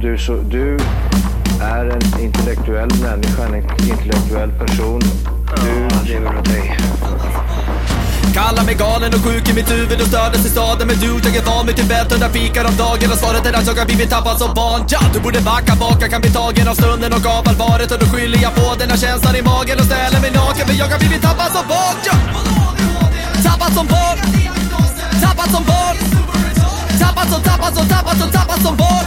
du, så, du är en intellektuell människa, en intellektuell person. Du lever av dig. Kallar mig galen och sjuk i mitt huvud och stördes i staden Men du, jag är van vid Tibet och där fikar om dagen Och svaret är att jag har blivit tappad som barn ja, Du borde backa bak, jag kan bli tagen av stunden och av allvaret Och då skyller jag på den här känslan i magen och ställer mig naken För jag har blivit tappad som barn ja. Tappad som barn Tappad som barn Tappad som, tappad som, tappad som, tappad som barn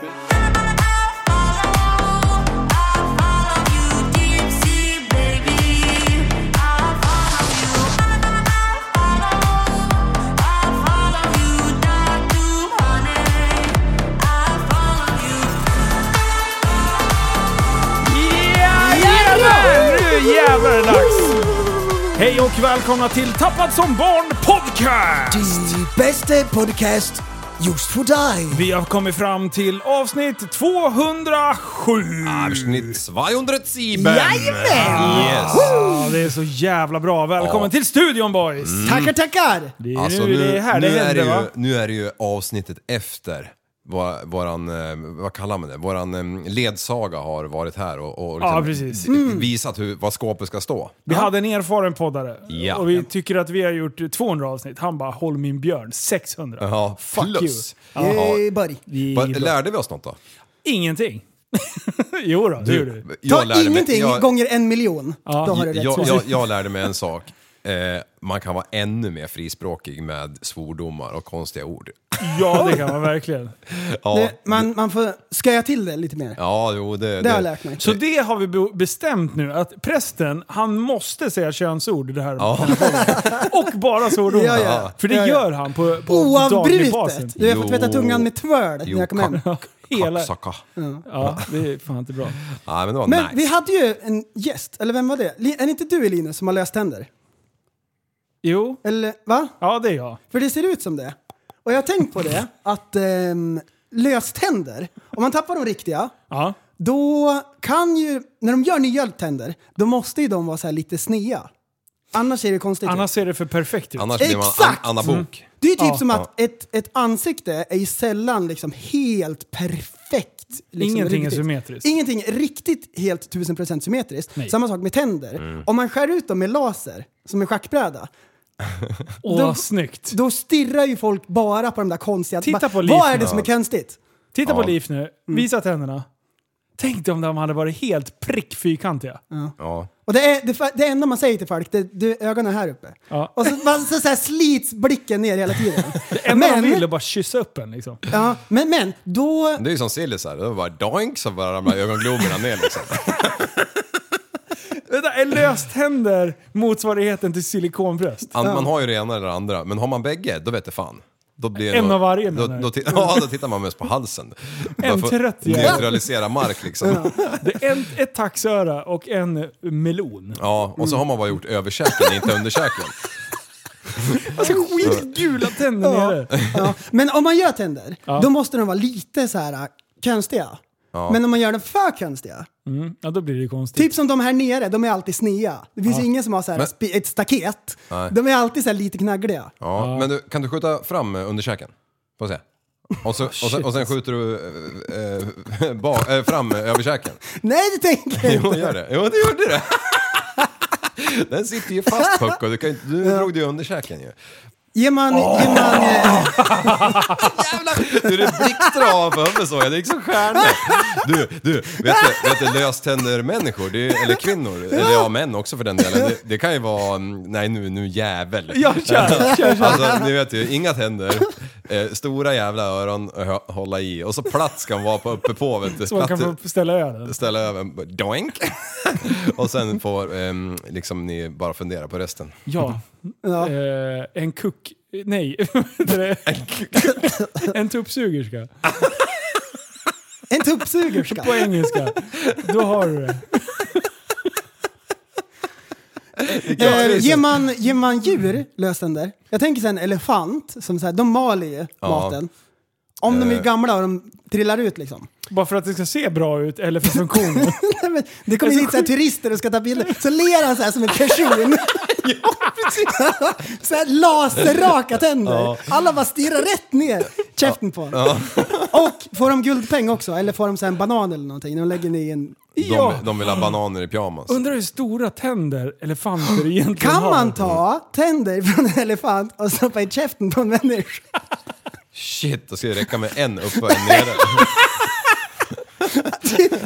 Ja, jävlar! Nu jävlar är det dags! Hej och välkomna till Tappad som barn podcast! Die beste Podcast just för dig. Vi har kommit fram till avsnitt 207. Ah, Abschnitt 207. Jajamän! Yes. Ja, det är så jävla bra. Välkommen till studion boys! Tackar, tackar! Det är Mm. Alltså nu, det nu, är här nu, det är det händer va? ju, nu är det ju avsnittet efter vad, våran, eh, vad kallar man det, våran eh, ledsaga har varit här och, och Ja, precis. Mm. d- visat hur, vad skåpet ska stå. Vi hade en erfaren poddare Ja. och vi tycker att vi har gjort 200 avsnitt. Han bara “Håll min björn” 600. Ja, Fuck plus. you. Ja. Yay, buddy. Vi- Vad- Lärde vi oss något då? Ingenting. jo då, det gjorde vi. jag Ta lärde ingenting mig, jag, gånger en miljon. Ja. Då har du rätt jag, svar. jag, jag lärde mig en sak. Eh, man kan vara ännu mer frispråkig med svordomar och konstiga ord. Ja, det kan man verkligen. Ja, det, man, man får sköja till det lite mer. ja jo, det, Det har jag lärt mig. Så det har vi be- bestämt nu, att prästen, han måste säga könsord i det här. Ja. Och bara svordomar. Ja, ja. För det Ja, ja. gör han på, på daglig basis. Oavbrutet! Du har fått Jo. tvätta tungan med tvöl Jo, när jag kom hem. Ja, Hela... Kapsaka. Ja, det är fan inte bra. Ja, men det var Men nice. vi hade ju en gäst, eller vem var det? Li- Är det inte du Linus som har löst tänder? Jo, Eller va? ja det är jag. För det ser ut som det. Och jag har tänkt på det, att um, löständer, om man tappar de riktiga, Ja. då kan ju, när de gör nya tänder, då måste ju de vara så här lite snea. Annars är det konstigt. Annars ser det för perfekt ut. Annars blir man an- Exakt! Mm. anabok. Det är ju typ Ja. som att ett, ett ansikte är ju sällan liksom helt perfekt. Liksom, Ingenting är symmetriskt. Ingenting är riktigt helt 1000% symmetriskt. Nej. Samma sak med tänder. Om man skär ut dem med laser, som en schackbräda, Åh, då- snyggt. då stirrar ju folk bara på de där konstiga... Titta bara, på Leif Vad är nu. det som är konstigt? Titta på Liv Mm. nu. Visa tänderna. Tänk dig om de hade varit helt prickfyrkantiga. Mm. Ja. Och det, är, det, fa- det enda man säger till folk, det, du, ögonen är här uppe. Ja. Och så, man, så, så här slits blicken ner hela tiden. Det enda de vill är bara kyssa upp en liksom. ja, men, men, då... Det är ju som Silly såhär, det var bara doink så bara ramlade ögongloberna ner liksom. Vänta, är löständer motsvarigheten till silikonbröst? An- Man har ju det ena eller det andra, men har man bägge, då vet det fan. Då blir det En nog- av varje, då, menar du? då, ti- Ja, då tittar man mest på halsen. En Bara för trött att jävel. Neutralisera mark liksom. Det är en, ett taxöra och en melon. Ja, och så har man bara gjort överkäken, inte underkäken. Alltså skitgula tänder Ja. nere. Ja. Men om man gör tänder, Ja. då måste de vara lite så här äh, konstiga. Men om man gör dem för konstiga, Mm, ja, då blir det ju konstigt. typ som de här nere, de är alltid snea. Det finns ju ingen som har så här Men- spe- ett staket. Nej. De är alltid så här lite knaggliga. Ja, men du, kan du skjuta fram eh, underkäken? Får se. Och, så, och, sen, och sen skjuter du eh, eh, ba, eh, fram eh, överkäken. Nej, det tänker jag Jo, inte. gör det. Jo, det gjorde det. Den sitter ju fast Pucko, du, kan, inte- du drog dig underkäken ju. Ger man... Ger man eh, Du, det blixtrade av på huvudet såg jag. Det gick som stjärnor. Du, du, vet du, vet du löständer-människor, det är- eller kvinnor, eller ja, män också för den delen. Det, det kan ju vara, mm, nej nu, nu jävel. Ja, kör, kör, kör. Alltså, ni vet ju, inga tänder, eh, stora jävla öron att hö- hålla i och så platt ska man vara på, uppe på vet du. Så man kan Platt- få ställa ölen. Ställa över, bara doink! och sen får ehm, liksom ni bara fundera på resten. Ja. ja. Eh, en kuck... Nej. vad heter det? en tuppsugerska. En tuppsugerska. På engelska. Då har du det. Eh, ger, man, ger man djur löständer? Jag tänker så här en elefant, som så här, de maler ju maten. Om de är gamla och de trillar ut liksom. Bara för att det ska se bra ut eller för funktionen. Nej, men det kommer hit så här turister och ska ta bilder, så ler han så här som en person. så här laserraka tänder. Alla bara stirrar rätt ner käften på honom. Och får de guldpeng också, eller får de så här en banan eller någonting när de lägger ner i en... ja. De, de vill ha bananer i pyjamas. Undrar hur stora tänder elefanter egentligen Kan har. man ta tänder från en elefant och stoppa i käften på en människa? Shit, då ska det räcka med en uppe och en nere.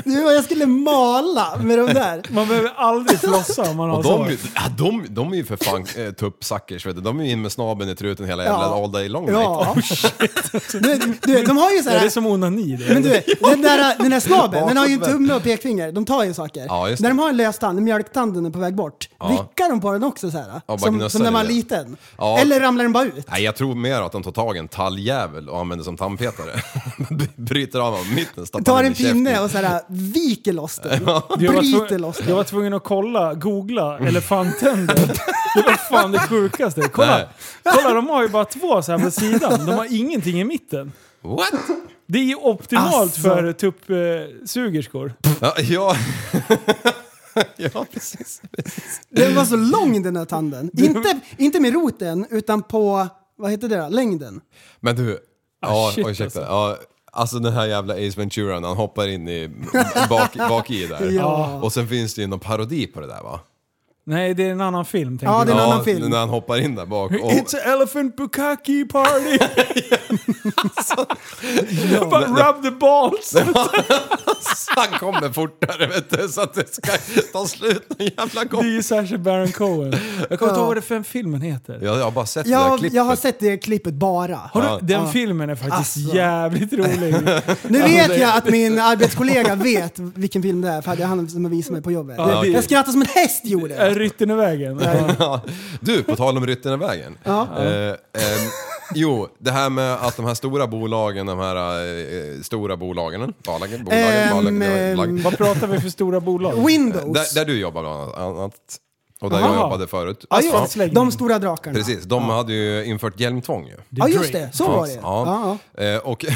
Du och jag skulle mala med de där. Man behöver aldrig flossa om man har Och de, så. ja, de, de är ju för fan eh, tuppsuckers, vet du. De är ju in med snabeln i truten hela jävla all day long. Oh, liksom. Ja. mate. Du, du, vet, de har ju så Ja, det är här... som onani det. Men du, den där, den där snabeln, den har ju en Bakåtvänd. tumme och pekfinger. De tar ju saker. Ja, just det. när de har en lös tand, mjölktanden är på väg bort, vickar de på den också så här? bara som, gnussar som när i man var det. liten? Ja. Eller ramlar den bara ut? Nej, jag tror mer att de tar tag i en talgjävel och använder som tandpetare. Bryter av honom i mitten, stoppar Tar den i en pinne käften. och så här viker loss den. Jag var, Bryter tvungen, loss jag den. var tvungen att kolla, googla elefanttänder. Det var fan det sjukaste. Kolla, Nej. kolla de har ju bara två så här på sidan. De har ingenting i mitten. What? Det är ju optimalt Alltså. för tuppsugerskor. Ja, ja. ja precis. Den var så lång den här tanden. Inte, inte med roten, utan på, vad heter det då? Längden. Men du, Ah, ja, shit, ursäkta. Ja, alltså den här jävla Ace Ventura, när han hoppar in i, bak, bak i där. Ja. Och sen finns det ju någon parodi på det där va? Nej, det är en annan film. tänker Ja, jag. det är en annan film. När han hoppar in där bak. Och, It's an elephant bukkake party! Alltså. Bara rub the balls! han kommer fortare vet du, så att det ska ta slut någon jävla Det är gång. ju Sacha Baron Cohen. Jag kommer inte ihåg vad det för filmen heter. Jag, jag har bara sett det där Jag, klippet. jag har sett det klippet bara. Har du, den Ja. filmen är faktiskt Alltså. jävligt rolig. Nu Alltså, det- vet jag att min arbetskollega vet vilken film det är, för det är han som har visat mig på jobbet. Ja, Jag- det- Jag skrattade som en häst gjorde Är jag. rytten i vägen? Ja. Du, på tal om Ryttenevägen. Ja. Eh, ehm, jo, det här med att de här stora bolagen, de här eh, stora bolagen, bolagen, bolagen, Ehm, bolagen, bolagen ehm, Vad pratar vi för stora bolag? Windows. där, där du jobbar bland annat. Och där Aha. jag jobbade förut. Ja, Alltså, just det. De stora drakarna. Precis, de hade ju infört hjälmtvång ju. Ja, just det. Så var det. Ja. Ja, Eh, och ja.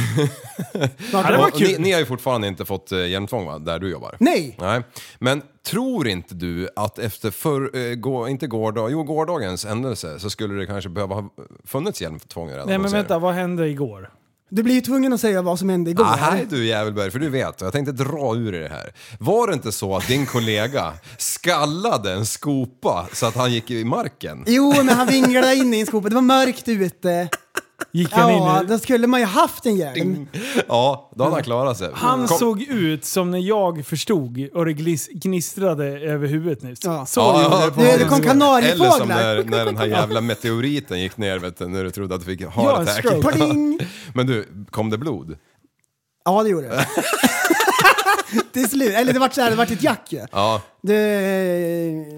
det var och ni, kul. ni har ju fortfarande inte fått eh, hjälmtvång va, där du jobbar? Nej. Nej. Men tror inte du att efter för, eh, gå, inte gårdag, jo, gårdagens händelse så skulle det kanske behöva ha funnits hjälmtvång redan? Nej om men du säger? vänta, vad hände igår? Du blir ju tvungen att säga vad som hände igår. Ah, här är du jävelberg, för du vet, jag tänkte dra ur det här. Var det inte så att din kollega skallade en skopa så att han gick i marken? Jo, men han vinglade in i en skopa. Det var mörkt ute. Gick han Ja, in i... då skulle man ju haft en hjälm. Ja, då hade han klarat sig. Han Kom- såg ut som när jag förstod och det glis- gnistrade över huvudet nyss. Ja. Så Ja, gjorde ja, det på Det- det honom. kom Eller som kanariefåglar. när, när den här jävla meteoriten gick ner vet du, när du trodde att du fick heart Ja, en attack. stroke. Pling! Men du, kom det blod? Ja, det gjorde det. Till slut. Eller det vart så här, det vart ett jack ju. Ja. Du,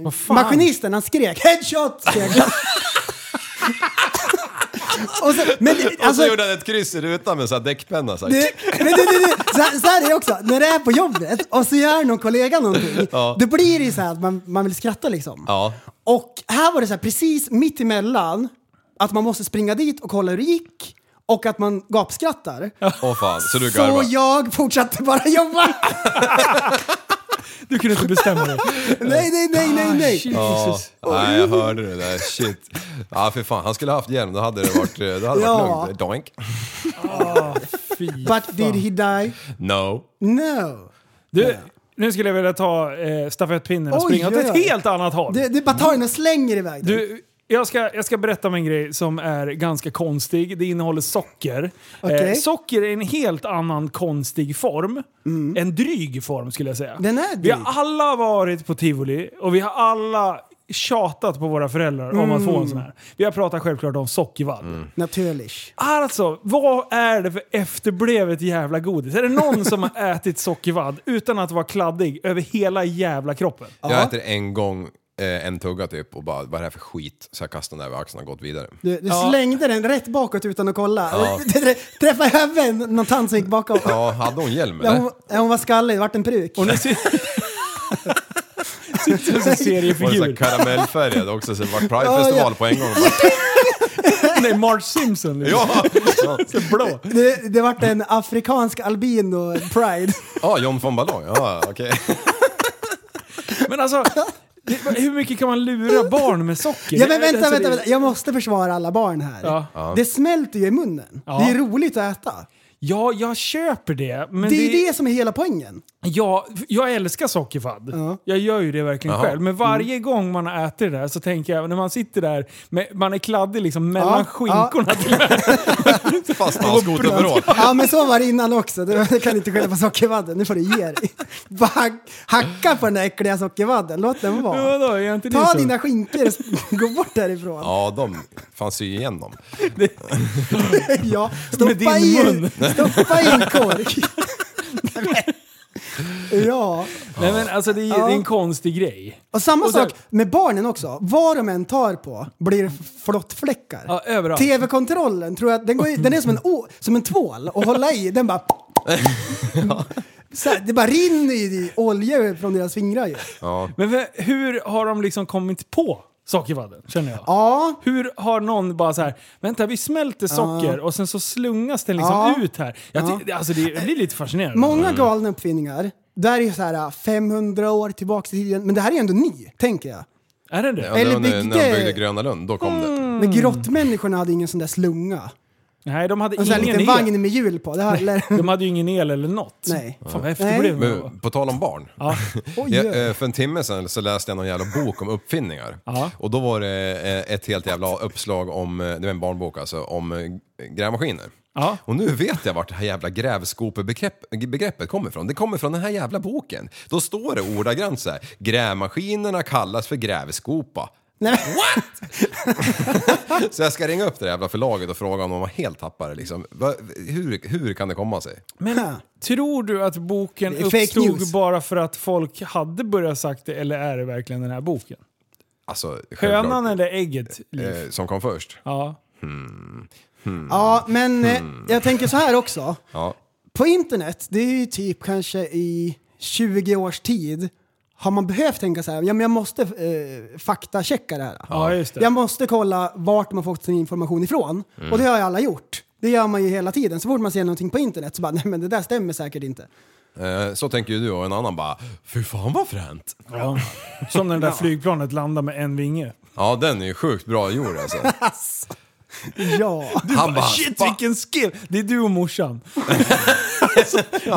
Vad fan? maskinisten han skrek headshot! Skrek. han. och så, men det- Och så alltså, gjorde han ett kryss i rutan med så här däckpenna. Så här. det, men det, det, det, så, här, så här är det också, när det är på jobbet och så gör någon kollega någonting, Ja. då blir det ju så här att man, man vill skratta liksom. Ja. Och här var det så här precis mitt emellan att man måste springa dit och kolla hur det gick och att man gapskrattar. Åh fan, så du Så garvar. jag fortsatte bara jobba. Du kunde inte bestämma dig. Ah, nej, nej, nej, nej, nej. Ja. Jesus. Nej, jag hörde det där. Shit. Ja, för fan. Han skulle ha haft hjälm. Då hade det varit, eh, då hade det varit Ja. lugnt. Doink. Fy. But did he die? No. No. Du, nu skulle jag vilja ta eh, stafettpinnen och Oj, springa åt oj, ett oj. helt annat håll. Du, du bara tar den och slänger iväg den. Du, jag ska, jag ska berätta om en grej som är ganska konstig. Det innehåller socker. Okej. Eh, socker är en helt annan konstig form. En dryg form skulle jag säga. Mm. Den är vi dryg. har alla varit på tivoli och vi har alla tjatat på våra föräldrar om att få Mm. en sån här. Vi har pratat självklart om sockervadd. Naturligt. Alltså, vad är det för efterblevet jävla godis? Är det någon som har ätit sockervadd utan att vara kladdig över hela jävla kroppen? Jag äter en gång, eh, en tugga typ och bara, vad är det här för skit? Så jag kastar den där över axeln och gått vidare. Du, du slängde den rätt bakåt utan att kolla. Träffade även någon tand som gick bakom. Ja, hade hon hjälm Ja, eller? hon, ja, hon var skallig, det vart en pruk. Och nu ser... Sitter som en Var det så här seriefigur. karamellfärgad också så det var Ja, Pride-festival ja. på en gång. Han är Marge Simpson. Liksom. Ja! Ja, Blå. Det, det vart en afrikansk albino-pride. ah, John von Ballon. Ja, okej. Men alltså, det, hur mycket kan man lura barn med socker? Ja Det är- men vänta, alltså, det- vänta, vänta. Jag måste försvara alla barn här. Ja. Det smälter ju i munnen. Ja. Det är roligt att äta. Ja, jag köper det. Men det är ju det som är hela poängen. Ja, jag älskar sockerfadd. Ja. Jag gör ju det verkligen Jaha. själv. Men varje gång man har ätit det där så tänker jag, när man sitter där, med, man är kladdig liksom mellan Ja, skinkorna. Fast man har skoterbråk. Ja men så var det innan också. Du du kan inte skälla på sockervadden. Nu får du ge dig. Bara hack- hacka på den där äckliga sockervadden. Låt den Ja, vara. då, är jag inte det Ta så? dina skinkor och s- gå bort därifrån. Ja, Ja, de fanns ju igen dem. stoppa, Med din i, mun. stoppa i en kork. ja. Nej men alltså det är, det är en konstig grej. Och samma Och sen- sak med barnen också. Vad de än tar på blir det flottfläckar. Ja, överallt. TV-kontrollen tror jag, den, går, i- den är som en, å, som en tvål och hålla i, den bara... Så här, det bara rinner i olja från deras fingrar ju. Men v- hur har de liksom kommit på sockervadden, känner jag? Ja, Hur har någon bara så här, vänta vi smälter socker och sen så slungas den liksom Ja. ut här. Jag ty- Alltså det jag blir lite fascinerande. många galna uppfinningar. Där är ju så här 500 år tillbaka i tiden, men det här är ju ändå ny, tänker jag. är den det? Ja, Eller Eller Mm. när, de- när de Bigge. byggde Gröna Lund, då kom det. Mm. Men grottmänniskorna hade ingen sån där slunga. Nej, de hade En sån här ingen liten el. vagn med hjul på. Det här, eller, De hade ju ingen el eller något. Nej. Fan vad häftigt Nej. det blev. Men på tal om barn. Ja. oj, Jag, eh, för en timme sedan så läste jag någon jävla bok om uppfinningar. Ja. Och då var det eh, ett helt jävla uppslag om, eh, det var en barnbok alltså, om eh, grävmaskiner. Ja. Och nu vet jag vart det här jävla grävskopebegreppet kommer ifrån. Det kommer från den här jävla boken. Då står det ordagrant så här, grävmaskinerna kallas för grävskopa. nej, Så jag ska ringa upp det där jävla förlaget och fråga om de har helt tappat det liksom. Va, hur, hur kan det komma sig? Men tror du att boken Det är fake uppstod news. bara för att folk hade börjat sagt det eller är det verkligen den här boken? Alltså, självklart, Hönan eller ägget? Liv? eh, som kom först. Ja. ja, men eh, Mm. jag tänker så här också. Ja. På internet, det är ju typ kanske i 20 års tid har man behövt tänka så här, ja men jag måste eh, faktachecka det här. ja, just det. Mm. Jag måste kolla vart man fått sin information ifrån. Och det har ju alla gjort. Det gör man ju hela tiden. Så fort man ser någonting på internet så bara, nej men det där stämmer säkert inte. Eh, Så tänker ju du och en annan bara, fy fan vad fränt. Ja. Som när det där flygplanet landar med en vinge. Ja den är ju sjukt bra gjord alltså. Ja. Han bara, Shit "Fan." vilken skill! Det är du och morsan.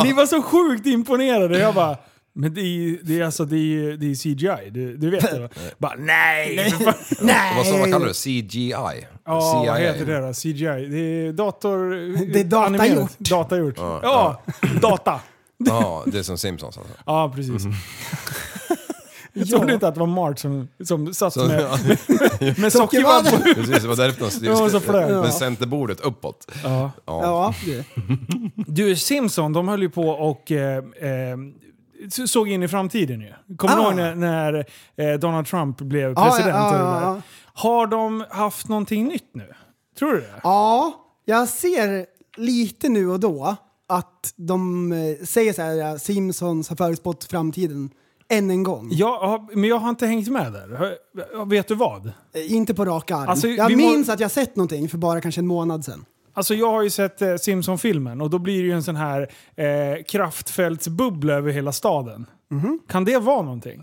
Ni var så sjukt imponerade. Jag bara, men det är ju det är alltså, det är, ju- det är CGI, du, du vet det va? Bara nej! för fan." nej! vad, sa, vad kallar du det? CGI? Ja, vad heter det då? CGI? Det är dator... Det är datagjort. animerat. Datagjort. Ja, data. Ja, det är som Simpsons alltså. Ja, precis. Jag trodde inte att det var Mart som, som satt Så, med, ja, med sockervadd på huvudet. precis, det var därför de Det var så flög. styrde- Ja. med centerbordet uppåt. Ja. Ja. Ja, du. Du, Simpson, de höll ju på och eh, eh, så- såg in i framtiden ju. Kommer du Ah. ihåg när, när eh, Donald Trump blev Ja, president? ja, ja, och det där? ja, ja. Har de haft någonting nytt nu? Tror du det? ja, jag ser lite nu och då att de eh, säger så här, Simpsons har förutspått framtiden än en gång. Jag, har- men jag har inte hängt med där. Har- Vet du vad? Eh, Inte på rak arm. Alltså, vi jag må- minns att jag sett någonting för bara kanske en månad sedan. Alltså jag har ju sett eh, Simpson-filmen och då blir det ju en sån här eh, kraftfältsbubbla över hela staden. Mhm. Kan det vara någonting?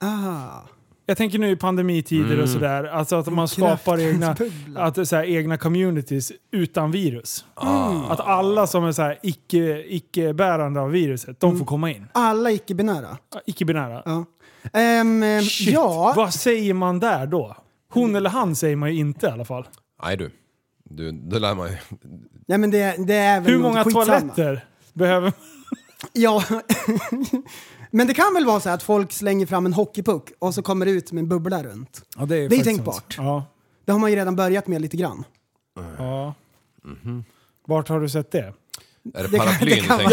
Ah. Jag tänker nu i pandemitider Mm. och sådär, alltså att man skapar egna, kraftfältsbubbla. att, det är så här, egna communities utan virus. Ah. Att alla som är så här, icke, icke-bärande av viruset, de får komma in. Ah, Alla icke-binära. Icke-binära. Mm. Ja. Ehm, ehm, Shit, ja. vad säger man där då? Hon eller han säger man ju inte i alla fall. Nej du. du, det lär man ju. Nej, men det, det är väl Hur många skitsamma. toaletter behöver Ja. men det kan väl vara så här att folk slänger fram en hockeypuck och så kommer det ut med en bubbla runt. ja, Det är, faktiskt tänkbart. sant. Det har man ju redan börjat med lite grann. Ja. Mhm. Vart har du sett det? Är det, Det kan- paraplyn det du kan tänker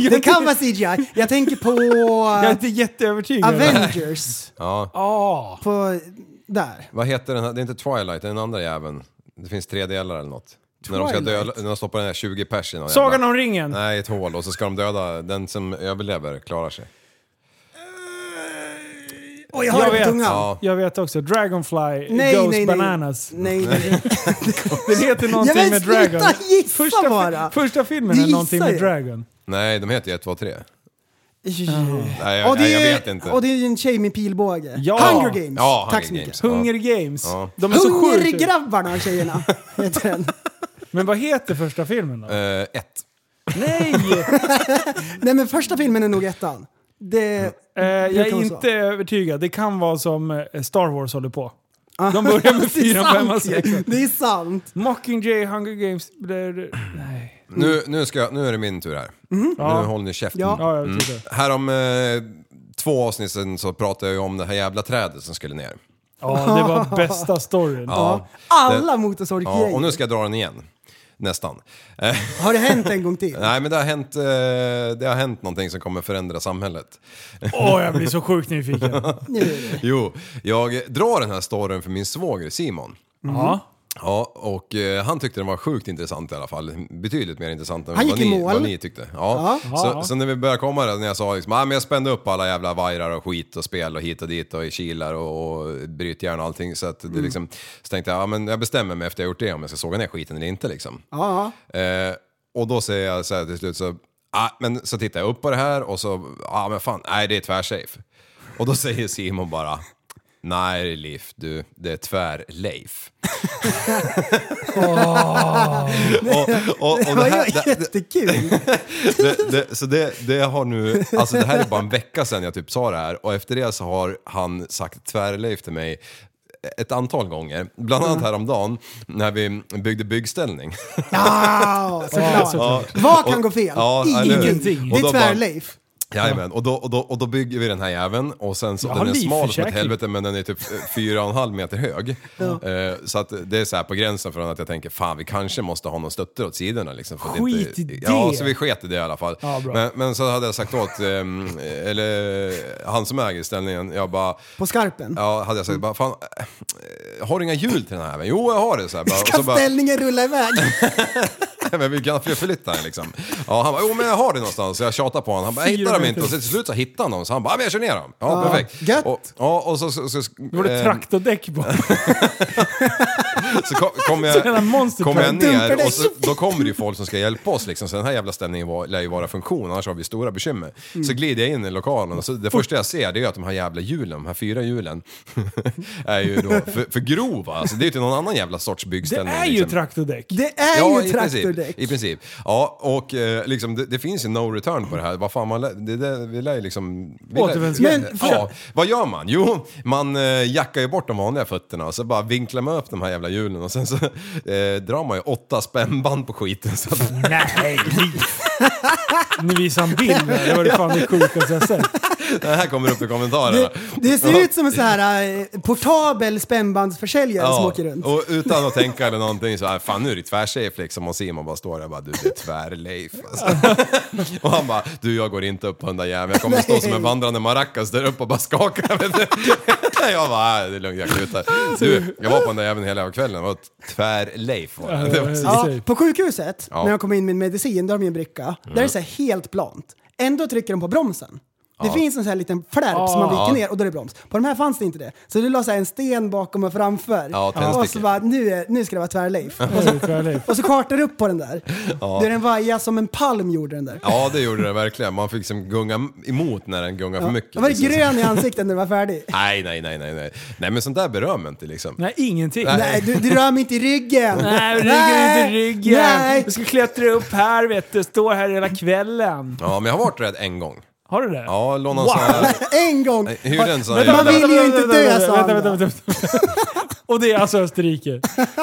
vara- på? Det kan vara CGI. Jag tänker på Jag är inte jätteövertygad. Avengers. Ja. Ah. På, där. Vad heter den här? Det är inte Twilight, det är den andra jäveln. Det finns tre delar eller något. När de ska döda, Twilight? när de stoppar den här 20 pers i någon Sagan jävla- om ringen. Nej, ett hål och så ska de döda, den som överlever klarar sig. Oj, jag har det på vet. tungan. Ja. Jag vet också. Dragonfly Nej, goes nej, nej. bananas. Nej, nej. Den heter någonting Jag vet, med sluta Dragon. gissa första, bara. första filmen Du är någonting gissar med ju. Dragon. Nej, de heter ju 1, 2, 3. nej. Nej, jag, och, det nej, är, jag vet inte. och det är ju en tjej med pilbåge. Ja. Hunger Games. Ja, Hunger Tack så mycket. Games. Hunger Games. Ja. De är så sjuka. Hungergrabbarna och tjejerna heter den. Men vad heter första filmen då? Eh, ett. Nej! Nej men första filmen är nog ettan. Det... Eh, jag kan är vara inte så. övertygad. Det kan vara som eh, Star Wars håller på. De börjar med Det är fyra, fem och sant sex. ju. Det är sant. Mockingjay, Hunger Games... blä, blä. Nej. Nu, nu, ska, jag- nu är det min tur här. Nu håller ni käften. Ja. Ja, jag tycker det. Här om eh, två avsnitt sen så pratade jag ju om det här jävla trädet som skulle ner. Ja, det var bästa storyn. Ja. Alla ja motorsågsgäng. och nu ska jag dra den igen. Nästan. Eh, Har det hänt en gång till? nej men det har, hänt, eh, det har hänt någonting som kommer förändra samhället. Åh, jag blir så sjukt nyfiken. Mm. Nu. Jo, jag drar den här storyn för min svåger Simon. Ja. Ja, och eh, han tyckte den var sjukt intressant i alla fall. Betydligt mer intressant än Han vad gick i ni, mål. vad ni tyckte. Ja. Ja. Så, så när vi började komma där, när jag sa liksom, ah, men jag spände upp alla jävla vajrar och skit och spel och hit och dit och i kilar och, och brytjärn och allting. Så att det Mm. liksom, så tänkte jag, ah, men jag bestämmer mig efter jag gjort det om jag ska såga ner skiten eller inte liksom. Ja, Eh, och då säger jag så här till slut så, ah, men så tittar jag upp på det här och så, ah men fan, nej det är tvärsafe. Och då säger Simon bara, nej Liv, du, det är tvärleif. och, och, och det det var här, ju det, jättekul. det, det, så det, det har nu, alltså det här är bara en vecka sedan jag typ sa det här och efter det så har han sagt tvärleif till mig ett antal gånger, bland annat häromdagen när vi byggde byggställning. Ja, Ja, såklart. såklart. Vad kan Och- gå fel? Ja, eller- Ingenting. Det Och är då tvärleif. Jajamän, och då, och, då, och då bygger vi den här jäveln och sen så, Jag har den är smal som ett livförsäkring. helvete men den är typ eh, fyra och en halv meter hög. Eh, så att det är så här på gränsen från att jag tänker fan vi kanske måste ha någon stötter åt sidorna liksom. För att Skit inte, i det. Ja, så vi sket i det i alla fall. Ja, bra. men, men så hade jag sagt åt, ehm, eller han som äger ställningen, jag bara På skarpen. Ja, hade jag sagt bara, fan, eh, har du inga hjul till den här jäveln? Jo, jag har det. Så här, bara, och Ska så bara, ställningen rulla iväg? Nej, men vi kan förflytta den liksom. Ja, han bara, jo men jag har det någonstans. Så jag tjatar på honom. Han bara, jag hittar dem inte. Och så till slut så hittar han dem. Så han bara, ja men jag kör ner dem. Ja, perfekt. gött. Och, ja, och så... så, så, så Då var det eh, traktordäck på. så kom, kom jag, Så jävla monster kom jag truck. ner Dumpar och så, då kommer det ju folk som ska hjälpa oss liksom. Så den här jävla ställningen var, lär ju vara funktion, annars har vi stora bekymmer. Mm. Så glider jag in i lokalen och så det första jag ser det är att de här jävla hjulen, de här fyra hjulen, är ju då för, för grova. Alltså, det är ju till någon annan jävla sorts Det byggställning. är ju liksom. traktordäck. Det är Ja, ju i princip, traktordäck. i princip. Ja, och eh, liksom, det, det finns ju no return på det här. Vad fan, man lär, det, det, vi lär ju liksom... vi lär- Återvändsgränd. Men- Ja, vad gör man? Jo, man eh, jackar ju bort de vanliga fötterna och så bara vinklar man upp de här jävla hjulen och sen så eh, drar man ju åtta spännband på skiten. Så att, Nej! Nu visar han bild där. Det var det fan det sjukaste jag sett. det här kommer upp i kommentarerna. Det, det ser ut som en så här eh, portabel spännbandsförsäljare som åker runt. och utan att tänka eller någonting så här, fan nu är det tvärsafe liksom och Simon bara står där och bara, du det är tvärleif alltså. Och han bara, du jag går inte upp på den där jäveln, jag kommer stå som en vandrande maracas där uppe och bara skaka. vet du. Jag bara, "Nej, det är lugnt jag kutar. Du, jag var på den där jäveln hela jävla kvällen, det var tvärleif var det. det. var så- Ja, Precis. på sjukhuset, Ja. Mm. när jag kom in med medicin, där har de ju en bricka. Där är det så här helt plant. Ändå trycker de på bromsen. Det finns en sån här liten flärp som man viker ner och då är det broms. På de här fanns det inte det. Så du la så här en sten bakom och framför. Ja, och så tändstickor. bara, nu, är, nu ska det vara tvärleif. Det är tvärleif. Och så kartar du upp på den där. Det är en vaja som en palm gjorde den där. Ja det gjorde det verkligen, man fick liksom gunga emot när den gungar för mycket. Jag var liksom. grön i ansiktet när den var färdig. Nej, nej, nej, nej, nej. Nej men sånt där berör mig inte liksom. Nej, ingenting. Nej, du, du rör mig inte i ryggen. Nej, ryggen är inte ryggen. Nej. Du ska klättra upp här vet du. Stå här hela kvällen. Ja men jag har varit rädd en gång. Har du det? Ja, lånade en sån här... En gång. Hyrde en sån här Man jävla- vill ju inte Vänta, dö, vänta, sa vänta, han. vänta, vänta, vänta. Och det är alltså Österrike.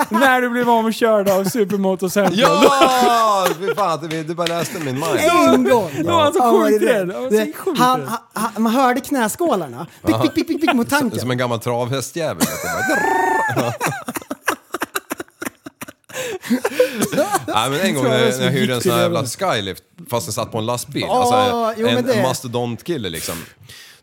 När du blev omkörd av supermotorcentrum. Ja! Fy fan, du, du bara läste min mind. En gång! Då var han så var sjukt det rädd. Han var så Det- sjukt han- rädd. han- han- Man hörde knäskålarna. Pick, pick, pick, pick, pick mot tanken. Som en gammal travhästjävel. vet du, bara drrrr. Nej men en gång när jag, när jag hyrde en sån här jävla skylift fast den satt på en lastbil. Åh, alltså jo, men en, det- en mastodontkille liksom.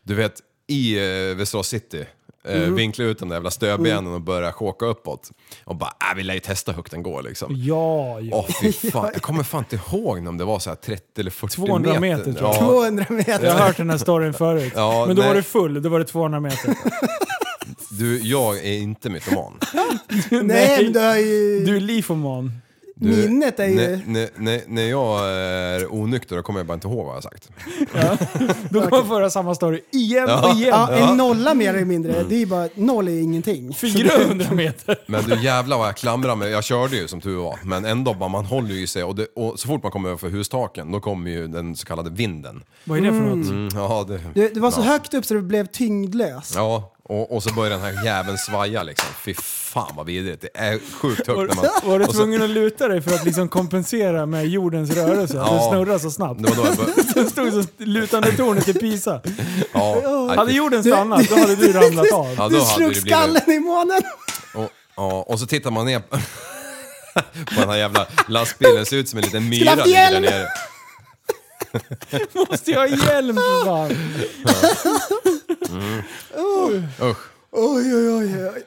Du vet, i eh, Västerås city. eh, vinkla ut de där jävla stödbenen och börja chocka uppåt. Och bara, äh, vi lär ju testa hur högt den går liksom. Ja, ja. Åh fy fan, jag kommer fan inte ihåg om det var så här 30 eller 40 200 meter, tror jag. Ja, 200 meter. Jag har hört den här storyn förut. Ja, men då nej. var du full, då var det 200 meter. du, jag är inte mytoman. Nej, men du har ju... Du är lifoman. Du, Minnet är ju- när- När, när, när jag är onykter då kommer jag bara inte ihåg vad jag har sagt. Då kommer jag föra samma story igen och igen. Ja, en nolla mer eller mindre. Mm. Det är ju bara, noll är ju ingenting. 400 meter. Men du jävlar vad jag klamrar mig. Jag körde ju som tur var. Men ändå, bara, man håller ju i sig. Och, det, och så fort man kommer över för hustaken, då kommer ju den så kallade vinden. Vad är det för något? Mm, ja, det, Du, det var så ja. högt upp så du blev tyngdlös. Ja, och, och så börjar den här jäveln svaja liksom. Fy fan vad vidrigt. Det är sjukt högt när man... Var, var du och så- tvungen att luta dig för att liksom kompensera med jordens rörelse? Att Ja. den snurrar så snabbt. Det var då jag började... Den stod så lutande tornet i Pisa. Ja, Hade nej, jorden stannat, då hade du ramlat av. ja, du då hade det slog blivit- skallen i månen. Och, ja, och så tittar man ner på den här jävla lastbilen. Ser ut som en liten myra Skulle haft ligger där hjälm! nere. Måste jag ha hjälm för fan? Usch. Oj, oj, oj. oj.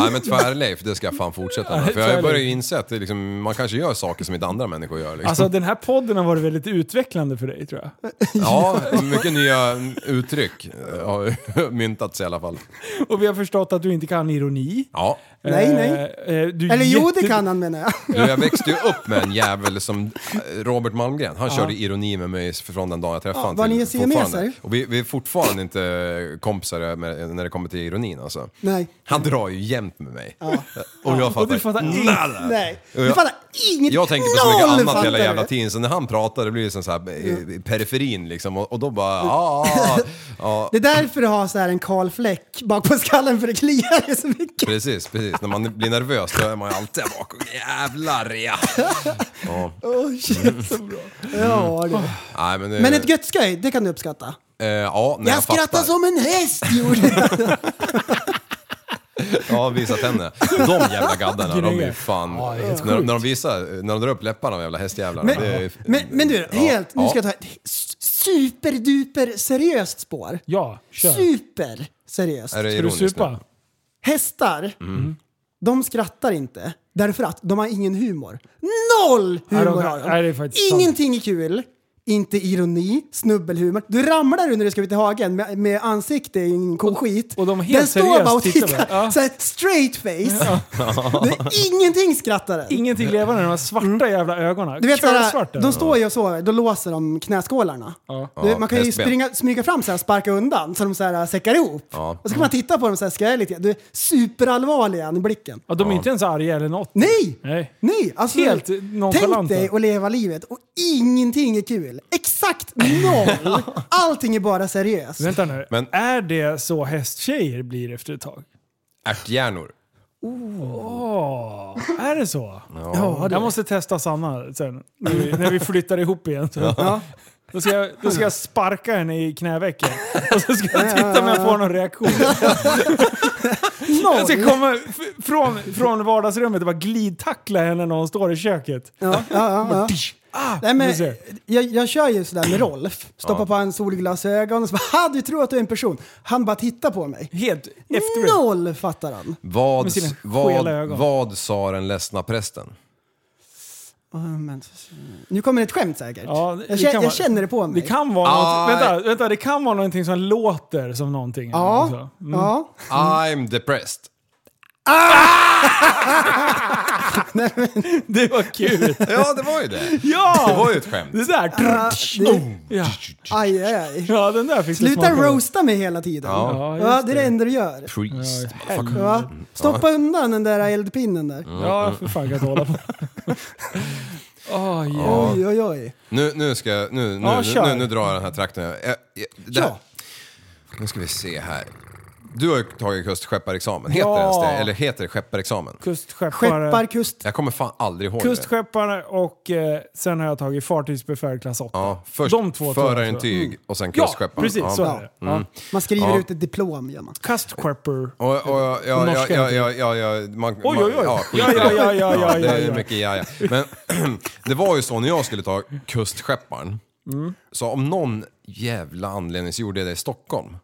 Nej men tvärleif, det ska jag fan fortsätta med. För jag Tvärleif. börjar ju inse att det liksom, man kanske gör saker som inte andra människor gör. Liksom. Alltså den här podden har varit väldigt utvecklande för dig tror jag. ja, mycket nya uttryck har myntats i alla fall. Och vi har förstått att du inte kan ironi. Ja, Nej, nej. Eh, eh, du är Eller jo, det jätte- kan han menar jag. du, jag växte ju upp med en jävel som eh, Robert Malmgren. Han körde ironi med mig från den dagen jag träffade Ja, honom. var till ni siameser? fortfarande. Och vi, vi är fortfarande inte kompisar med, när det kommer till ironin alltså. Nej. Han drar ju jämt med mig. Eh, Och jag Och fattar, du fattar inte. nada. Nej. Och Du jag- fattar inget. Jag tänker på så mycket noll annat fattar hela du. jävla tiden, så när han pratar det blir det som så här eh, i- i periferin liksom och, och då bara ja, ja, ja. Det är därför du har så här en kal fläck bak på skallen för det kliar ju så mycket. Precis, precis. När man blir nervös då är man ju alltid där bak och jävlar ja. ja. Oh, shit, så bra. Ja, det. Nej, men, det- Men ett gött skoj, det kan du uppskatta. eh, ja, när Jag, jag, skrattar fattar. som en häst gjorde jag. Ja, visa tänderna. De jävla gaddarna, de är ju Grejer. fan... Ja, det är helt när, sjukt. när de visar, när de drar upp läpparna de jävla hästjävlarna. det är Men, ju- men, men du, Ja, helt, nu ja. ska jag ta ett s- superduper seriöst spår. Ja, kör. Ska Super seriöst. Är det du ironiskt nu? supa? Hästar, Mm. de skrattar inte. Därför att de har ingen humor. Noll Nej, de humor kan- har nej, det är de. faktiskt sant. Ingenting är kul. Inte ironi, snubbelhumor. Du ramlar under när du ska ut i hagen med, med ansikte i en koskit. och de är helt Den står seriöst bara och tittar tittar. på det. Ja. Så här, straight face. Det är ingenting skrattar den. Ingenting levande, de här svarta jävla ögonen. Mm. Du vet såhär, Kölsvart är de står ju och sover, då låser de knäskålarna. Ja. Du, man kan ju hästben. springa, smyga fram såhär, sparka undan så de såhär säckar ihop. Ja. Och så kan man titta på dem såhär, skrälla lite. Du är superallvarliga i blicken. Ja, de är inte ens arga eller något. Nej! Nej. Nej! Alltså, Helt tänk nonchalanta. dig att leva livet och ingenting är kul. Exakt noll! Allting är bara seriöst. Vänta nu. Men- Är det så hästtjejer blir efter ett tag? Ärthjärnor. Åh, är det så? Ja, jag måste testa Sanna sen, när vi, när vi flyttar ihop igen. Så. Då, ska jag, då ska jag sparka henne i knävecken och så ska jag titta om jag får någon reaktion. Jag ska Noll! komma f- från, från vardagsrummet och bara glidtackla henne när hon står i köket. Ja, ja, ja, ja. Nej, men, Du Ah, ser. jag, jag kör ju sådär med Rolf. Stoppar på en solglasögon och så bara "Ha, du tror att du är en person. Han bara tittar på mig. Helt efter. Noll fattar han. Vad, Med sina skela vad, ögon. vad sa den ledsna prästen? Ja, men- Nu kommer ett skämt säkert. Ja, det- det jag, känner, kan jag vara- känner det på mig. Det kan vara Ah. något, vänta, vänta, det kan vara någonting som låter som någonting. ja, Alltså. ja. I'm depressed. Det var kul. Ja, det var ju det. Ja! Det var ju ett skämt. Det där. det- Ja. Aj, aj, aj. ja, den där fick du Sluta smaka på. roasta mig hela tiden. Ja, Ja, det är just det enda du gör. Priest. Ja. Stoppa undan den där eldpinnen där. Ja, för fan kan jag hålla på. Åh, ja. Oj, oj, oj. Nu, nu ska jag, nu, nu, Ja, nu, kör. nu, nu drar jag den här trakten. Jag, jag, jag, det här. Nu ska vi se här. Du har ju tagit kustskepparexamen. Heter Ja. det ens det? Eller heter det skepparexamen? Kustskeppare. Skeppar, kust... Jag kommer fan aldrig ihåg det. Kustskeppare och eh, sen har jag tagit fartygsbefäl klass 8. Ja, först De två tror jag, förarintyg och sen Ja, kustskepparen. precis så Ja. är det. Ja. Man skriver Ja. ut ett diplom, gör man. Kustskepper. Och, och, ja, ja, norska ja, heter ja, ja, ja, man, oj, oj, oj. Ja, skit i Ja, ja, det. ja, ja, ja, Det ja, är ja. mycket ja, ja. Men det var ju så när jag skulle ta Mm. kustskepparen. Så om någon jävla anledning så gjorde jag det i Stockholm.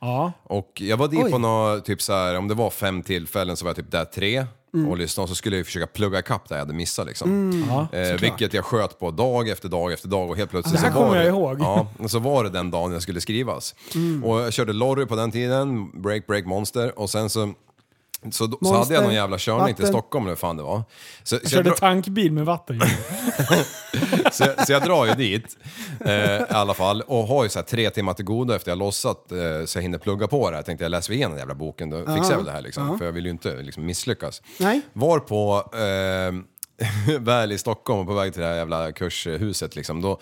Ja. Och jag var dit Oj. på några, typ så här, om det var fem tillfällen så var jag typ där tre och lyssnade och så skulle jag ju försöka plugga kapp där jag hade missat liksom. Mm. eh, vilket jag sköt på dag efter dag efter dag och helt plötsligt Det här så var kommer det, jag ihåg. Mm. Ja, och så var det den dagen jag skulle skrivas. Och jag körde Lorry på den tiden, Break Break Monster och sen så så, då- så hade Monster, jag någon jävla körning till vatten. Stockholm eller vad fan det var. Så, så, Jag jag körde dra, tankbil med vatten. så, jag- så jag drar ju dit eh, i alla fall och har ju så här tre timmar till godo efter jag lossat eh, så jag hinner plugga på det här. Tänkte jag läser vi igenom den jävla boken då fixar jag väl det här liksom. För jag vill ju inte liksom, misslyckas. Nej. Var på eh, väl i Stockholm och på väg till det här jävla kurshuset liksom, då,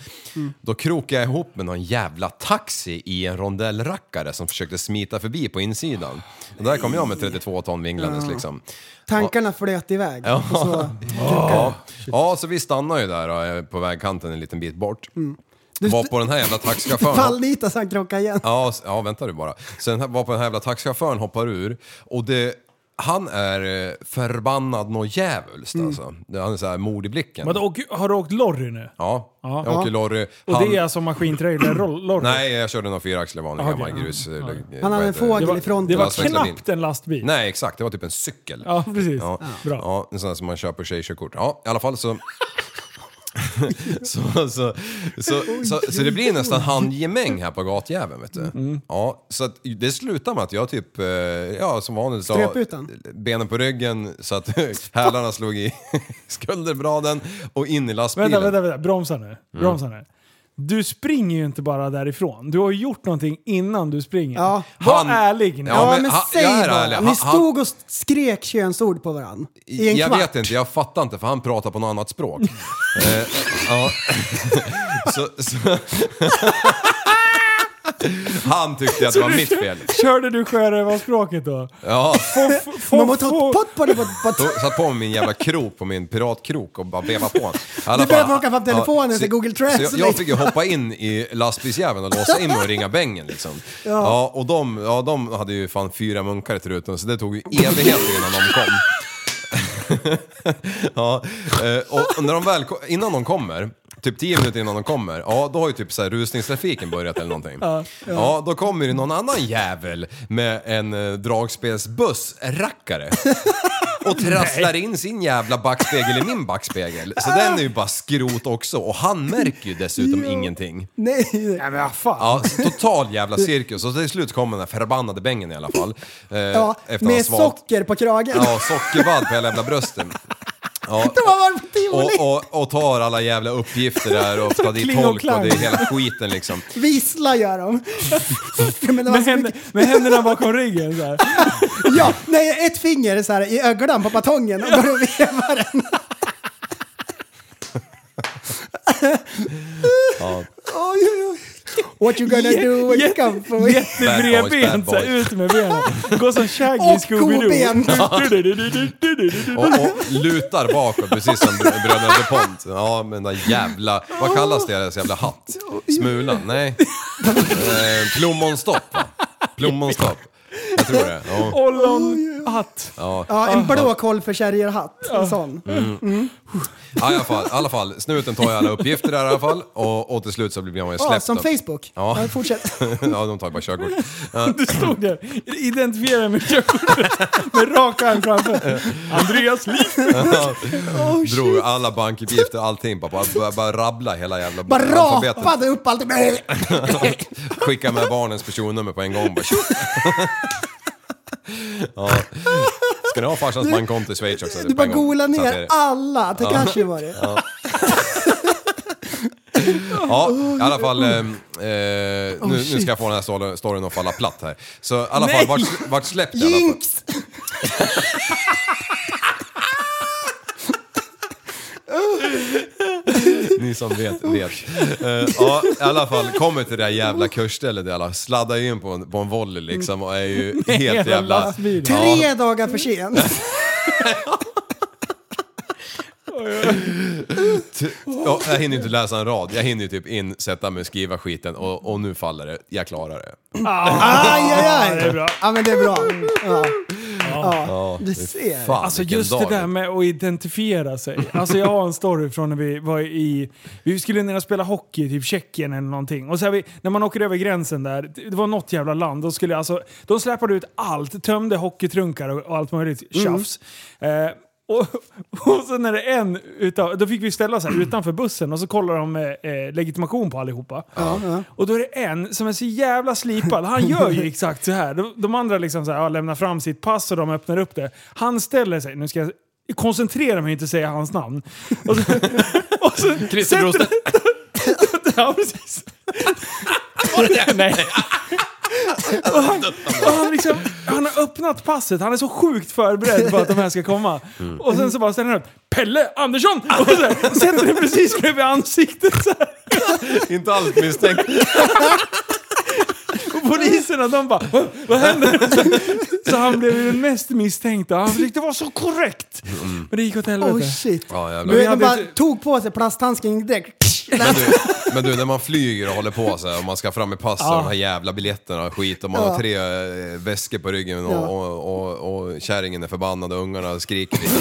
då krokade jag ihop med någon jävla taxi i en rondellrackare som försökte smita förbi på insidan. Och där kom jag med 32 ton vinglandes liksom. Tankarna flöt iväg. Ja. Och så, Ja. ja, så vi stannade ju där då, eh, på vägkanten en liten bit bort. Mm. Var på den här jävla taxichauffören. Fallnita så han krockade igen. Ja, s- ja, vänta du bara. Sen här- var på den här jävla taxichauffören hoppar ur och det, han är eh, förbannad nå djävulskt alltså. Det- Han är så här mord i blicken. Men då åker- har du åkt lorry nu? Ja, Ja. jag åker lorry. Och Han, det är alltså maskintrailer-lorry? Nej, jag körde någon fyraxlad vanlig Aha, gammal okej. grus. eller, eh, Han vad hade en heter det? fågel Det i var, fronten. det var Lastbil. knappt en lastbil. Nej, exakt. Det var typ en cykel. Ja, precis. Ja, Bra. ja en sån här som man köper tjejkörkort. Ja, i alla fall så... så, så, så, så, så, så det blir nästan handgemäng här på gatjäveln, vet du. Mm. Ja, så att det slutar med att jag typ, eh, ja som vanligt, la Ströp ut den? benen på ryggen så att hälarna slog i skulderbraden och in i lastbilen. Vänta, vänta, vänta. Bromsa Mm. nu. Bromsa nu. Du springer ju inte bara därifrån. Du har ju gjort någonting innan du springer. Ja. Var Han- ärlig nu. Ja, Ja, men, men han- säg jag är bara. ärlig. Ni Han- stod och skrek könsord på varandra i en jag kvart. vet inte, jag fattar inte för han pratar på något annat språk. eh, ja. så, så. han tyckte att det var mitt fel. Körde du sjörövarspråket då? Ja. Få- få- Man måste få- ta pott på det. Pott, pott. Så- Satt på mig min jävla krok på min piratkrok och bara veva på honom. I alla Du började fall- plocka fram telefonen, så så- Google så jag, Translate. jag fick ju hoppa in i lastbilsjäveln och låsa in mig och ringa bängen liksom. Ja. och de, ja, de hade ju fan fyra munkar i truten så det tog ju evigheter innan de kom. ja, eh, och när de väl, ko- innan de kommer, typ 10 minuter innan de kommer, ja då har ju typ så här rusningstrafiken börjat eller någonting. Ja, då kommer det någon annan jävel med en eh, dragspelsbuss-rackare. Och trasslar in sin jävla backspegel i min backspegel. Så den är ju bara skrot också och han märker ju dessutom ingenting. Nej. Nej men vad fan. Ja, så total jävla cirkus. Och till slut kommer den här förbannade bängen i alla fall. Eh, Ja, efter han med svalt. socker på kragen. Ja, sockervadd på hela jävla brösten. Ja, De har varit på tivoli. och, och, och tar alla jävla uppgifter där och tar dit Kling och tolk och det klang. är hela skiten liksom. Vissla gör de. Ja, men det var med, så händer, mycket- med händerna bakom ryggen så här. ja, nej, ett finger så här, i ögonen på batongen och börjar veva den. Oj, oj, oj. What you gonna do when you come for me? Bad boys, bad Jättebredbent såhär, boys. ut med benen. Gå som Shaggy i Och Scooby-Doo. koben. Och, och lutar bakåt precis som br- bröderna DuPont. Ja, men den där jävla... Vad kallas det? Deras jävla hatt? Smulan? Nej. Eh, Plommonstopp va? Plommonstopp. Jag tror det. Ja. Oh, Ollonhatt. Ja, en blå kolförsäljarhatt. En sån. Mm, Ja, i alla fall, i alla fall. Snuten tar ju alla uppgifter där i alla fall. Och, och till slut så blir man ju Ja, släppt. som då. Facebook. Ja. Ja, fortsätt. ja, de tar ju bara körkort. Du stod där, identifierade med körkortet med rak arm framför. Andreas Liv. Drog alla bankuppgifter, allting. Bara, bara, bara rabbla hela jävla Bara alfabetet. rapade upp allt. Skicka med barnens personnummer på en gång bara. tjo. ja. Ska ni ha farsans bankkonto i Schweiz också? Du På bara en gång. golade Så att det är ner det. alla. Takashi var det. Ja, i alla fall. Oh. Eh, eh, nu, nu ska jag få den här stor- storyn att falla platt här. Så i alla fall, vart, vart släppt i alla fall. Jinx! Ni som vet, vet. Eh, ja, i alla fall, kommer till det där jävla kursstället där alla sladdar in på en, på en volley liksom och är ju helt hela jävla... lastbilen. Mm. Tre dagar för sent. t- ja, jag hinner ju inte läsa en rad. Jag hinner ju typ in, sätta mig och skriva skiten och, och nu faller det. Jag klarar det. Aj, aj, aj. det är bra. Ja, men det är bra. Ja. Ja, du ser. Fan, Alltså vilken just dag. det där med att identifiera sig. Alltså jag har en story från när vi var i... Vi skulle ner och spela hockey i typ Tjeckien eller någonting. Och så här vi, när man åker över gränsen där, det var något jävla land. De, skulle, alltså, de släpade ut allt, tömde hockeytrunkar och, och allt möjligt tjafs. Eh, och, och så när det är en utav, då fick vi ställa oss här utanför bussen och så kollar de eh, eh, legitimation på allihopa. Och då är det en som är så jävla slipad. Han gör ju exakt så här. De, de andra liksom så här, ja, lämnar fram sitt pass och de öppnar upp det. Han ställer sig, nu ska jag koncentrera mig och inte säga hans namn. Och så, och så Christer Brostedt. Ja, precis. Nej. Och han, och han, liksom, han har öppnat passet, han är så sjukt förberedd på att de här ska komma. Och sen så bara ställer han upp Pelle Andersson! Och så här, sätter det precis bredvid ansiktet så här. Inte alls misstänkt. Och poliserna de bara "Vad- Vad händer? Så, så han blev ju den mest misstänkta. Han försökte vara så korrekt. Men det gick åt helvete. Oh shit. Ja, jävlar. Du, vi de hade bara ju- tog på sig plasthandsken direkt. Men du, men du, när man flyger och håller på så här, och man ska fram med pass och de här jävla biljetterna och skit och man har tre eh, väskor på ryggen och, Ja. och, och, och kärringen är förbannad och ungarna skriker lite.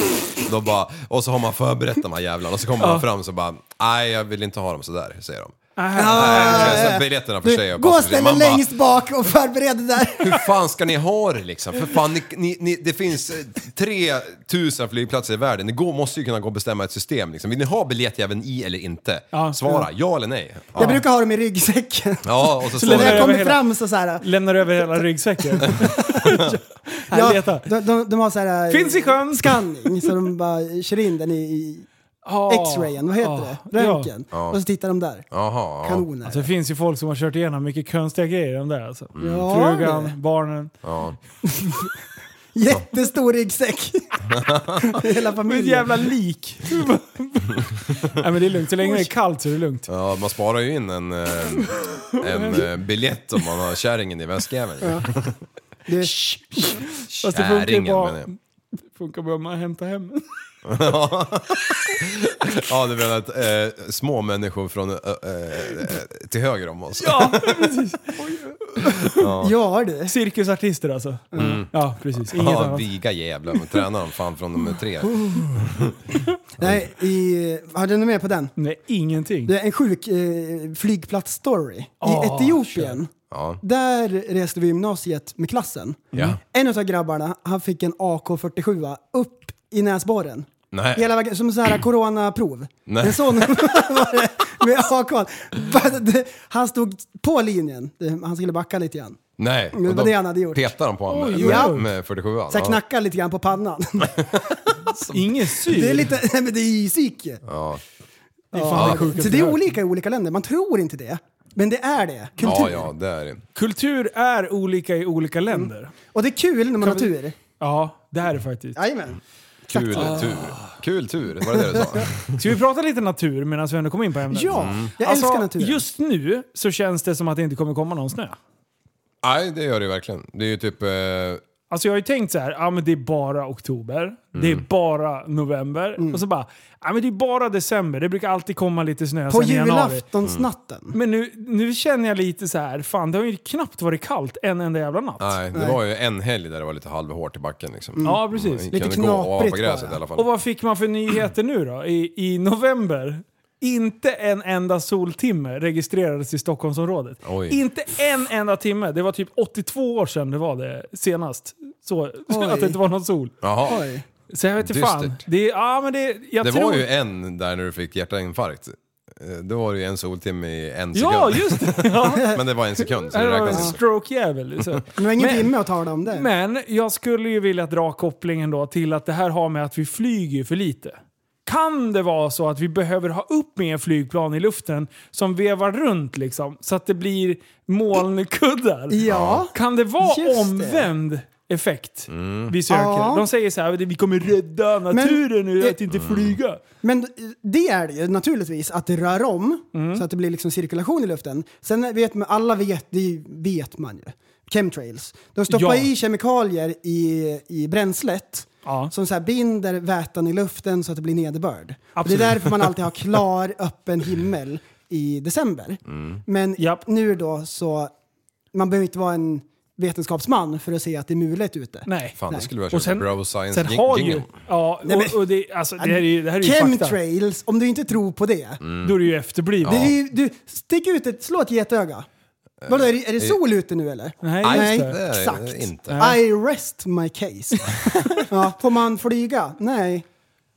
Då bara, och så har man förberett de här jävlarna och så kommer man fram så bara, nej jag vill inte ha dem sådär, säger de. Äh, Nej, det känns som biljetterna för sig Du, och gå passen för och sig. ställ Man dig bara, längst bak och förbered dig där. Hur fan ska ni ha det liksom? För fan, ni, ni, ni, det finns eh, 3000 flygplatser i världen. Ni går, måste ju kunna gå och bestämma ett system. Liksom. Vill ni ha biljettjäveln i eller inte? Ja, Svara ja, eller nej. Ja, Jag brukar ha dem i ryggsäcken. ja och så, Så står när lämnar jag det... över kommer hela- fram så såhär... Lämnar över hela ryggsäcken. Här, leta. de, de, de har såhär... Finns i sjön. Scanning, så de bara kör in den i, i Ah. X-rayen, vad heter Ah. det? Ja. Röntgen. Och så tittar de där. Jaha, ja. Kanoner. Alltså, det finns ju folk som har kört igenom mycket konstiga grejer i de där alltså. Ja, det. Frugan, barnen. Jättestor ryggsäck. Hela Med ett familjen. jävla lik. Nej men det är lugnt, så länge det är kallt så är det lugnt. ja, man sparar ju in en, eh, en eh, biljett om man har kärringen i väskjäveln. Du, Fast det funkar ju bara- menar jag. Funkar bra med att hämta hem. Ja, du menar att eh, små människor från, eh, eh, till höger om oss. Ja, precis. ja du. Cirkusartister alltså. Ja, precis. Inget Ja, annat. viga jävlar, men tränar dem fan från de är tre. Nej, i, har du något mer på den? Nej, ingenting. Det är en sjuk eh, flygplatsstory. I Ah, Etiopien, Ja. där reste vi gymnasiet med klassen. Ja. En av grabbarna, han fick en AK47 upp i näsborren. Nej. Mm. Hela vägen, som så här coronaprov. Nej. En sån var det med AK. Han stod på linjen, han skulle backa lite grann. Nej, Men och vad då det han hade gjort. Petar de på honom med, Oj, oj, med, oj. med 47 Så jag knackade lite grann på pannan. Ingen syr. Det är lite, nej men det är ju psyke. Ja. Ja. sjukaste Så det är jag hört. olika i olika länder, man tror inte det. Men det är det. Kultur. ja, ja, det är det. Kultur är olika i olika Mm. länder. Och det är kul när man har tur. Ja, det här är faktiskt. Jajamän. Kul Ah. tur. Kul tur, var det det du sa? Ska vi prata lite natur medan vi ändå kommer in på ämnet? Ja, jag Alltså, älskar naturen. Just nu så känns det som att det inte kommer komma någon snö. Nej, det gör det ju verkligen. Det är ju typ... Eh, Alltså jag har ju tänkt så här, ja men det är bara oktober, det Mm. är bara november Mm. och så bara, ja men det är bara december, det brukar alltid komma lite snö På sen i januari. Mm. julaftonsnatten. Men nu, nu känner jag lite så här, fan det har ju knappt varit kallt en enda jävla natt. nej, det var ju en helg där det var lite halvhårt i backen liksom. Ja precis. Vi kunde Lite gå och apa knaprigt gräset bara. i alla fall. Och vad fick man för nyheter nu då? I, i november? Inte en enda soltimme registrerades i Stockholmsområdet. Oj. Inte en enda timme. Det var typ 82 år sedan det var det senast. Så, Oj. att det inte var någon sol. Jaha. Oj. Så jag vet inte fan. Dystert. Det, är- ja, men det, jag Det tror... var ju en där när du fick hjärtinfarkt. Eh, Då var det ju en soltimme i en sekund. Ja, just det! Ja. Men det var en sekund, så Det det var en räknas inte. stroke-jävel. så. Men det var ingen Men- timme att tala om det. Men jag skulle ju vilja dra kopplingen då till att det här har med att vi flyger ju för lite. Kan det vara så att vi behöver ha upp mer flygplan i luften som vevar runt liksom, så att det blir molnkuddar? Ja. Kan det vara Just det. Mm. omvänd effekt vi söker? Ja. De säger så här, vi kommer rädda naturen ur att inte Mm. flyga. Men det är det ju naturligtvis, att det rör om Mm. så att det blir liksom cirkulation i luften. Sen vet man, alla vet, det vet man ju, chemtrails. De stoppar Ja. i kemikalier i, i bränslet Ja. som så här binder vätan i luften så att det blir nederbörd. Och det är Absolut. därför man alltid har klar, öppen himmel i december. Men Japp. nu då så, man behöver inte vara en vetenskapsman för att se att det är mulet ute. Nej. Fan, det skulle vi ha Och kört med Bro Science sen har jingeln. ju... Ja, Nej, men- och, och det, alltså, det, här är ju, det här är ju fakta. Chemtrails, om du inte tror på det. Då är Mm. det ju efterblivet. det är ju, du, stick ut ett, slå ett getöga. Vadå, är det, är det sol ute nu eller? Nej, Nej, just det. det. exakt. Eh, Nej, eh, inte. I rest my case. ja, får man flyga? Nej.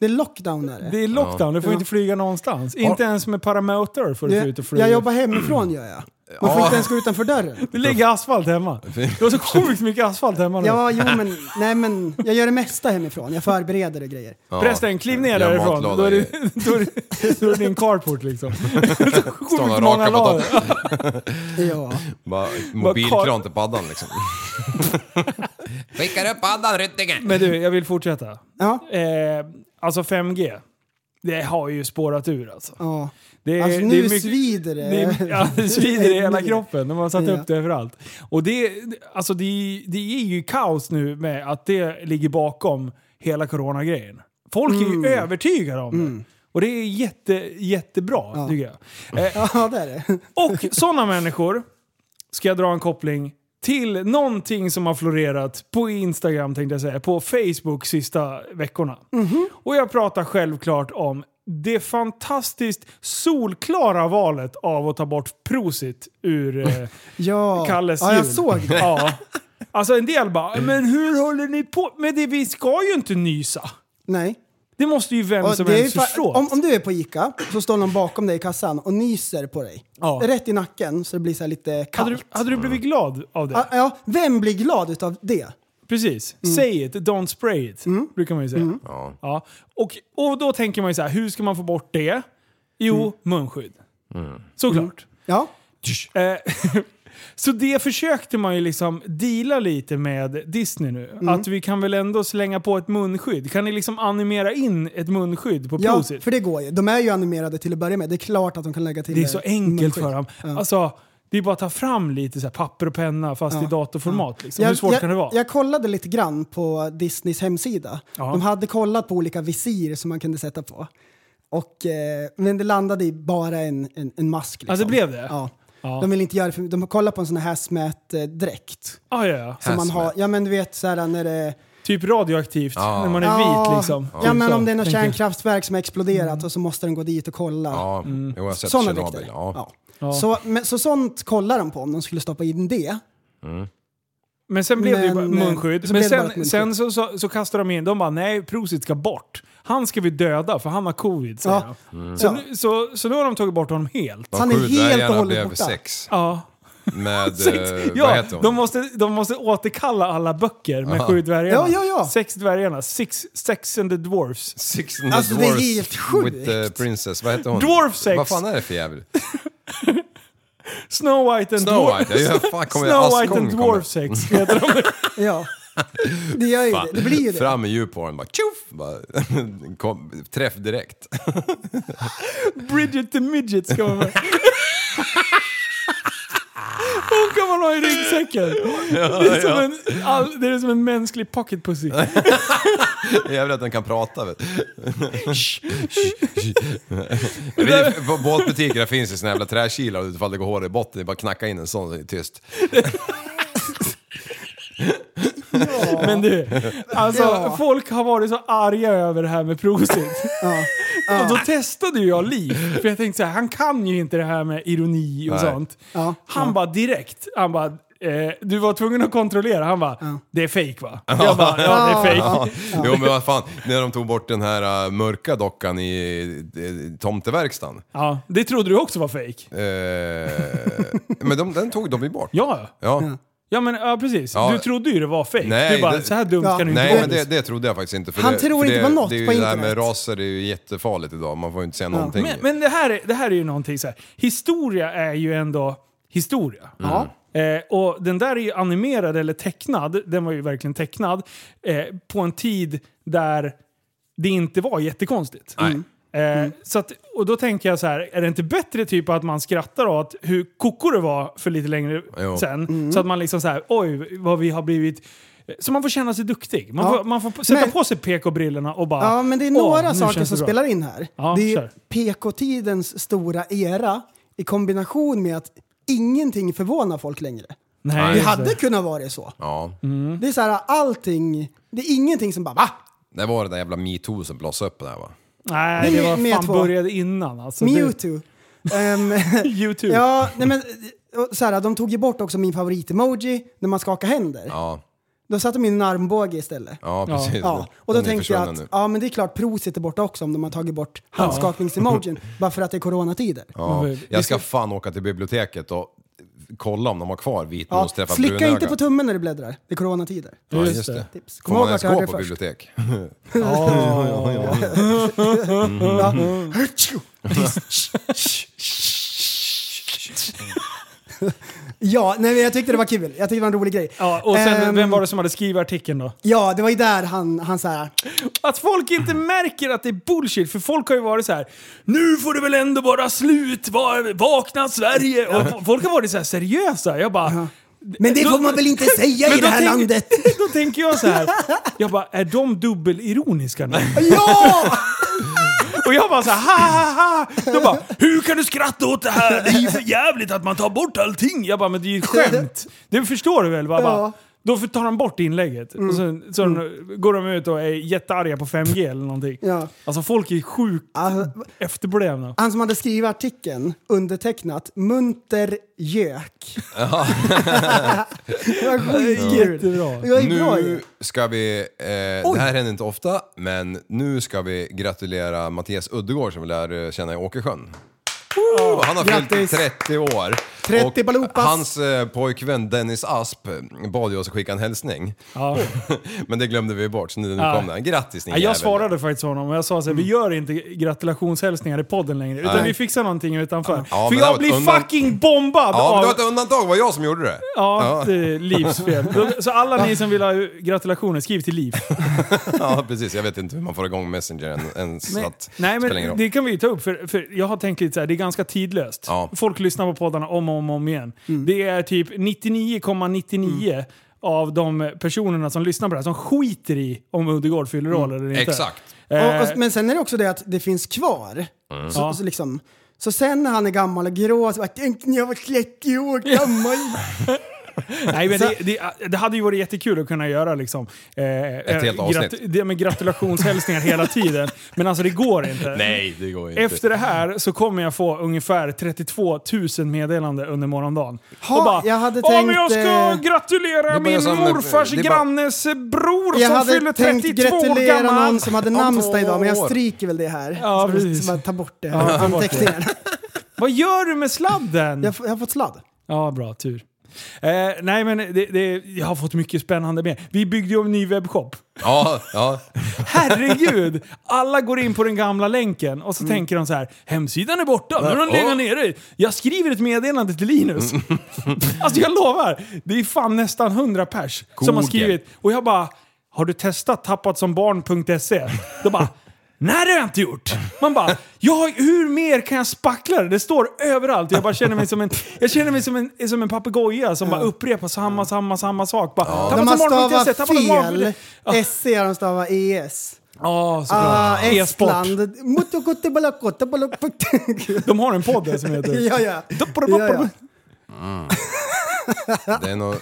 Det är lockdown är det. Det är lockdown, du får Ja. inte flyga någonstans. Inte ens med paramotor får du få ut och flyga. jag jobbar hemifrån gör jag. Man får Ja. inte ens gå utanför dörren. Du lägger asfalt hemma. Du har så sjukt mycket asfalt hemma nu. Ja, jo men, nej men, jag gör det mesta hemifrån. Jag förbereder och grejer. Ja. Förresten, kliv ner Jag har därifrån. matlada Då är, i- det, då, är det, då är det din carport liksom. Sjukt Sådana raka många lager. potatis. Ja. Bara mobilkran kar- till paddan liksom. Skickar upp paddan Ryttinger! Men du, jag vill fortsätta. Ja. Eh, alltså 5G. Det har ju spårat ur alltså. ja. Det är, Alltså det är nu mycket- svider det. Det, är- ja, det svider i hela Nu. kroppen. De har satt Ja. upp det överallt. Och det, alltså det, är- det är ju kaos nu med att det ligger bakom hela coronagrejen. Folk är ju Mm. övertygade om det. Och det är jätte, jättebra, tycker jag. Eh, Ja, det är det. och sådana människor ska jag dra en koppling till någonting som har florerat på Instagram, tänkte jag säga, på Facebook sista veckorna. Mhm. Och jag pratar självklart om det fantastiskt solklara valet av att ta bort Prosit ur eh, Ja. Kalles ja, jul. jag såg det. Ja. Alltså en del bara, men hur håller ni på? Men det, vi ska ju inte nysa. Nej. Det måste ju vem Och som det är helst ju fa- förstå. om, om du är på Ica så står någon bakom dig i kassan och nyser på dig. Ja. Rätt i nacken så det blir så här lite hade, du, kallt. hade du blivit glad av det? Ja, ja, vem blir glad utav det? Precis. Mm. Say it, don't spray it, brukar man ju säga. Ja. Och, och då tänker man ju så här, hur ska man få bort det? Jo, Mm. munskydd. Såklart. Ja, Eh, så det försökte man ju liksom deala lite med Disney nu. Mm. Att vi kan väl ändå slänga på ett munskydd. Kan ni liksom animera in ett munskydd på ja Prosit? för det går ju. De är ju animerade till att börja med. Det är klart att de kan lägga till Det är så en enkelt munskydd. för dem. Ja. Alltså, det är bara att ta fram lite så här papper och penna fast i datorformat. Liksom. Hur svårt jag, kan det vara? Jag kollade lite grann på Disneys hemsida. Ja. De hade kollat på olika visir som man kunde sätta på. Och, eh, men det landade i bara en, en, en mask. Liksom. Alltså, det blev det? Ja. Ja. De vill inte göra det för De har kollat på en sån här eh, hazmat-dräkt. ah, ja, ja. Som man har, ja men du vet såhär när det... Typ radioaktivt Ja. när man är vit liksom. Ja, ja men Så, om det är något tänker jag. Mm. kärnkraftverk som har exploderat och så måste den gå dit och kolla. Ja, jo, jag har sett Sådana Tjernobyl. dräkter. Ja. Ja. Så, men, så sånt kollar de på om de skulle stoppa in det. Men sen blev det ju bara Men, eh, munskydd. så Men blev det bara ett sen, munskydd. sen så, så, så kastade de in, de bara nej, Prosit ska bort. Han ska vi döda för han har covid säger Ja. de. Mm. Så, Ja. nu, så, så nu har de tagit bort honom helt. Han är Sju helt och dvärgarna hållet blev borta. sex Ja. med, Sex. eh, vad ja, heter hon? de, måste, de måste återkalla alla böcker med sju dvärgarna. Ja, ja, ja. Sex dvärgarna. Six, sex and the dwarfs. Six and the Alltså, det är dwarfs helt sjukt. with the princess. Vad heter hon? Dwarf sex. Vad fan är det för jävel? Snow White and Snow Dwarf- White. Ja, fan, kommer jag- Snow White Askungen and kommer. Dwarf sex heter de. Ja. Det gör ju Fan. det. Det blir ju det. Fram med djuphåren bara tjoff! Bara, kom, träff direkt. Bridget the Midget ska vara med. Hon kan man ha i ryggsäcken. Det är som en, all, det är som en mänsklig pocket pussy. Jävlar att den kan prata vet du. Riv, på båtbutikerna finns ju såna jävla träkilar och ifall det går hår i botten, det är bara att knacka in en sån så är det tyst. Men du, alltså Ja. folk har varit så arga över det här med Prosit. Ja. Och då testade ju jag Liv, för jag tänkte så här, han kan ju inte det här med ironi och Nej. sånt. Ja. Han bara direkt, han bara, eh, du var tvungen att kontrollera. Han bara, det är fake va? Jag bara, ja det är fake. Ja. Jo men vad fan, när de tog bort den här äh, mörka dockan i uh, tomteverkstan. Ja, det trodde du också var fake. Eh, men de, den tog de ju bort. Ja, Ja. Ja men ja, precis. Ja. Du trodde ju det var fejk. Nej, Du bara, det- så här dumt Ja. kan du inte Nej vara. men det, det trodde jag faktiskt inte. För Han det, tror för inte det, på något det är ju på det här internet. med raser är ju jättefarligt idag, man får ju inte säga någonting. Men, men det, här, är- det här är ju någonting så här. historia är ju ändå historia. Mm. Eh, och den där är ju animerad eller tecknad, den var ju verkligen tecknad, eh, på en tid där det inte var jättekonstigt. Nej. Mm. Eh, Så att, och då tänker jag så här, är det inte bättre typ att man skrattar åt hur koko det var för lite längre Jo. Mm. sen? Så att man liksom så här, oj vad vi har blivit Så man får känna sig duktig. Man, Ja. får, man får sätta Men- på sig PK-brillorna och bara... Ja, men det är "Åh, några nu saker känns det bra." som spelar in här. Ja, det är kör. PK-tidens stora era i kombination med att ingenting förvånar folk längre. Nej, Det just hade kunnat vara så. Ja. Det är så här, allting, det är ingenting som bara va? Det var det där jävla metoo som blossade upp där va? Nej, det Med- var med fan två. började innan alltså. Det- Mewtwo. Ehm, YouTube. ja, nej men, och så här, de tog ju bort också min favorit-emoji när man skakar händer. Ja, Då satte de in en armbåge istället. ja precis. Ja, och då Den är tänkte jag försvunnen nu. att ja, men det är klart Pro sitter borta också om de har tagit bort handskakningsemojin. bara för att det är coronatider. Ja. Jag ska fan åka till biblioteket och kolla om de har kvar Ja, vitnosdräppa slicka inte på tummen när du bläddrar. Det är coronatider. Ja, Just just det. det. Tips. Får Kom man ihåg ens vart jag hörde gå det på först. bibliotek? Ja. ja, nej men jag tyckte det var kul. Jag tyckte det var en rolig grej. Ja, och sen, Ehm, vem var det som hade skrivit artikeln då? Ja, det var ju där han, han så här. Att folk inte märker att det är bullshit, för folk har ju varit så här. Nu får det väl ändå vara slut, va- vakna Sverige! Och folk har varit så här seriösa. Jag bara... Men det Då- får man väl inte säga Men i det då här tänk- landet? Då tänker jag så här. jag bara, är de dubbelironiska nu? ja! Och jag bara så här, ha ha ha! De bara, hur kan du skratta åt det här? Det är ju för jävligt att man tar bort allting! Jag bara, men det är ju ett skämt! Det förstår du väl? va? Bara, Ja. Mm. Då får- tar de bort inlägget. Och sen, så går de ut och är jättearga på 5G eller någonting. Ja. Alltså folk är sjukt Alltså, efterblivna. Han som hade skrivit artikeln, undertecknat Munter Gök. det var skitkul. Jättebra. Det var ju bra ju. Nu ska vi, eh, det här händer inte ofta, men nu ska vi gratulera Mattias Uddegård som vi lär eh, känna i Åkersjön. Och han har fyllt grattis. 30 år. 30 Och balupas. Hans eh, pojkvän Dennis Asp bad ju oss att skicka en hälsning. Ja. Men det glömde vi bort, så nu, nu Ja. kom den. Grattis ni Ja, jag jävel. svarade faktiskt honom och jag sa så här, Mm. vi gör inte gratulationshälsningar i podden längre. Utan Nej. vi fixar någonting utanför. Ja, men För det var jag ett blir undan- fucking bombad Ja, men det var av ett undantag, det var jag som gjorde det. Ja, det är Livs fel. Då- Så alla ni som vill ha gratulationer, skriv till Liv. Ja, precis. Jag vet inte hur man får igång Messenger än, ens. så att, Nej, spelar ingen men roll. det kan vi ju ta upp, för, för jag har tänkt lite så här, det är ganska tidlöst. Ja. Folk lyssnar på poddarna om och om, och om igen. Det är typ 99,99 av de personerna som lyssnar på det här som skiter i om Uddegård fyller roll eller inte. Exakt. Eh, Och, och, men sen är det också det att det finns kvar. Så, Ja. så, liksom, så sen när han är gammal och grå så bara “Tänk när jag var 30 år gammal”. Nej, men det, det, det hade ju varit jättekul att kunna göra liksom, eh, Ett helt avsnitt. det med gratulationshälsningar hela tiden. Men alltså det går inte. Nej, det går inte. Efter det här så kommer jag få ungefär 32 000 meddelande under morgondagen. Ha, och bara, jag hade "Ja, men jag tänkt, ska eh, gratulera det börjar min som- morfars det är bara- grannes bror Jag som hade fyller tänkt 32 år gratulera gammal. någon som hade namnsdag idag, men jag år. stryker väl det här. Ja, så, precis. så bara ta bort det. Ja, ta bort det. Anteckningarna. Vad gör du med sladden? Jag, f- jag har fått sladd. Ja, bra. Tur. Eh, nej, men det, det, jag har fått mycket spännande med. Vi byggde ju en ny webbshop. Ja, ja. Herregud! Alla går in på den gamla länken och så tänker de så här. Hemsidan är borta, nu har de Mm. Ja. legat nere. Jag skriver ett meddelande till Linus. alltså jag lovar, det är fan nästan 100 pers som har Google. skrivit. Och jag bara, har du testat tappatsombarn.se? De bara, nej det har jag inte gjort. Man bara, jag, hur mer kan jag spackla det? Det står överallt. Jag bara känner mig som en, jag känner mig som en, som en papegoja som bara upprepar samma, samma, samma sak. Bara, De har tappatsombarn.se, stavat fel. tappatsombarn.se. Ja. SC har de stavat ES. Ja, såklart. Ah, E-sport. Estland. Motokottebalakottabalok- De har en podd där som heter... Ja, ja. ja, ja. Det är nog...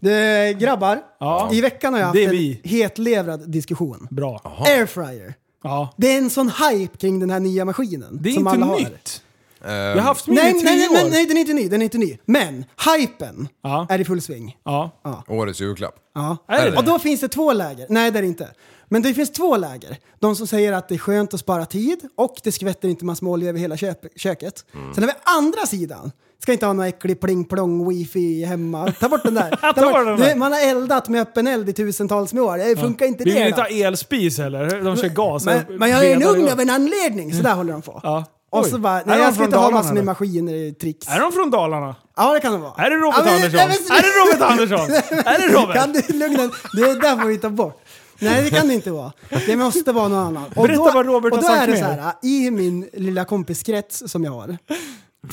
Du, grabbar. Ja. I veckan har jag haft Det är en vi. hetlevrad diskussion. Bra. Airfryer. Ja. Det är en sån hype kring den här nya maskinen. Det är som inte alla har. nytt. Jag har haft min Nej, i nej, tio nej, nej, år. nej, den är inte ny. Den är inte ny. Men hypen Ja. är i full sving. Ja. Årets julklapp. Ja. Är det Och då finns det två läger. Nej, det är det inte. Men det finns två läger. De som säger att det är skönt att spara tid och det skvätter inte massor med olja över hela köp- köket. Mm. Sen har vi andra sidan. Ska inte ha någon äcklig pling-plong wifi hemma. Ta bort den där. Ta Ta bort den där. Du, Man har eldat med öppen eld i tusentals med år. Det funkar inte Vi det. vill då. inte ha elspis heller. De kör gas. Men, men jag är en Vedar ugn och- av en anledning, så där håller de på. Ja. Och Oj. så bara, Är nej de jag ska från inte ha Dalarna, massor med eller? maskiner i tricks. Är de från Dalarna? Ja det kan de vara. Är det Robert ja, men- Andersson? ja, men- Är det Robert Andersson? Är det Robert? Kan du lugna Det där får vi ta bort. Nej det kan det inte vara. Det måste vara någon annan. Och Berätta vad Robert och har då sagt är det mer. så här, i min lilla kompiskrets som jag har.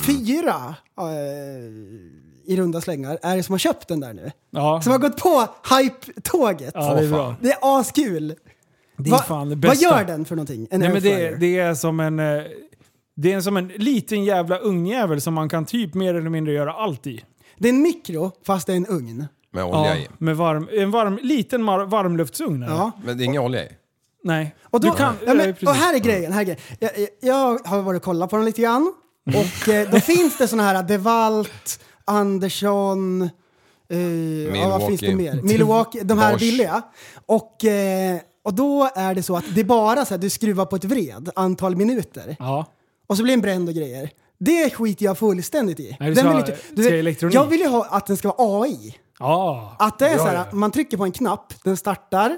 Fyra eh, i runda slängar är det som har köpt den där nu. Ja. Som har gått på hype-tåget. Ja, det är bra. Det är askul. Det är fan det Vad bästa. gör den för någonting? En Nej, men det, airfryer? det är som en... eh, Det är som en liten jävla ungjävel som man kan typ mer eller mindre göra allt i. det är en mikro fast det är en ugn. Med olja i. med varm, en varm, liten mar, varmluftsugn. eller? Ja. Men det är ingen olja i. Nej. Och, då, du kan, ja, men, eh, precis. och här är grejen. Här är grejen. Jag, jag, jag har varit och kollat på den lite grann. Och eh, då finns det sådana här DeWalt, Andersson, eh, ja, vad finns det Milwaukee. mer? Milwaukee, de här Bosch. billiga. Och, eh, och då är det så att det är bara så här, du skruvar på ett vred, antal minuter. Ja. Och så blir den bränd och grejer. Det skiter jag fullständigt i. Nej, du Den sa- vill inte- du ska vet, elektronik. jag vill ju ha att den ska vara AI. Ja. Att det är Ja, så här, ja. man trycker på en knapp, den startar.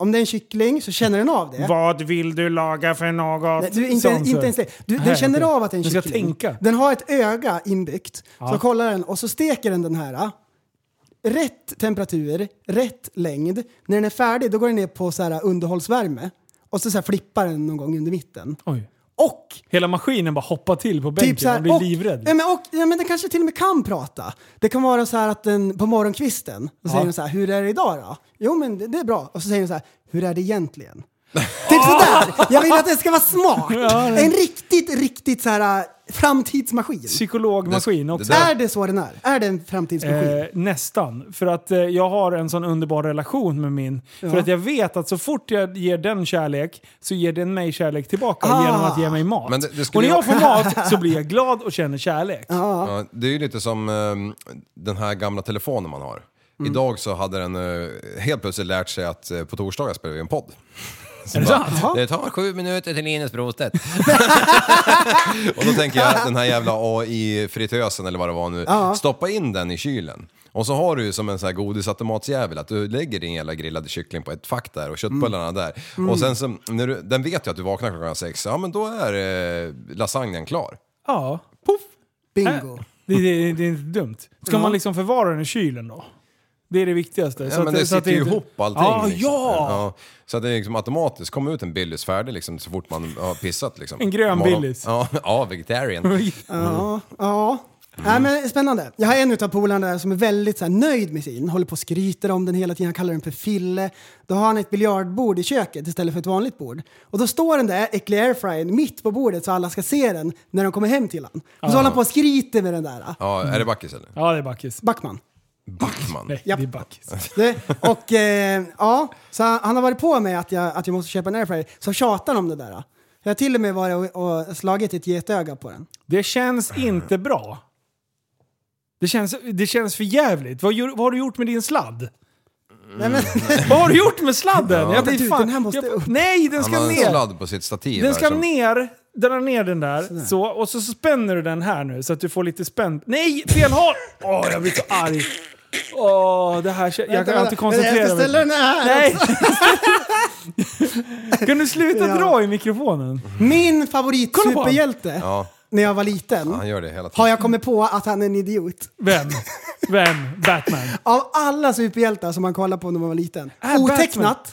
Om det är en kyckling så känner den av det. Vad vill du laga för något? Nej, du, inte, Sånt, så. inte ens det. Du, Nej, den känner okej. av att det är en Den ska kyckling. tänka. Den har ett öga inbyggt. Ja. Så kollar den och så steker den den här. ah. Rätt temperatur, rätt längd. När den är färdig då går den ner på så här underhållsvärme. Och så, så här flippar den någon gång under mitten. Oj. Och Hela maskinen bara hoppar till på bänken. Typ så här, man blir och, livrädd. Ja, men, och, ja, men den kanske till och med kan prata. Det kan vara så här att den på morgonkvisten, då säger den så här, hur är det idag då? Jo men det, det är bra. Och så säger den så här, hur är det egentligen? typ sådär! Jag vill att den ska vara smart. en riktigt, riktigt så här äh, framtidsmaskin. Psykologmaskin Det- också. det Är det så den är? Är det en framtidsmaskin? Eh, nästan. För att eh, jag har en sån underbar relation med min. För att jag vet att så fort jag ger den kärlek så ger den mig kärlek tillbaka Ah. genom att ge mig mat. Men det- det skulle och när jag ju- får mat så blir jag glad och känner kärlek. Ja, det är ju lite som ehm, den här gamla telefonen man har. Idag så hade den eh, helt plötsligt lärt sig att eh, på torsdagar spelar vi en podd. Så Är det bara, sant? Det tar sju minuter till Linus Brostedt. och då tänker jag den här jävla AI-fritösen eller vad det var nu. Stoppa in den i kylen. Och så har du ju som en sån här godisautomatsjävel att du lägger din jävla grillade kyckling på ett fack där och köttbullarna där. Och sen så, när du, den vet ju att du vaknar klockan sex, ja men då är eh, lasagnen klar. Ja. Bingo. Det, det, det är inte dumt. Ska man liksom förvara den i kylen då? Det är det viktigaste. Ja, men det så sitter ju inte- ihop allting. Ja, liksom. ja! Så att det är liksom automatiskt kommer ut en Billys färdig liksom, så fort man har pissat. Liksom. En grön Imorgon. Billys. Ja, ja, vegetarian. Ja. ja. Mm. Nej, men spännande. Jag har en utav polarna där som är väldigt så här, nöjd med sin. Håller på och skryter om den hela tiden. Han kallar den för Fille. Då har han ett biljardbord i köket istället för ett vanligt bord. Och då står den där äckliga airfryern mitt på bordet så alla ska se den när de kommer hem till honom. Ah. Och så håller han på och skryter med den där. ah, Ja, är det Backis eller? Ja, det är backis. Backman. Backman. Nej, Japp. det är backis. Det, och eh, ja, så han, han har varit på mig att jag, att jag måste köpa en airfryer. Så tjatar han om det där. ah. Jag har till och med varit och, och slagit ett getöga på den. Det känns inte bra. Det känns, det känns för jävligt. Vad, gör, vad har du gjort med din sladd? Nej, men, Vad har du gjort med sladden? Mm. Jag tänkte, Du, den här måste upp. nej, den Han ska har en ner. sladd på sitt stativ. Den här ska Alltså. som- ner. Dra ner den där. Så, och så spänner du den här nu så att du får lite spänd... Nej, fel håll! Åh, jag blir så arg. Åh, det här... kän- Jag kan inte Jag koncentrera ska ställa mig. den här. Nej! kan du sluta Ja. dra i mikrofonen? Min favorit Kolla på superhjälte Ja, när jag var liten han gör det hela tiden. har jag kommit på att han är en idiot. Vem? Vem? Batman? Av alla superhjältar som man kollar på när man var liten. Äh, Otecknat.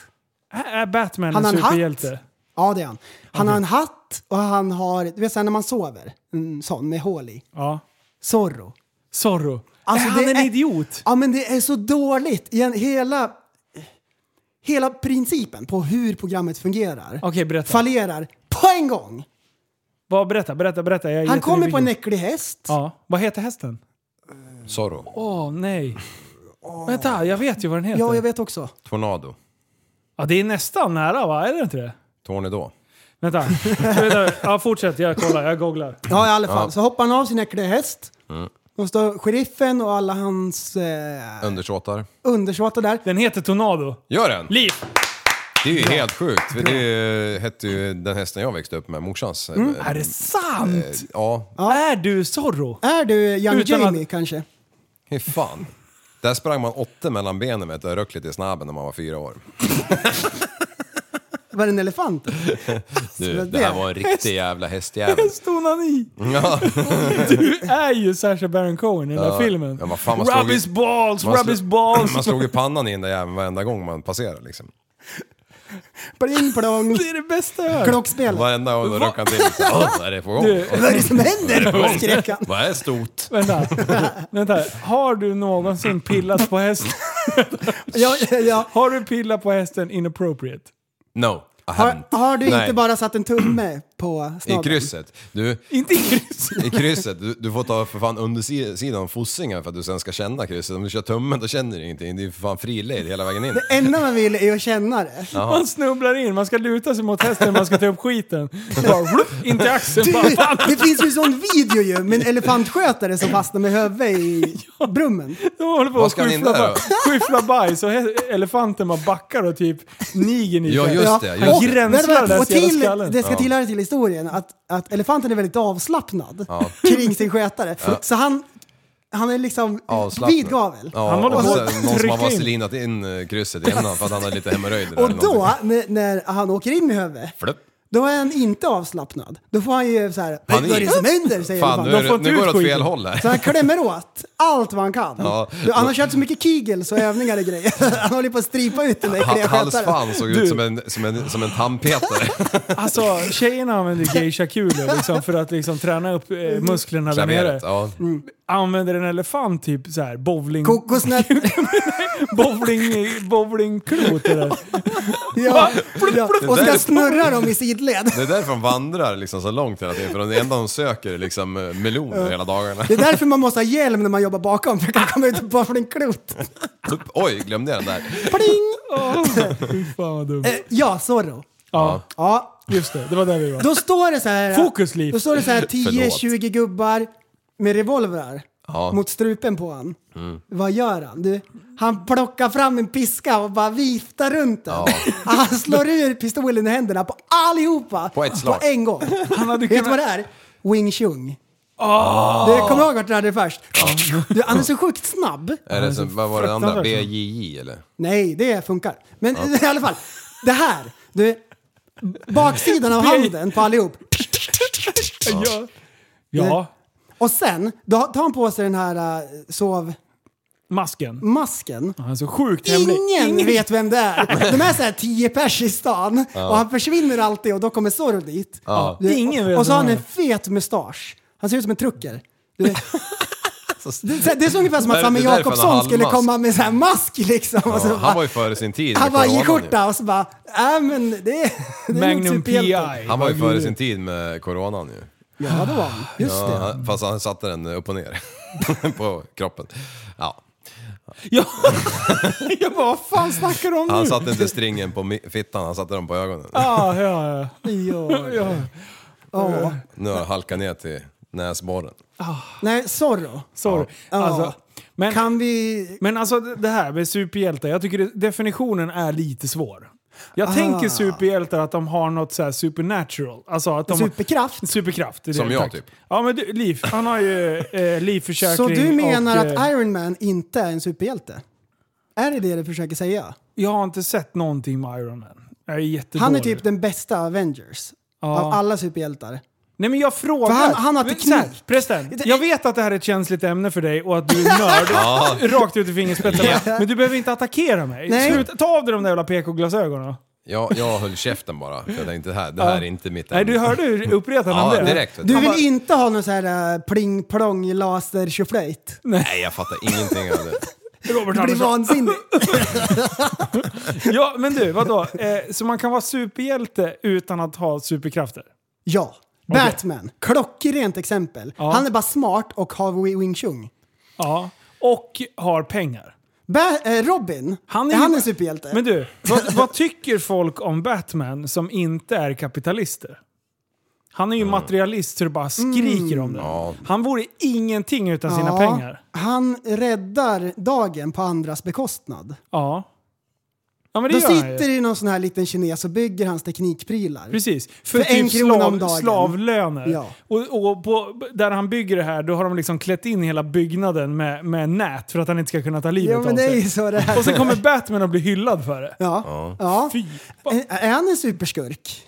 Är är Batman en Han har en superhjälte? hatt. Ja, det är han. Han har en hatt och han har, du vet såhär när man sover, en sån med hål i. Ja. Zorro. Zorro. Alltså, är Äh, han det en är- idiot? Ja, men det är så dåligt. Igen, hela, hela principen på hur programmet fungerar Okej, berätta. fallerar på en gång. Vad, berätta, berätta, berätta. Jag är Han kommer på en jättenyfiken. äcklig häst. Ja. Vad heter hästen? Zorro. Åh, nej. Vänta, jag vet ju vad den heter. Ja, jag vet också. Tornado. Ja, det är nästan nära va? Är det inte det? Tornado. Vänta. Vänta. Ja, fortsätt. Jag kollar. Jag googlar. Ja, i alla fall. Ja. Så hoppar han av sin äckliga häst. Då står sheriffen och alla hans eh, Undersåtar. undersåtar där. Den heter Tornado. Gör den! Liv! Det är ju helt sjukt. för Det eh, hette ju den hästen jag växte upp med, morsans. Eh, Är det sant? Ja, Är du Zorro? Är du Young Utan Jamie kanske? hur fan. Där sprang man åtta mellan benen med ett örökligt i snabben när man var fyra Alltså, år. Var det en elefant? Du, vad det här det- var en riktig jävla hästjävel. Stod han i? Du är ju Sacha Baron Cohen i den där filmen. Ja, vad fan, man rub slog i- his balls, man rub slog- his balls. Man slog i pannan i den där jäveln varenda gång man passerade liksom. Pling plong. Det är det bästa jag hört. Klockspel. Vad Varenda gång du rockar till så "Åh, vad är det på gång? Du- är det som händer? Skrek han. Vad är stort? Vänta. Vänta. här. Har du någonsin pillat på hästen? Ja, ja. Har du pillat på hästen inappropriate? No, I Har, haven't. har du Nej. inte bara satt en tumme på I snabeln? krysset. Du, Inte i kryss. I krysset, du, du får ta för fan undersidan av fossingar för att du sen ska känna krysset. Om du kör tummen då känner du ingenting. Det är för fan friled hela vägen in. enda man vill är att känna det. Man snubblar in, man ska luta sig mot hästen, man ska ta upp skiten. Bara, vlup, in till axeln. Bara, Du, fan, det finns ju en sån video ju med en elefantskötare som fastnar med huvudet i brummen. de håller på Vad att ska han in skyffla, där ba- skyffla bajs och hä- elefanten bara backar och typ nigen i Ja, sig. just Ja, det, just och- det. Gränslar vänta, där och hela till, skallen. Det ska tillhöra till historien att, att elefanten är väldigt avslappnad kring sin skötare. Så han, han är liksom Avslappnad. vid gavel. Ja, Han håller och på sen att någon som trycka har in. vaselinat in eh, krysset i händerna för att han har lite hemorrojder. Och eller någonting. då, när, när han åker in med huvudet, Flupp. då är han inte avslappnad. Då får han ju så här, vad Panik. är det som händer? säger Fan, nu, elefanten. är De får det, inte nu går ut det åt fel skiten. håll Så här. han klämmer åt allt vad han kan. Ja. Du, han har kört så mycket kegels och övningar och grejer. Han håller på att stripa ut den där äckliga Ha- Hans skötaren. fan såg ut som en, som en, som en tandpetare. Alltså tjejerna använder geisha-kulor liksom, för att liksom, träna upp eh, musklerna där nere. Klaveret. Ja. Använder en elefant typ så här bowling... Kokosnöt. bowling bowlingklot är det. Ja, ja. Och Det där- ska snurra dem i sidled. Det är därför de vandrar liksom så långt hela tiden. För det enda de söker är liksom eh, meloner hela dagarna. Det är därför man måste ha hjälm när man jobbar bakom, för det kan komma ut bara från en klot. Flupp. Oj, glömde jag den där. Pling! Fan vad dumt. Eh, Ja, Zorro. Ja, Ja, just det. Det var där vi var. då står det så här... eh, Fokus, Liv. Då står det så här Förlåt. 10-20 gubbar med revolvrar Ja. Mm. mot strupen på han. Vad gör han? Du, han plockar fram en piska och bara viftar runt den. Han slår ur pistolen i händerna på allihopa På ett slag. på en gång. Han hade Vet du vad kunnat... Ah. det är? Wing Chun. Du kommer ihåg vart du hade det först? Du, han är så sjukt snabb. Är det som, vad var det andra? fruktansvärt. BJJ eller? Nej, det funkar. Men i alla fall, det här. Du, baksidan av handen på allihop. Ja. ja, Och sen, då tar han på sig den här äh, masken. sovmasken. Han är så sjukt hemlig. Ingen, vet vem det är. De är såhär tio pers i stan och han försvinner alltid och då kommer Zorro dit. Ja. Du, Ingen vet och så vem har han han en fet mustasch. Han ser ut som en trucker. Du, det, är så- det är så ungefär som att Det är- Samme det är därför han har Jakobsson skulle halvmask. komma med sån här mask liksom. och så Ja, bara- han var ju före sin tid. Han med bara coronan i ju. skjorta och så bara, äh men det, det är typ nog Magnum PI. superhjälten." Han var ju före sin tid med coronan ju. Ja det var han, Ah, just Ja, det. han- fast han satte den upp och ner på kroppen. Ja. Ja. Jag bara, vad fan snackar du om Han nu? satte inte stringen på mi- fittan, han satte den på ögonen. Ja, ja, ja. Ja. ja. Ja. Nu har jag halkat ner till näsborren. Nej, Zorro. Sorry. Ja. Alltså, men, Kan vi... men alltså det här med superhjältar, jag tycker det- definitionen är lite svår. Jag Ah. tänker superhjältar att de har något så här supernatural. Alltså att de Superkraft? Superkraft. det är Som det, jag, tack. typ. Ja men du, liv, han har ju eh, livförsäkring Så du menar och, eh, att Iron Man inte är en superhjälte? Är det det du försöker säga? Jag har inte sett någonting med Iron Man. Jag är jättedålig. Han är typ den bästa Avengers. Ja. Av alla superhjältar. Nej men jag frågar. För han- han har Men teknik. så här, Prästen, jag vet att det här är ett känsligt ämne för dig och att du är nörd. Rakt ut i fingerspetsarna. Men du behöver inte attackera mig. Nej. Sluta, ta av dig de där jävla PK-glasögonen. Jag, jag höll käften bara, för jag tänkte det här, det här är inte mitt Nej, ämne. du hörde hur uppretad han Ja, blev. direkt. vet Du Du... vill inte ha någon sån här äh, pling-plong laser-tjoflöjt? Nej, jag fattar ingenting av det. Robert Du blir Andersson. vansinnig. Ja, men du, vadå? Eh, så man kan vara superhjälte utan att ha superkrafter? Ja. Batman. Klockrent exempel. Han är bara smart och har Wi- Wing Chun. Ja. Och har pengar. Ba- eh, Robin. Han är, han en superhjälte? Men du, vad, vad tycker folk om Batman som inte är kapitalister? Han är ju materialist så det bara skriker om det. Han vore ingenting utan sina Mm. Ja, pengar. Han räddar dagen på andras bekostnad. Ja. Ja men det Då gör han sitter ju. det någon sån här liten kines och bygger hans teknikprylar. Precis. För, för en typ krona om slav, dagen. slavlöner. Ja. Och, och på, där han bygger det här, då har de liksom klätt in hela byggnaden med, med nät för att han inte ska kunna ta livet Ja, men av det är ju sig. så det är. Och sen kommer Batman att bli hyllad för det. Ja. ja. Fy fan. Är- Är han en superskurk?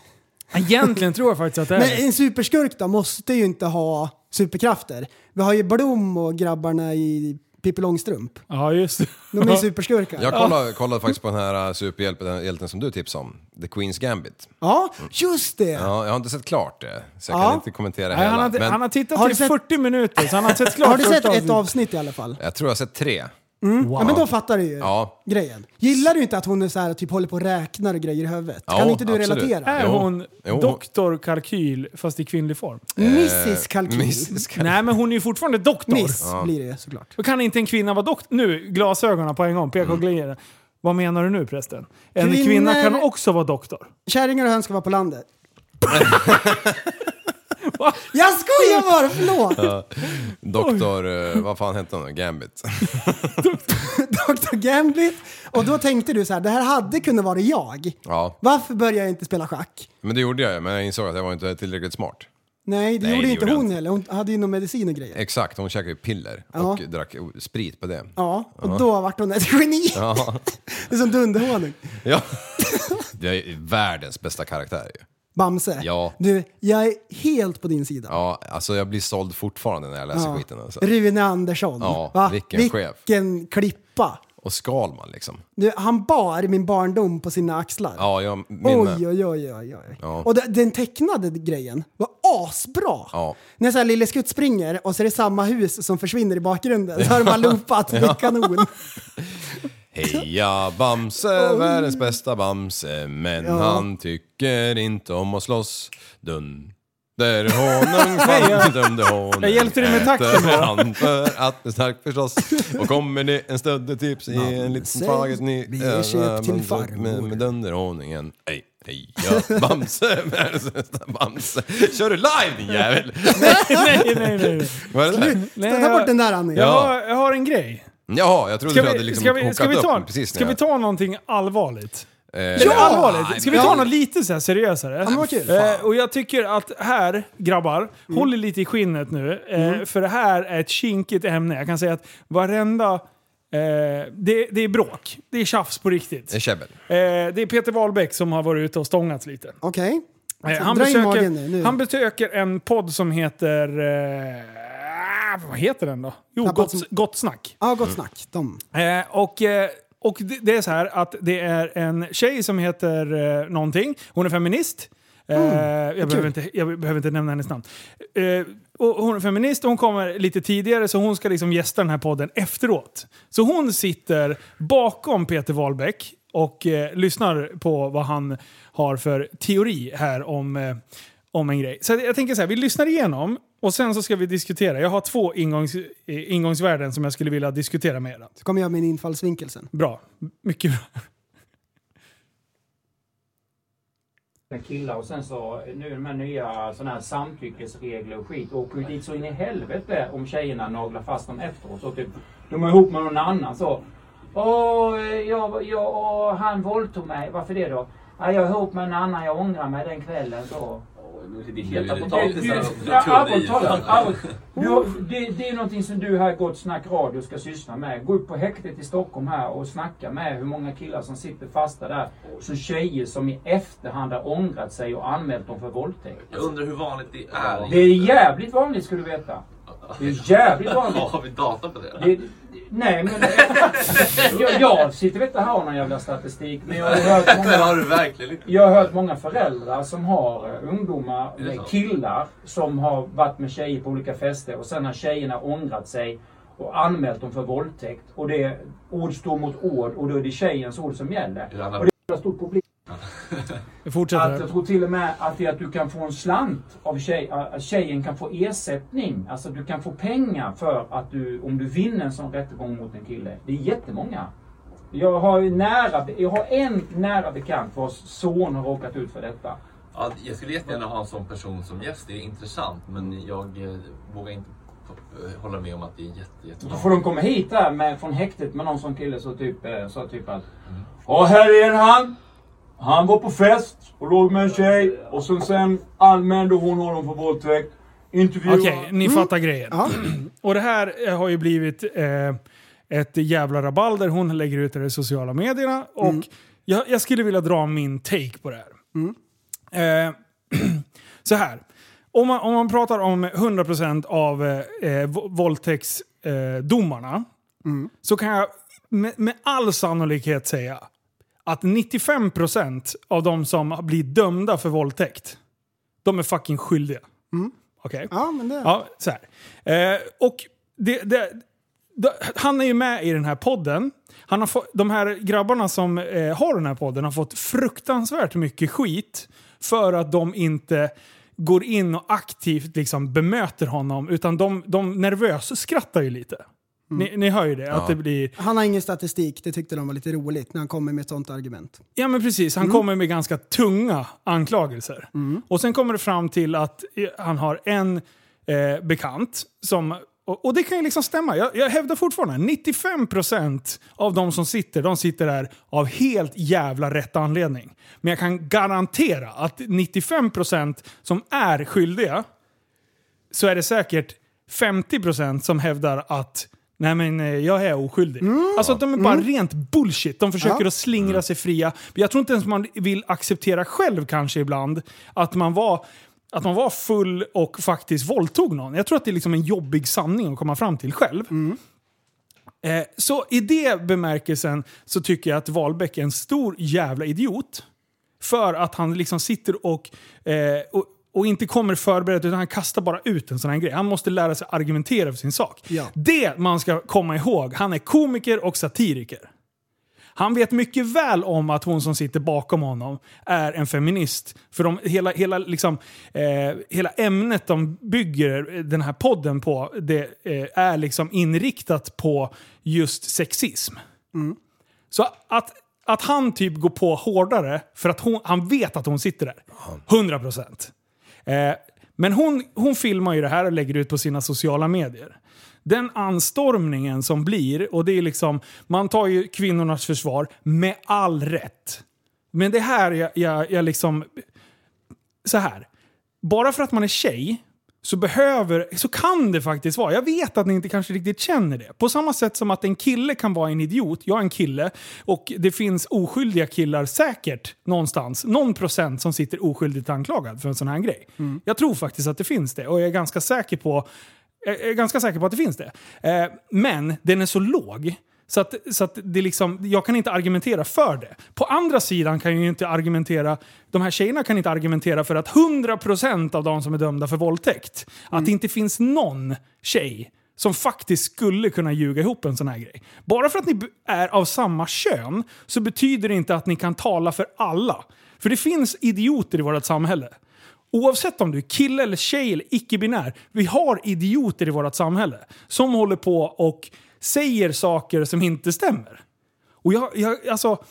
Egentligen tror jag faktiskt att det är Men det. en superskurk då måste ju inte ha superkrafter. Vi har ju Blom och grabbarna i Pippi Långstrump. Ja, just det. De är ju superskurkar. Jag kollade, kollade faktiskt på den här superhjälten den hjälten som du tipsade om, The Queen's Gambit. Ja, just det! Ja, jag har inte sett klart det, så jag Ja. kan inte kommentera Nej, hela. han, har, men han har tittat Har i du sett- 40 minuter, så han har sett klart Har du sett första ett avsnittet. avsnitt i alla fall? Jag tror jag har sett tre. Ja, men då fattar du ju Ja. grejen. Gillar du inte att hon är så här, typ håller på och räknar och grejer i huvudet? Ja, kan inte du absolut. relatera? Är Jo. hon Jo. doktor Kalkyl fast i kvinnlig form? Eh, Mrs Kalkyl. Miss, Mrs. Cal- Nej, men hon är ju fortfarande doktor. blir det såklart. Då kan inte en kvinna vara doktor? Nu, glasögonen på en gång, peka Mm. och glida. Vad menar du nu prästen? En Kvinnor- kvinna kan också vara doktor. Kärringar och höns ska vara på landet. Jag skojar bara, förlåt! Doktor, eh, vad fan hette hon? Gambit. Dr Gambit. Och då tänkte du så här, det här hade kunnat vara jag. Ja, Varför börjar jag inte spela schack? men det gjorde jag ju, men jag insåg att jag var inte tillräckligt smart. Nej, det Nej, gjorde det inte gjorde jag hon inte. heller. Hon hade ju någon medicin och grejer. Exakt, hon käkade ju piller Ja. och drack sprit på det. Ja, och då vart hon ett geni. Ja. Det är som dunderhonung. ja. Det är världens bästa karaktär ju. Bamse. Ja. Du, jag är helt på din sida. Ja, alltså jag blir såld fortfarande när jag läser skiten. Alltså. Rune Andersson. Ja, vilken chef. Vilken klippa. Och Skalman liksom. Du, han bar min barndom på sina axlar. Ja, jag minne. Oj, oj, oj, oj, oj. Ja. Och de- den tecknade grejen var asbra. Ja. När så här Lille Skutt springer och så är det samma hus som försvinner i bakgrunden så har de bara loopat. Det är kanon. Heja Bamse, världens bästa Bamse Men han tycker inte om att slåss Dun där honung fann dömde honung jag hjälpte dig med takten äter bara. han för att det är starkt förstås Och kommer det en stöddertips i en liten Bamse taget ny blir köpt till men då- farmor. Med, med dunderhonungen Hej, heja Bamse, världens bästa Bamse Kör du live din jävel! nej, nej, nej. Vad är det där? nej Ta bort den där Annie. Jag, jag, Ja. har, jag har en grej. Jaha, jag trodde Ska du hade vi, liksom ska vi, ska hookat vi, ta, upp precis när ska vi jag- ta någonting allvarligt? Eh, Eller allvarligt. Ska vi ta ja. något lite så här seriösare? men vad kul. Mm. Eh, och jag tycker att här, grabbar, håll er lite i skinnet nu. Eh, För det här är ett kinkigt ämne. Jag kan säga att varenda... Eh, det, det är bråk. Det är tjafs på riktigt. Det är käbbel. Eh, det är Peter Wahlbeck som har varit ute och stångats lite. Okej. Eh, han, Alltså, Dra in besöker, magen nu, nu. han besöker en podd som heter... Eh, vad heter den då? Jo, Tappad gott, som- gott snack. Ja, gott snack. De. Eh, och eh, och det, det är så här att det är en tjej som heter eh, någonting. Hon är feminist. Eh, jag, behöver inte, jag behöver inte nämna hennes namn. Eh, och hon är feminist och hon kommer lite tidigare så hon ska liksom gästa den här podden efteråt. Så hon sitter bakom Peter Wahlbeck och eh, lyssnar på vad han har för teori här om, eh, om en grej. Så jag tänker så här, vi lyssnar igenom och sen så ska vi diskutera. Jag har två ingångs, eh, ingångsvärden som jag skulle vilja diskutera med er. Så kommer jag med en infallsvinkel sen. Bra. Mycket bra. med killar och sen så eh, nu de här nya sådana här samtyckesregler och skit åker ju dit så in i helvete om tjejerna naglar fast dem efteråt så typ de är ihop med någon annan så. Åh, eh, jag, jag, åh, han våldtog mig. Varför det då? Ja, jag är ihop med en annan, jag ångrar mig den kvällen så. Det är heta Du- potatisar du- och allvarligt talat, teorier. allvarligt. Du- Det det är någonting som du här i Gott Snack Radio ska syssla med. Gå upp på häktet i Stockholm här och snacka med hur många killar som sitter fasta där. Som tjejer som i efterhand har ångrat sig och anmält dem för våldtäkt. Jag undrar hur vanligt det är. Det är jävligt vanligt ska du veta. Det är jävligt vanligt. Har vi data på det? Det, det, nej men... jag, jag sitter inte här och har någon jävla statistik men jag har hört Det många har du verkligen inte. jag har hört många föräldrar som har eh, ungdomar, det eh, så? killar, som har varit med tjejer på olika fester och sen har tjejerna ångrat sig och anmält dem för våldtäkt. Och det är ord står mot ord och då är det tjejens ord som gäller. Hur han Och har- det är ett stort problem. Vi fortsätter. Att jag tror till och med att, det är att du kan få en slant av tjej, att tjejen kan få ersättning. Alltså du kan få pengar för att du, om du vinner en sån rättegång mot en kille. Det är jättemånga. Jag har, ju nära, jag har en nära bekant vars son har råkat ut för detta. Ja, jag skulle jättegärna ha en sån person som gäst. Det är intressant. Men jag eh, vågar inte eh, hålla med om att det är jätte, jätte Då får de komma hit där med, från häktet med någon sån kille som typ eh, sa typ att Ja här är han! Han var på fest och låg med en tjej och sen, sen anmälde hon honom för våldtäkt. Intervjuade... Okej, ni fattar grejen. typ Mm. Ja. Och det här eh, har ju blivit eh, ett jävla rabalder. Hon lägger ut det i sociala medierna. Och Mm. jag, jag skulle vilja dra min take på det här. Mm. Eh, så här. Om man, om man pratar om 100% av eh, eh, vå- våldtäktsdomarna eh, domarna, Mm. så kan jag med, med all sannolikhet säga att 95% av de som blir dömda för våldtäkt, de är fucking skyldiga. Okej? Mm. Ja, men det... Ja, så här. Eh, och det, det, det, han är ju med i den här podden. Han har få, de här grabbarna som eh, har den här podden har fått fruktansvärt mycket skit för att de inte går in och aktivt liksom bemöter honom. Utan de, de nervöst skrattar ju lite. Ni, ni hör ju det, att det blir... Han har ingen statistik, det tyckte de var lite roligt när han kommer med ett sånt argument. Ja men precis, han kommer med ganska tunga anklagelser. Och sen kommer det fram till att eh, han har en eh, bekant som... Och, och det kan ju liksom stämma. Jag, jag hävdar fortfarande, 95% av de som sitter, de sitter där av helt jävla rätt anledning. Men jag kan garantera att 95% som är skyldiga, så är det säkert 50% som hävdar att Nej men eh, jag är oskyldig. Alltså att de är bara rent bullshit. De försöker Ja. att slingra sig fria. Jag tror inte ens man vill acceptera själv kanske ibland att man var, att man var full och faktiskt våldtog någon. Jag tror att det är liksom en jobbig sanning att komma fram till själv. Eh, så i det bemärkelsen så tycker jag att Wahlbeck är en stor jävla idiot. För att han liksom sitter och, eh, och, och inte kommer förberedd utan han kastar bara ut en sån här grej. Han måste lära sig argumentera för sin sak. Ja. Det man ska komma ihåg, han är komiker och satiriker. Han vet mycket väl om att hon som sitter bakom honom är en feminist. För de, hela, hela, liksom, eh, hela ämnet de bygger den här podden på det, eh, är liksom inriktat på just sexism. Så att, att han typ går på hårdare för att hon, han vet att hon sitter där. 100 procent. Eh, men hon, hon filmar ju det här och lägger ut på sina sociala medier. Den anstormningen som blir, och det är liksom, man tar ju kvinnornas försvar med all rätt. Men det här jag, jag, jag liksom, så här. Bara för att man är tjej så behöver, så kan det faktiskt vara. Jag vet att ni inte kanske riktigt känner det. På samma sätt som att en kille kan vara en idiot, jag är en kille, och det finns oskyldiga killar säkert någonstans, någon procent som sitter oskyldigt anklagad för en sån här grej. Jag tror faktiskt att det finns det och jag är ganska säker på, jag är ganska säker på att det finns det. Eh, men den är så låg så att, så att det liksom, jag kan inte argumentera för det. På andra sidan kan jag ju inte argumentera, de här tjejerna kan inte argumentera för att 100% av de som är dömda för våldtäkt, att det inte finns någon tjej som faktiskt skulle kunna ljuga ihop en sån här grej. Bara för att ni b- är av samma kön så betyder det inte att ni kan tala för alla. För det finns idioter i vårt samhälle. Oavsett om du är kille eller tjej eller icke-binär. Vi har idioter i vårt samhälle som håller på och säger saker som inte stämmer. Och jag, jag alltså...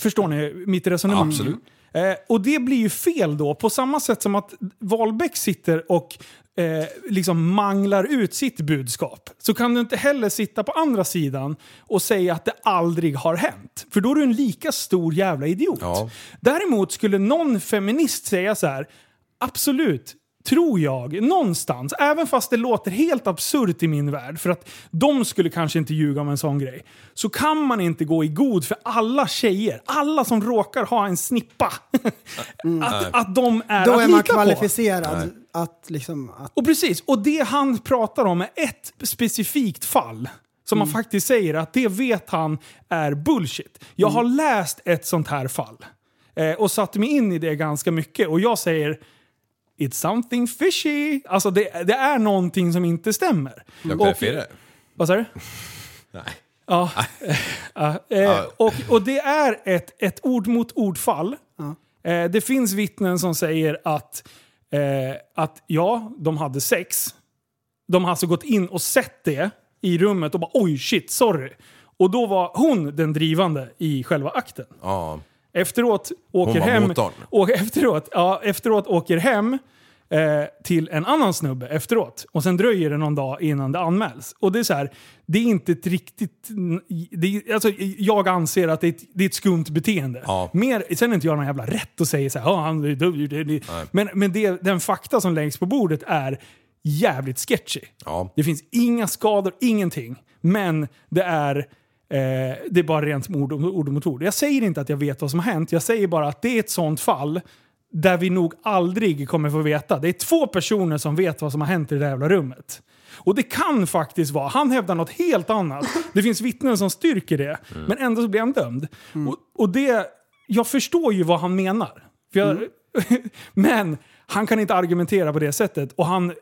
Förstår ni mitt resonemang? Absolut. Eh, och det blir ju fel då, på samma sätt som att Wahlbeck sitter och eh, liksom manglar ut sitt budskap. Så kan du inte heller sitta på andra sidan och säga att det aldrig har hänt. För då är du en lika stor jävla idiot. Ja. Däremot skulle någon feminist säga så här, absolut, tror jag, någonstans, även fast det låter helt absurt i min värld, för att de skulle kanske inte ljuga om en sån grej, så kan man inte gå i god för alla tjejer, alla som råkar ha en snippa, att, att de är Då att är man lita på. kvalificerad att liksom... Att, Och precis, och det han pratar om är ett specifikt fall. Som man faktiskt säger att det vet han är bullshit. Jag har läst ett sånt här fall. Eh, och satt mig in i det ganska mycket. Och jag säger It's something fishy. Alltså det, det är någonting som inte stämmer. Jag Och- verifierar. Vad sa du? Nej. Ja. ja. Eh, och, och det är ett, ett ord mot ordfall. Eh, det finns vittnen som säger att, eh, att ja, de hade sex. De har alltså gått in och sett det i rummet och bara oj shit, sorry. Och då var hon den drivande i själva akten. Ja. Efteråt åker var hem... motorn. Och efteråt, ja, efteråt åker hem eh, till en annan snubbe efteråt. Och sen dröjer det någon dag innan det anmäls. Och det är så här, det är inte ett riktigt... Det är, alltså, jag anser att det är ett, det är ett skumt beteende. Ja. Mer, sen är inte jag någon jävla rätt och säger så här, "Ja, han är dum, det- det-" Men, men det, den fakta som läggs på bordet är jävligt sketchy. Ja. Det finns inga skador, ingenting. Men det är, eh, det är bara rent ord, ord mot ord. Jag säger inte att jag vet vad som har hänt. Jag säger bara att det är ett sånt fall där vi nog aldrig kommer få veta. Det är två personer som vet vad som har hänt i det där jävla rummet. Och det kan faktiskt vara, han hävdar något helt annat. Det finns vittnen som styrker det. Men ändå så blir han dömd. Och, och det, jag förstår ju vad han menar. För jag, men han kan inte argumentera på det sättet. Och han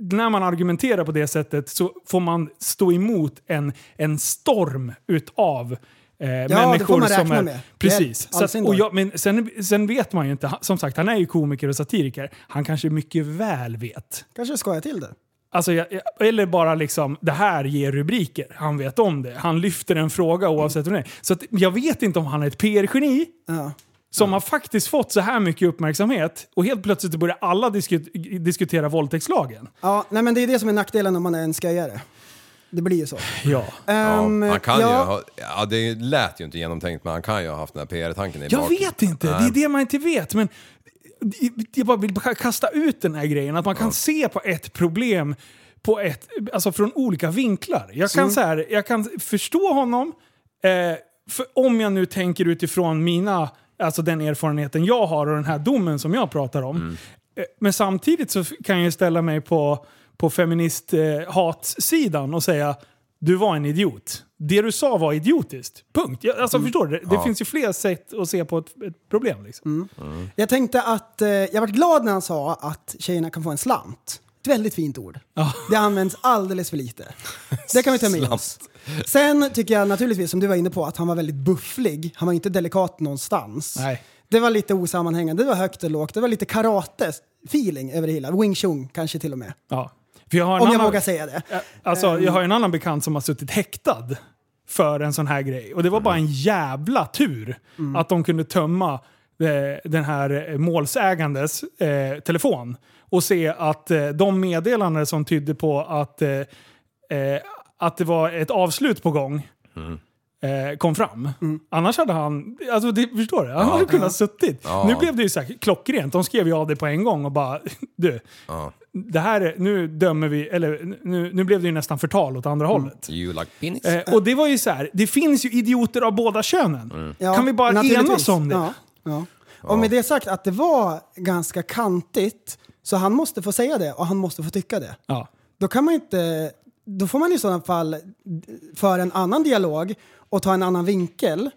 när man argumenterar på det sättet så får man stå emot en, en storm utav eh, människor det får man som räkna är... med. Precis. Det är Så att, allsyn och då. jag, men sen, sen vet man ju inte. Han- Som sagt, han är ju komiker och satiriker. Han kanske mycket väl vet. Kanske skojar till det. Alltså, jag, jag, eller bara liksom, det här ger rubriker. Han vet om det. Han lyfter en fråga oavsett hur det är. Så att, jag vet inte om han är ett PR-geni Ja. som har faktiskt fått så här mycket uppmärksamhet och helt plötsligt börjar alla disku- diskutera våldtäktslagen. Ja, nej men det är det som är nackdelen om man är en sköjare. Det blir ju så. Ja. Ehm, han kan ja, ju ha, ja, det lät ju inte genomtänkt men han kan ju ha haft den här PR-tanken i Jag baken. vet inte, det är det man inte vet. Men jag bara vill kasta ut den här grejen, att man kan se på ett problem på ett, alltså från olika vinklar. Jag kan, så här, jag kan förstå honom, eh, för om jag nu tänker utifrån mina, alltså den erfarenheten jag har och den här domen som jag pratar om. Eh, Men samtidigt så f- kan jag ställa mig på, på feministhatsidan och säga du var en idiot. Det du sa var idiotiskt. Punkt. Jag, alltså förstår du? Det, det finns ju fler sätt att se på ett, ett problem. Liksom. Mm. Jag tänkte att, eh, jag vart glad när han sa att tjejerna kan få en slant. Ett väldigt fint ord. Det används alldeles för lite. Det kan vi ta med oss. Sen tycker jag naturligtvis, som du var inne på, att han var väldigt bufflig. Han var inte delikat någonstans. Nej. Det var lite osammanhängande, det var högt och lågt, det var lite karate-feeling över det hela. Wing chun kanske till och med. Ja. För jag har en Om jag annan, vågar säga det. Ja, Alltså, jag har en annan bekant som har suttit häktad för en sån här grej. Och det var bara en jävla tur att de kunde tömma eh, den här eh, målsägandes eh, telefon och se att eh, de meddelanden som tydde på att, eh, eh, att det var ett avslut på gång eh, kom fram. Annars hade han, alltså det, förstår du? Han hade kunnat suttit. Nu blev det ju så här klockrent. De skrev ju av det på en gång och bara, du, det här, är- nu dömer vi, eller nu, nu blev det ju nästan förtal åt andra Mm. hållet. You like penis. Eh, och det var ju så här, det finns ju idioter av båda könen. Ja, kan vi bara naturligtvis. enas om det? Ja, ja. Och med det sagt att det var ganska kantigt, så han måste få säga det och han måste få tycka det. Ja. Då kan man inte... Då får man i sådana fall föra en annan dialog och ta en annan vinkel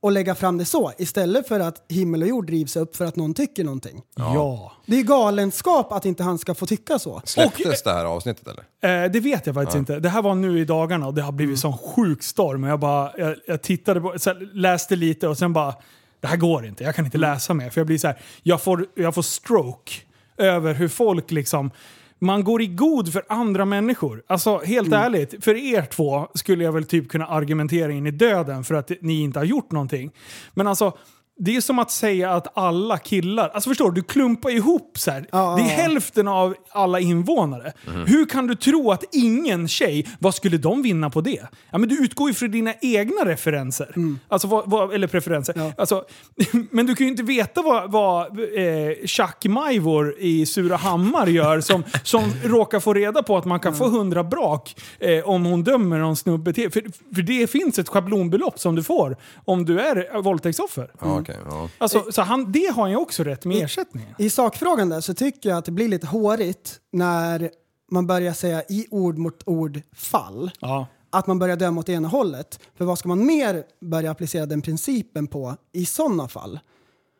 och lägga fram det så istället för att himmel och jord drivs upp för att någon tycker någonting. ja. Det är ju galenskap att inte han ska få tycka så. Släpptes det här avsnittet eller? Eh, det vet jag faktiskt inte. Det här var nu i dagarna och det har blivit sån sjuk storm. Jag, bara, jag, jag tittade på, så här, läste lite och sen bara, det här går inte. Jag kan inte läsa mer. För jag blir så här, jag får, jag får stroke över hur folk liksom, man går i god för andra människor. Alltså helt ärligt, för er två skulle jag väl typ kunna argumentera in i döden för att ni inte har gjort någonting. Men alltså, det är som att säga att alla killar, alltså förstår du, du klumpar ihop så här. det är hälften av alla invånare. Hur kan du tro att ingen tjej, vad skulle de vinna på det? Ja, men du utgår ju från dina egna referenser. Alltså, vad, vad, eller preferenser. Alltså, men du kan ju inte veta vad, vad eh, Chuck Majvor i Surahammar gör som, som råkar få reda på att man kan få 100 brak eh, om hon dömer någon snubbe till. För, för det finns ett schablonbelopp som du får om du är våldtäktsoffer. Ja, okej. ja. Eh, Alltså, så han, det har jag också rätt med ersättningen. I sakfrågan där så tycker jag att det blir lite hårigt när man börjar säga i ord mot ord fall. Ja. att man börjar döma åt ena hållet. För vad ska man mer börja applicera den principen på i sådana fall?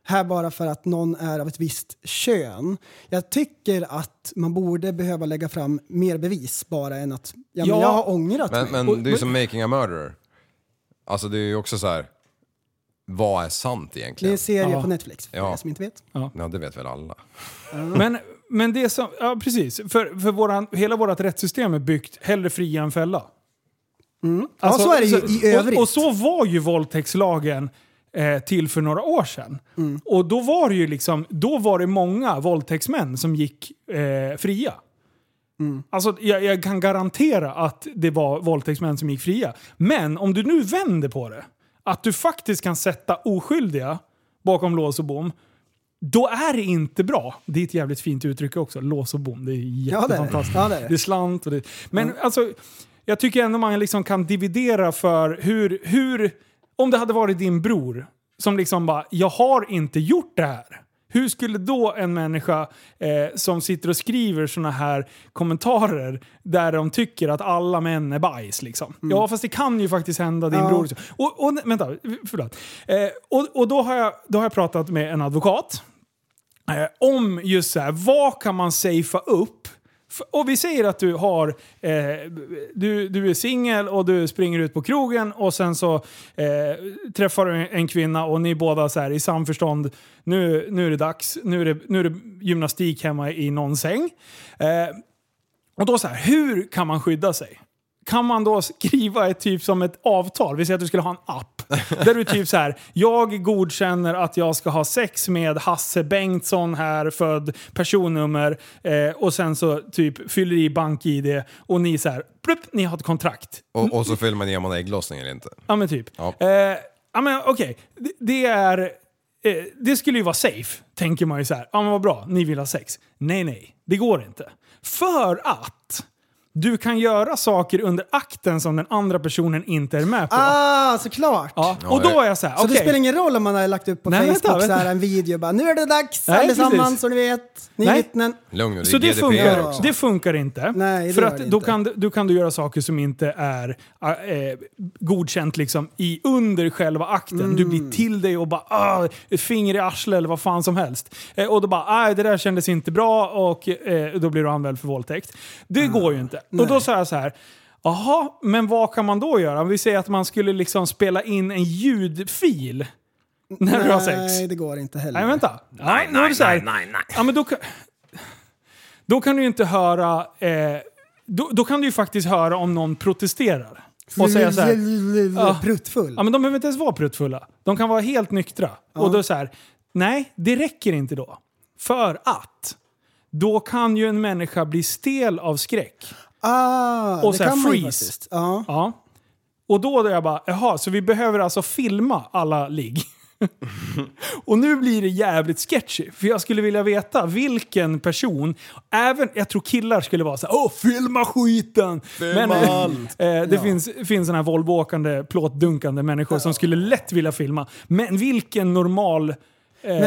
Här bara för att någon är av ett visst kön. Jag tycker att man borde behöva lägga fram mer bevis bara än att ja, men Ja. jag har ångrat Men, mig. men det är ju som making a murderer. Alltså det är ju också så här. vad är sant det är egentligen? en serie Ja. på Netflix för Ja. er som inte vet. Ja, det vet väl alla. Men, men det som, ja precis. För, för våran, hela vårt rättssystem är byggt hellre fria än fälla. Alltså, Mm. ja, så är det ju i övrigt. Och, och så var ju våldtäktslagen eh, till för några år sedan. Mm. Och då var det ju liksom, då var det många våldtäktsmän som gick eh, fria. Mm. Alltså, jag, jag kan garantera att det var våldtäktsmän som gick fria. Men om du nu vänder på det, att du faktiskt kan sätta oskyldiga bakom lås och bom, då är det inte bra. Det är ett jävligt fint uttryck också, lås och bom. Det är Ja, det Mm. är det. jättefantastiskt. Ja, det är det. Det är slant och det... Men alltså, jag tycker ändå man liksom kan dividera för hur, hur... Om det hade varit din bror som liksom bara, jag har inte gjort det här. Hur skulle då en människa eh, som sitter och skriver såna här kommentarer där de tycker att alla män är bajs liksom. Mm. Ja fast det kan ju faktiskt hända din Ja. bror. Och, och, vänta, förlåt. Eh, och och då, har jag, då har jag pratat med en advokat eh, om just så här, vad kan man safea upp? F- Och vi säger att du har, eh, du, du är singel och du springer ut på krogen och sen så eh, träffar du en- en kvinna och ni båda så här i samförstånd, nu, nu är det dags, nu är det, nu är det gymnastik hemma i någon säng. Eh, och då så här, hur kan man skydda sig? Kan man då skriva ett typ som ett avtal? Vi säger att du skulle ha en app. Där du typ så här, jag godkänner att jag ska ha sex med Hasse Bengtsson här, född personnummer. Eh, och sen så typ fyller i bank-id och ni så här, plupp, ni har ett kontrakt. Och, och så fyller man i om man har ägglossning eller inte. Ja men typ. Ja. Eh, ja men okej, det, det är... Eh, det skulle ju vara safe, tänker man ju så här. Ja men vad bra, ni vill ha sex. Nej nej, det går inte. För att du kan göra saker under akten som den andra personen inte är med på. Ah, såklart! ja. Och då är jag så här, Så okej. det spelar ingen roll om man har lagt upp på Nej, Facebook vänta, vänta. Så här, en video bara “Nu är det dags Nej, allesammans precis. så ni vet, ni är Nej. vittnen”. Lugn nu, det Så är det GDPR funkar, också. det funkar inte. Nej, det för gör att det då, inte. kan, du- då kan du göra saker som inte är äh, eh, godkänt liksom i under själva akten. Du Mm. blir till dig och bara ah, ett finger i arslet eller vad fan som helst. Eh, och då bara nej det där kändes inte bra och eh, då blir du anmäld för våldtäkt. Det Ah, går ju inte. Och då säger jag så här. Jaha, men vad kan man då göra? Om vi säger att man skulle liksom spela in en ljudfil när du har sex. Nej, det går inte heller. Nej, vänta. Nej, nu är det så här. Ja, men då, kan- då kan du ju inte höra... Eh, då, då kan du ju faktiskt höra om någon protesterar. Och säga så här, Ja. Pruttfull. ja, men de behöver inte ens vara pruttfulla. De kan vara helt nyktra. Och då så här, nej, det räcker inte då. För att då kan ju en människa bli stel av skräck. Ah, Och det så här kan man ju freeze. faktiskt. Ja. Ja. Och då då jag bara, jaha, så vi behöver alltså filma alla ligg. och nu blir det jävligt sketchy, för jag skulle vilja veta vilken person, även, jag tror killar skulle vara såhär, åh filma skiten! Men, eh, eh, det finns, finns sådana här Volvoåkande, plåtdunkande människor som skulle lätt vilja filma. Men vilken normal eh,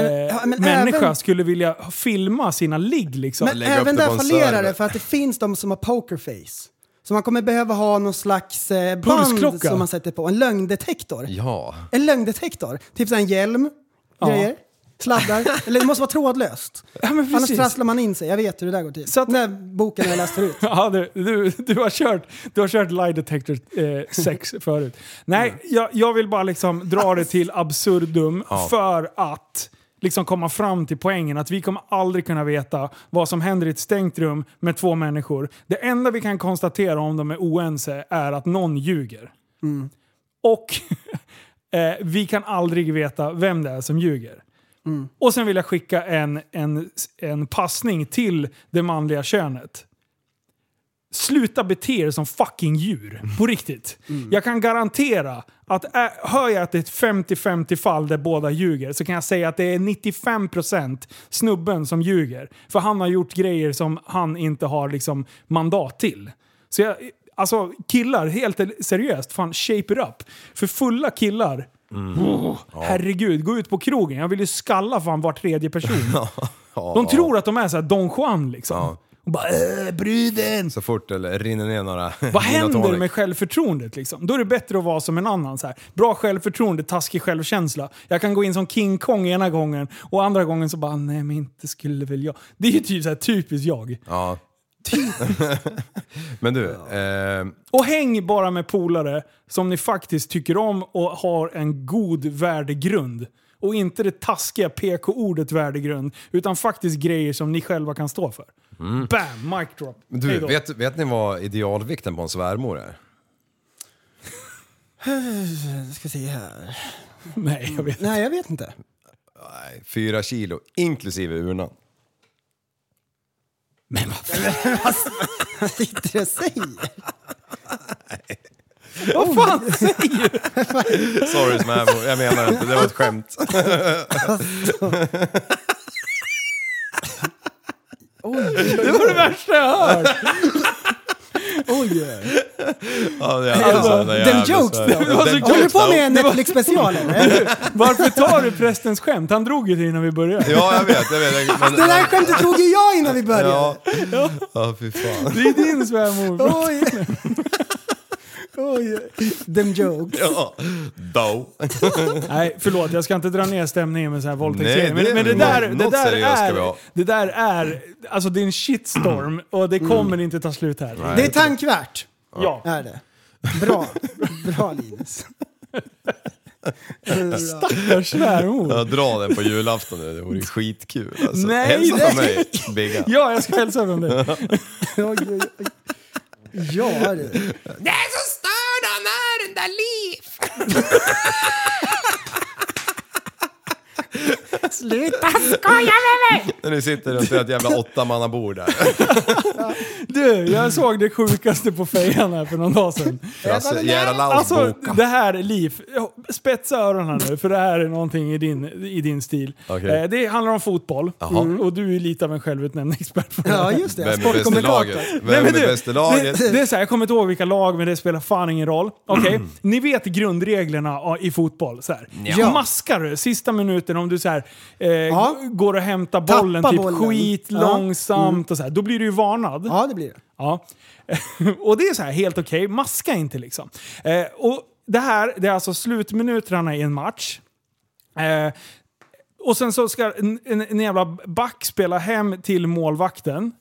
ja, men människa även- skulle vilja filma sina ligg liksom? Men lägga upp även det på där en fallerar server. det för att det finns de som har pokerface. Så man kommer behöva ha någon slags eh, band Pulsklocka. som man sätter på. En lögndetektor. Ja. En lögndetektor. Typ så här en hjälm, grejer, sladdar. Eller det måste vara trådlöst. Ja, men Annars precis. trasslar man in sig. Jag vet hur det där går till. Så att- Den där boken har jag läst förut. Ja, du, du, du har kört, du har kört lie detector 6 förut. Nej, jag, jag vill bara liksom dra det till absurdum för att liksom komma fram till poängen att vi kommer aldrig kunna veta vad som händer i ett stängt rum med två människor. Det enda vi kan konstatera om de är oense är att någon ljuger. Och eh, vi kan aldrig veta vem det är som ljuger. Och sen vill jag skicka en, en, en passning till det manliga könet. Sluta bete er som fucking djur. På riktigt. Jag kan garantera att ä, hör jag att det är ett 50-50 fall där båda ljuger så kan jag säga att det är 95% snubben som ljuger. För han har gjort grejer som han inte har liksom mandat till. Så jag, alltså killar, helt seriöst, fan shape it up. För fulla killar, oh, herregud, gå ut på krogen. Jag vill ju skalla fan var tredje person. De tror att de är såhär Don Juan liksom. Ja. Och bara äh, bruden! Så fort det rinner ner några Vad händer tonic. med självförtroendet liksom? Då är det bättre att vara som en annan. Så här. Bra självförtroende, taskig självkänsla. Jag kan gå in som King Kong ena gången och andra gången så bara nej men inte skulle väl jag. Det är ju typ så här, typiskt jag. Ja. typ- Men du, eh, Och häng bara med polare som ni faktiskt tycker om och har en god värdegrund. Och inte det taskiga PK-ordet värdegrund, utan faktiskt grejer som ni själva kan stå för. Bam! Mic drop. Hej Mm. du då. vet, vet ni vad idealvikten på en svärmor är? Jag ska se här. Nej, jag vet inte. Nej, jag vet inte. Nej, Fyra kilo, inklusive urnan. Vad sitter du och säger? Vad fan säger du? Sorry svärmor, jag menar inte, det var ett skämt. Det var det värsta jag hört! Oj! Ja, det är alltså, det är Den jävla jokes Sverige. då. Den Håller du jokes, på då. med en Netflix-special eller? Varför tar du prästens skämt? Han drog ju det innan vi började. Ja, jag vet. Jag vet men, Det där skämtet drog ju jag innan vi började. Ja, ja fy fan. Det är din svärmor. Oj. Oj. Them jokes. Ja, då. Nej, förlåt. Jag ska inte dra ner stämningen med så här Nej, våldtäktsgrejer. det är Men, men det, väl där, något- det, något där seriöst ska vi är, ha. det där är... Alltså det är en shitstorm och Mm. det kommer inte ta slut här. Det är tankvärt. Ja. Är det. Bra. Bra Linus. Stackars svärmor. Ja, dra den på julafton nu, det vore ju skitkul. Alltså. Nej, Hälsa nej. på mig, Bigga. Ja, jag ska hälsa från dig. Oj, oj, oj. Ja du. Det är så störd han är, den där Liv! Sluta. När ni sitter runt ett jävla åttamannabord där. Du, jag såg det sjukaste på fejan här för någon dag sedan. Frasse Geralaus Alltså boka. det här, Liv, spetsa öronen nu för det här är någonting i din, i din stil. Okej. Eh, det handlar om fotboll Jaha. Mm, och du är lite av en självutnämnd expert på det Ja här. just det. Vem är bäst i Sportkommentator. laget? Nej, Vem men är du, bäst i laget? Det, det är så här, jag kommer inte ihåg vilka lag, men det spelar fan ingen roll. Okej, ni vet grundreglerna ah, i fotboll. Så här. Mm. Ja. Maskar du sista minuten om du så här, eh, Ja. g- går och hämtar bollen, Tappar typ bollen. skit Ja. Mm. långsamt och så här, då blir du ju varnad. Ja det blir det. Ja. och det är så här helt okej, maska inte liksom. Eh, och det här, det är alltså slutminuterna i en match. Eh, och sen så ska en, en, en jävla back spela hem till målvakten.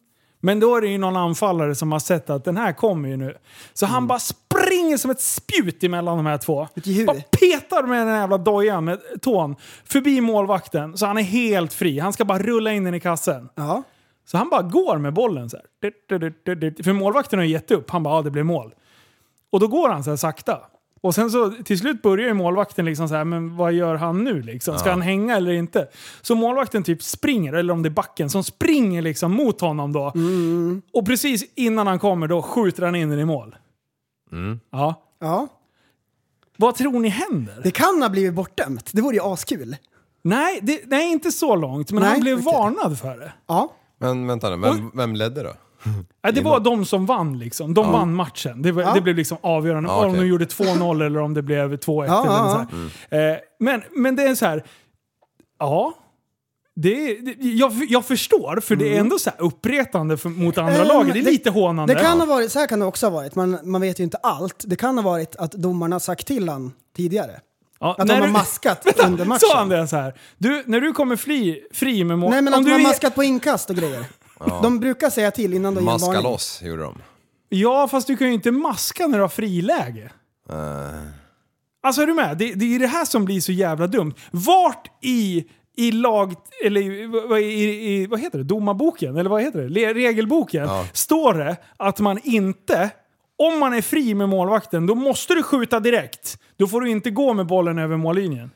Men då är det ju någon anfallare som har sett att den här kommer ju nu. Så han bara springer som ett spjut emellan de här två. Mm. Vilket djur. Bara petar med den här jävla dojan med tån förbi målvakten. Så han är helt fri. Han ska bara rulla in den i kassen. Ja. Så han bara går med bollen så här. Du, du, du, du, du. För målvakten har ju gett upp. Han bara, ja det blev mål. Och då går han så här sakta. Och sen så till slut börjar ju målvakten liksom så här, men vad gör han nu liksom? Ska han hänga eller inte? Så målvakten typ springer, eller om det är backen, som springer liksom mot honom då. Mm. Och precis innan han kommer då skjuter han in den i mål. Ja. Ja. Vad tror ni händer? Det kan ha blivit bortdömt. Det vore ju askul. Nej, det, nej, inte så långt. Men Nej, han blev okej. varnad för det. Ja. Men vänta nu, vem, vem ledde då? Ja, det var de som vann liksom. De vann matchen. Det, var, det blev liksom avgörande. Ja, Om de okej. gjorde 2-0 eller om det blev 2-1 Ja, eller ja, så här. Eh, men, men det är så här. Ja. Det, är- det, jag, jag förstår, för det är ändå så här uppretande för, mot andra Ehm, laget. Det är Mm. det- lite hånande. Det kan ha varit, så här kan det också ha varit, man, man vet ju inte allt. Det kan ha varit att domarna sagt till han tidigare. ja, Att när de har du- maskat under matchen. Sa han det så här? Du, när du kommer fri, fri med mål... Nej men om att de du har är- maskat på inkast och grejer. De brukar säga till innan de ger en Maska varning. loss gjorde de. Ja, fast du kan ju inte maska när du har friläge. Eh, Alltså är du med? Det, det är det här som blir så jävla dumt. Vart i, i lag... Eller i, vad- i, i, vad heter det? Domarboken? Eller vad heter det? Le, regelboken. Står det att man inte... Om man är fri med målvakten, då måste du skjuta direkt. Då får du inte gå med bollen över mållinjen.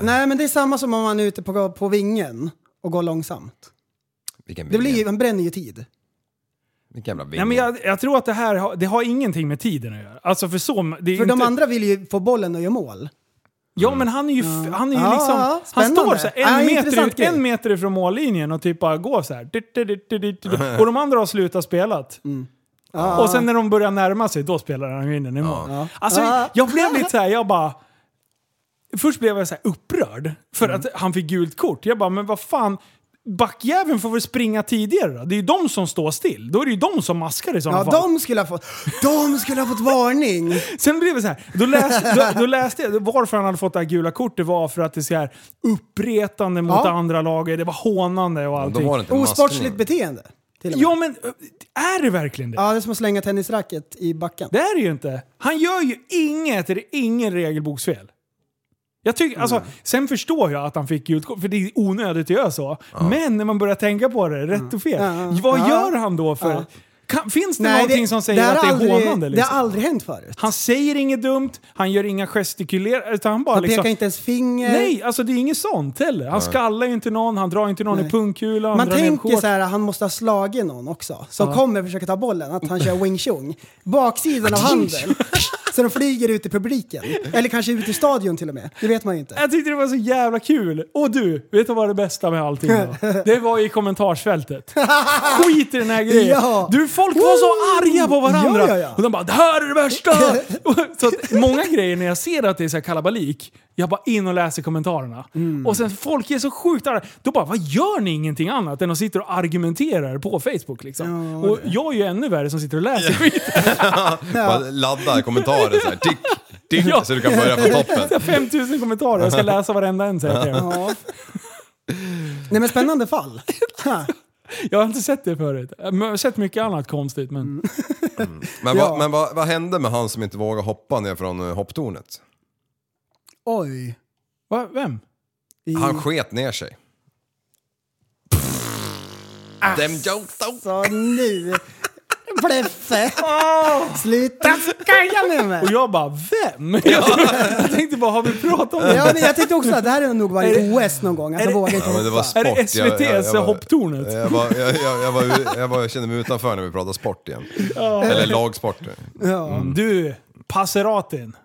Nej men det är samma som om man är ute på, på vingen och går långsamt. Vilken Det blir vinge. ju, han bränner ju tid. Vilken jävla vinge. Nej, men jag, jag tror att det här har, det har ingenting med tiden att göra. Alltså för så... Det är För inte, de andra vill ju få bollen och göra mål. Ja, men han är ju, f- han är ju Ja, liksom... ja, han spännande. står så här Ja, en, intressant meter, grej. en meter ifrån mållinjen och typ bara går så här. Dit, dit, dit, dit, dit, dit. Och de andra har slutat spelat. Mm. Och sen när de börjar närma sig, då spelar han ju in den i mål. Alltså, Ja. jag blev lite så här, jag bara... Först blev jag så här upprörd för Mm. att han fick gult kort. Jag bara, men vad fan... Backjäveln får väl springa tidigare då? Det är ju de som står still. Då är det ju de som maskar i sådana Ja, fall. de skulle ha fått, de skulle ha fått varning! Sen blev det så här, då läste, då, då läste jag varför han hade fått det här gula kortet var för att det är så här uppretande mot Ja. andra laget, det var hånande och Då allting. var det inte Osportsligt maskning. beteende. Till och med. Ja men eh, är det verkligen det? Ja, det är som att slänga tennisracket i backen. Det är det ju inte. Han gör ju inget, det är ingen regelboksfel. Jag tycker, alltså, Mm. sen förstår jag att han fick gult kort, för det är onödigt att göra så. Men när man börjar tänka på det, rätt och fel. Mm. Ja. Vad Ja. gör han då för... Ja. Kan, finns det någonting som säger har att det är aldrig, hånande? Det Liksom? har aldrig hänt förut. Han säger inget dumt, han gör inga gestikulerar, utan han bara Han liksom... pekar inte ens finger. Nej, alltså det är inget sånt heller. Han skallar ju inte någon, han drar inte någon i Nej. pungkulan. Man drar ner en tänker shorts. så här, han måste ha slagit någon också. Som kommer försöka ta bollen, att han kör wing chun. Baksidan av handen. Så de flyger ut i publiken. Eller kanske ut i stadion till och med. Det vet man ju inte. Jag tyckte det var så jävla kul. Och du, vet du vad det bästa med allting var? Det var i kommentarsfältet. Skit i den här grejen. Ja. Du, folk var så Woo! arga på varandra. Ja, ja, ja. Och de bara “det här är det värsta!” Och Så att många grejer när jag ser att det är så här kalabalik, jag bara in och läser kommentarerna. Mm. Och sen folk är så sjukt arga. Då bara “vad gör ni ingenting annat än att sitta och argumenterar på Facebook?” liksom. Och jag är ju ännu värre som sitter och läser skiten. Bara ladda kommentarer så här. Tick, tick, Ja. så du kan börja från toppen. Så här 5000 kommentarer, jag ska läsa varenda en säkert. Ja. Nej men spännande fall. Ha. Jag har inte sett det förut. Jag har sett mycket annat konstigt men... Men, Ja. vad, men vad, vad hände med han som inte vågade hoppa ner från eh, hopptornet? Oj. Va? Vem? I, Han sket ner sig. Dem joke though. så nu. Bleffe. Sluta skoja med mig. Och jag bara, vem? jag tänkte bara, har vi pratat om det? Ja, men jag tänkte också att det här är nog varit OS någon gång. Att är han det- vågar inte Ja, men det var hoppa. sport. Är det Jag- jag- jag SVT's var- Hopptornet? Jag, var, jag, jag, jag, var, jag, var, jag kände mig utanför när vi pratade sport igen. Eller lagsport. Mm. Ja. Du, Passeratin.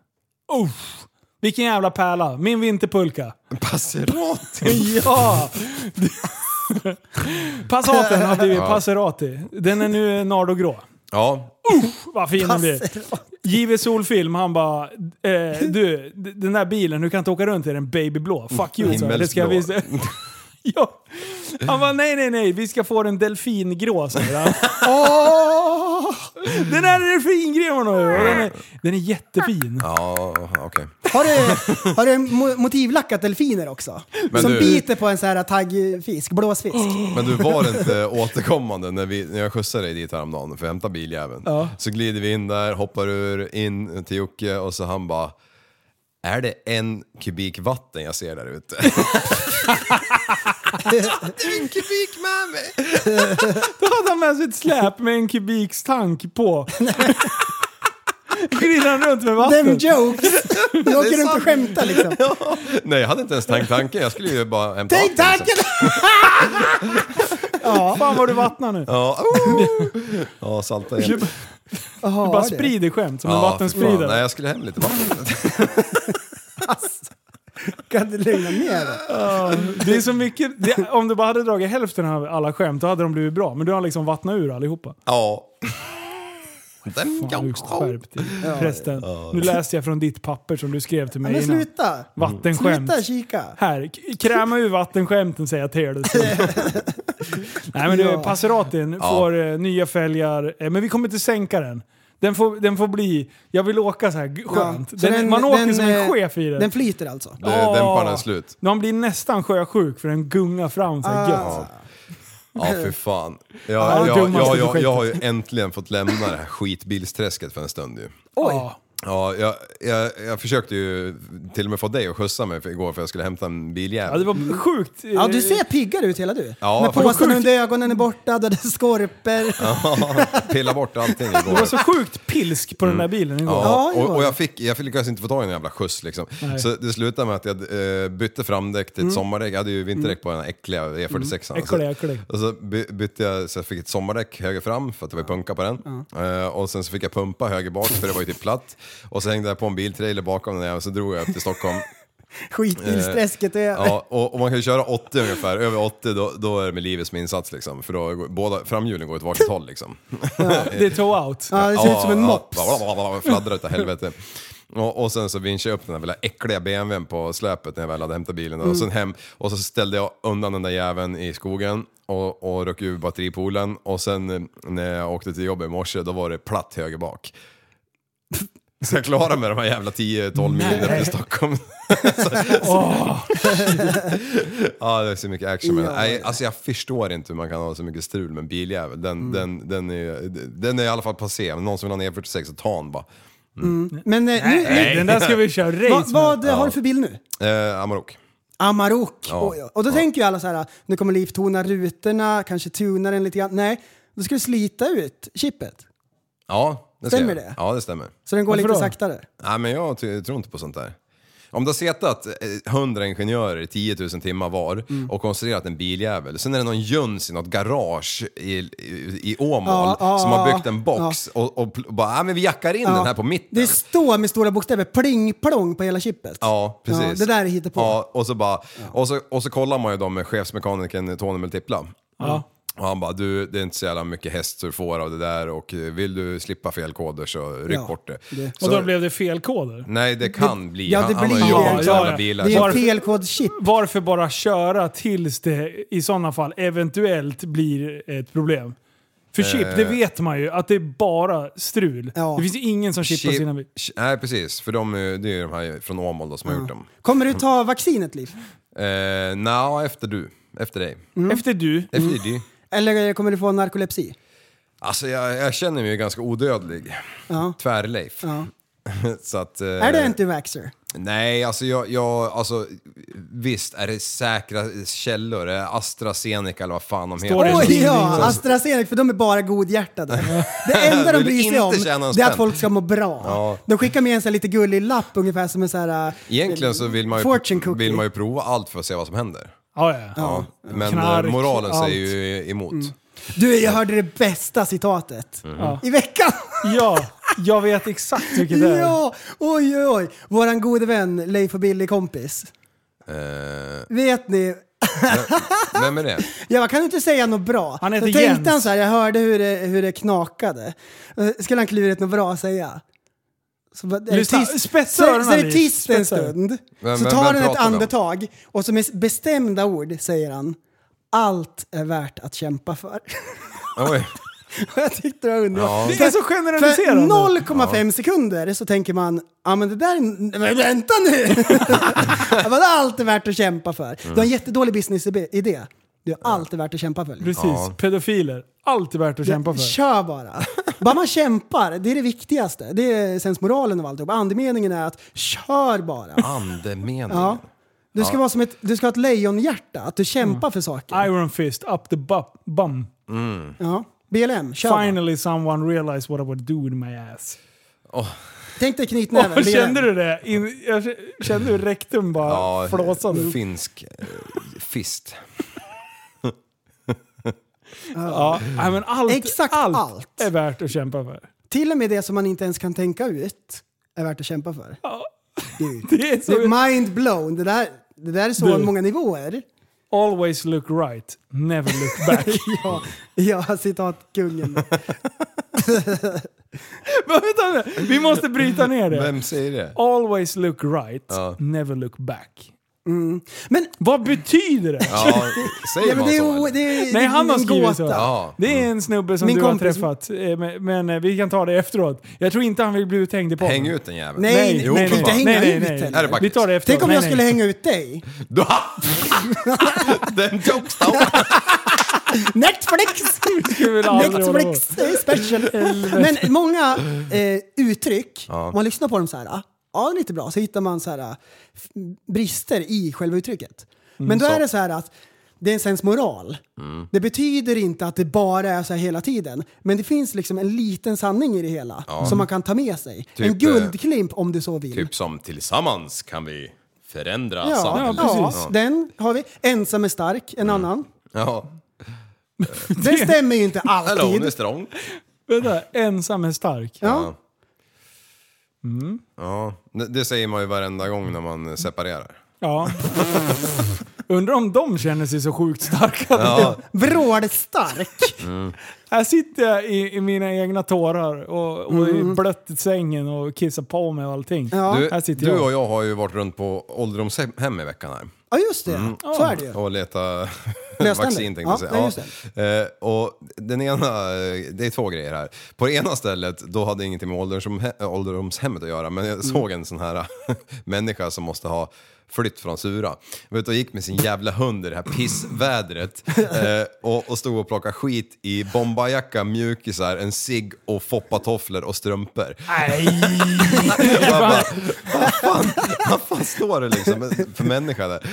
Uff, vilken jävla pärla. Min vinterpulka. Passerati. Ja! Passaten har blivit Passerati. Den är nu Nardo-grå. Ja, Vad fin den blir. JW Solfilm, han bara eh, Du, d- den där bilen, du kan inte åka runt i den babyblå. Fuck you, sa jag. Det ska jag Himmelsblå. visa. ja. Han bara nej, nej, nej, vi ska få den delfingrå, säger han. Åh! den här är delfingrå nu! Och Den är, den är jättefin. ja okej. Har du, har du mo- motivlackat delfiner också? Men som du- biter på en sån här taggfisk, blåsfisk. Mm. Men du, var det inte återkommande när, vi, när jag skjutsade dig dit häromdagen för att hämta biljäveln? Så glider vi in där, hoppar ur, in till Jocke och så han bara är det en kubik vatten jag ser där ute? en kubik med mig! Då hade han med sig ett släp med en kubiks tank på. Glider han runt med vatten. Them jokes! Du åker runt och sant. skämtar liksom. Nej, jag hade inte ens tänkt tanken. Jag skulle ju bara hämta Tänk vatten, liksom. tanken! Fan vad du vattnar nu. Ja, oh. ja salta igen. Jaha, Du bara det. sprider skämt som en Ja, för fan. vattenspridare. Nej, jag skulle hem lite vatten. Kan du lugna ner dig? Det är så mycket, det, om du bara hade dragit hälften av alla skämt, då hade de blivit bra. Men du har liksom vattnat ur allihopa. Ja. Den Fan, högst skärpt dig. Förresten, nu läste jag från ditt papper som du skrev till mig Men innan. sluta! Vattenskämt. Sluta kika! Här, k- kräma ur vattenskämten säger jag till dig. Nej men du, Ja. Passeratin får eh, nya fälgar, eh, men vi kommer inte sänka den. Den får, den får bli, jag vill åka så här g- skönt. Ja, så den, man åker som eh, en chef i den. Den flyter alltså. Det, Dämparen är Ah. slut. Man blir nästan sjösjuk för den gungar fram så Ah. här gött. Alltså. Ja, för fan. Jag, det jag, jag, dummaste jag, jag, projektet. har ju äntligen fått lämna det här skitbilsträsket för en stund ju. Oj! Ja, jag, jag, jag försökte ju till och med få dig att skjutsa mig för igår för jag skulle hämta en Ja, det biljävel. var sjukt. eh, Ja, du ser piggare ut hela du. Ja, Med fan, vad påsen sjukt. under ögonen är borta, du hade skorpor. Pilla bort allting igår. Det var så sjukt pilsk på den där bilen igår. Ja, Ja, och, och jag fick, jag fick lyckades inte få tag i en jävla skjuts liksom. Så det slutade med att jag eh, bytte framdäck till ett sommardäck. Jag hade ju vinterdäck på den här äckliga E46. Mm. Mm. Äcklig, äcklig. Och så by, bytte jag så jag fick ett sommardäck höger fram för att det var ju punka på den. Eh, och sen så fick jag pumpa höger bak för det var ju typ platt. Och så hängde jag på en biltrailer bakom den här och så drog jag upp till Stockholm. Skitbilsträsket är över. Ja, och, och man kan ju köra 80 ungefär, över 80 då, då är det med livet som insats liksom. För då går, båda framhjulen går åt varsitt håll liksom. Det är toe out. Ja, det ser ut som en mops. Ja, fladdrar utav helvete. Och, och sen så vinschade jag upp den här väldigt äckliga BMWn på släpet när jag väl hade hämtat bilen. Mm. Och sen hem och så ställde jag undan den där jäveln i skogen och, och röck ur batteripoolen. Och sen eh, när jag åkte till jobbet i morse då var det platt höger bak. Så jag klarade mig de här jävla 10-12 milen upp till Stockholm. Åh, Ja, det är så mycket action med den. Nej, Alltså jag förstår inte hur man kan ha så mycket strul med en biljävel. Den, Mm. den, den, är, den är i alla fall passé. Om någon som vill ha en E46 så ta en bara. Men eh, nu, nu, den där ska vi köra race vad, med. vad har du för bil nu? Eh, Amarok. Amarok. Ja. Oj, oj. Och då tänker ju alla så här, nu kommer Liv tona rutorna, kanske tuna den lite grann. Nej, då ska du slita ut chippet. Ja, det ska Stämmer jag. det? Ja, det stämmer. Så den går Varför lite då? saktare. Nej, men jag ty- tror inte på sånt där. Om du har setat eh, 100 ingenjörer 10 000 timmar var Mm. och konstruerat en biljävel, sen är det någon jöns i något garage i, i, i Åmål Ja, ja, som har ja, byggt en box och, och pl- bara, ja men vi jackar in den här på mitten. Det står med stora bokstäver pling plong på hela chippet. Ja, precis. Ja, det där är hittepå. Ja, och, så bara, och, så, och så kollar man ju dem med chefsmekanikern Tony Multipla. Mm. Och han bara, du det är inte så jävla mycket häst du får av det där och eh, vill du slippa fel koder så ryck Ja, bort det. det- Så, Och då blev det felkoder. Nej, det kan bli. ja, det han, han har blir ju jobbat det. med Ja, sådana ja. bilar. Det så- är en Varför- felkodschip. Varför bara köra tills det i sådana fall eventuellt blir ett problem? För chip, det vet man ju att det är bara strul. Ja. Det finns ingen som chippar Chip- sina bilar. chi- Nej, precis. För de, är- det är ju de här från Åmål då, som har gjort dem. Kommer du ta vaccinet Liv? Eh, Nja, efter du. Efter dig. Mm. Efter du, Efter dig. Eller kommer du få narkolepsi? Alltså jag, jag känner mig ju ganska odödlig. Ja. Tvärleif. ja. Så att, eh, Är du anti-vaxxer? Nej, alltså jag, jag alltså visst är det säkra källor, är det AstraZeneca eller vad fan de Står det heter. Alltså, en Oj tidning ja, som- AstraZeneca för de är bara godhjärtade. Det enda de Vill bryr sig inte om tjäna en det är spänn. att folk ska må bra. Ja. De skickar med en sån här lite gullig lapp ungefär som en sån här... eh, Egentligen så vill man, Fortune ju, cookie. vill man ju prova allt för att se vad som händer. ja, ja. Ja. Men Knark, eh, moralen säger allt. ju emot. Du, jag hörde det bästa citatet Mm. Ja. i veckan. ja, jag vet exakt vilket det är. ja, oj oj oj. Våran gode vän Leif och Billy kompis. Eh, Vet ni, vem är det? jag kan inte säga något bra. Han heter så tänkte Jens. han så här, jag hörde hur det, hur det knakade. Eh, Skulle han klurat något bra att säga? Så, bara, eh, är det Lyssna, tyst? spetsa så, öronen, så är det Liv. tyst en Spetsa öronen. stund. Vem- så vem- tar vem han ett pratar vi om? andetag och så med bestämda ord säger han allt är värt att kämpa för. Oj. jag tyckte det var underbart. Ja. Det är så För generaliserande. 0,5 sekunder så tänker man, ja men det där, men vänta nu! det var allt är värt att kämpa för. Du har en jättedålig businessidé. Du har allt är värt att kämpa för. Precis, Ja. pedofiler. Allt är värt att kämpa för. Kör bara! Bara man kämpar, det är det viktigaste. Det är sensmoralen av alltihop. Andemeningen är att kör bara. Andemeningen. Ja. Du ska, vara som ett, du ska ha ett lejonhjärta, att du kämpar Mm. för saker. Iron fist, up the bu- bum. Ja. BLM, kör bara. Finally someone realized what I would do with my ass. Tänk dig knytnäven. BLM. kände du det? In, jag kände hur rektum bara Ja, flåsade. finsk eh, fist. Ja, nej, men allt, Exakt allt, allt. är värt att kämpa för. Till och med det som man inte ens kan tänka ut är värt att kämpa för. Dude. Det är Det så, är mind blown. Det där, det där är så Du. många nivåer. always look right, never look back. Ja, ja citatkungen. Men vänta nu, vi måste bryta ner det. Vem säger det? Always look right, never look back. Men, Mm. Vad betyder det? Ja, ja, säger men man det, så? är, eller? det, är, det Nej, är han har en skrivit så. gåta. Ja. Det är en snubbe som Min du har kompis- träffat, eh, men, men eh, vi kan ta det efteråt. Jag tror inte han vill bli uthängd i podden. Häng ut den jäveln. Nej, Nej, Jo, du nej, kan för inte fan. nej, hänga nej, ut nej. heller. Är det bara- Vi tar det efteråt. Tänk om Nej, jag skulle nej. hänga ut dig. Du Den jokesdown. Netflix! skulle väl aldrig hålla på. Netflix eh, special. Men många eh, uttryck, om man lyssnar på dem så här, ah, ja det är lite bra, så hittar man så här, ah, f- brister i själva uttrycket. Men då är det så här att det är en sensmoral. Det betyder inte att det bara är så här hela tiden. Men det finns liksom en liten sanning i det hela som man kan ta med sig. Typ, en guldklimp om du så vill. Typ som tillsammans kan vi förändra Ja, ja, samhället. precis. Den har vi. Ensam är stark, en annan. Ja. Den stämmer ju inte Alone alltid. is strong. Vänta, ensam är stark. Ja. Ja, det det säger man ju varenda gång när man separerar. Ja. Undrar om de känner sig så sjukt starka. Vrålstark. Här sitter jag i, i mina egna tårar och, och i blött i sängen och kissar på mig och allting. Mm. Ja. Du, Här sitter du jag. och jag har ju varit runt på ålderdomshem i veckan här. Ja, just det. Så är det ju. Och leta Lösande. vaccin tänkte Ja, jag säga. nej, just Eh, och den ena, eh, det är två grejer här. På det ena stället, då hade det ingenting med ålderdomshe- ålderdomshemmet att göra, men Mm. jag såg en sån här eh, människa som måste ha flytt från Sura. Vet du, gick med sin jävla hund i det här pissvädret eh, och, och stod och plockade skit i bombajacka, mjukisar, en cigg och foppatofflor och strumpor. Jag bara, vad fan, vad fan står det liksom för människa där?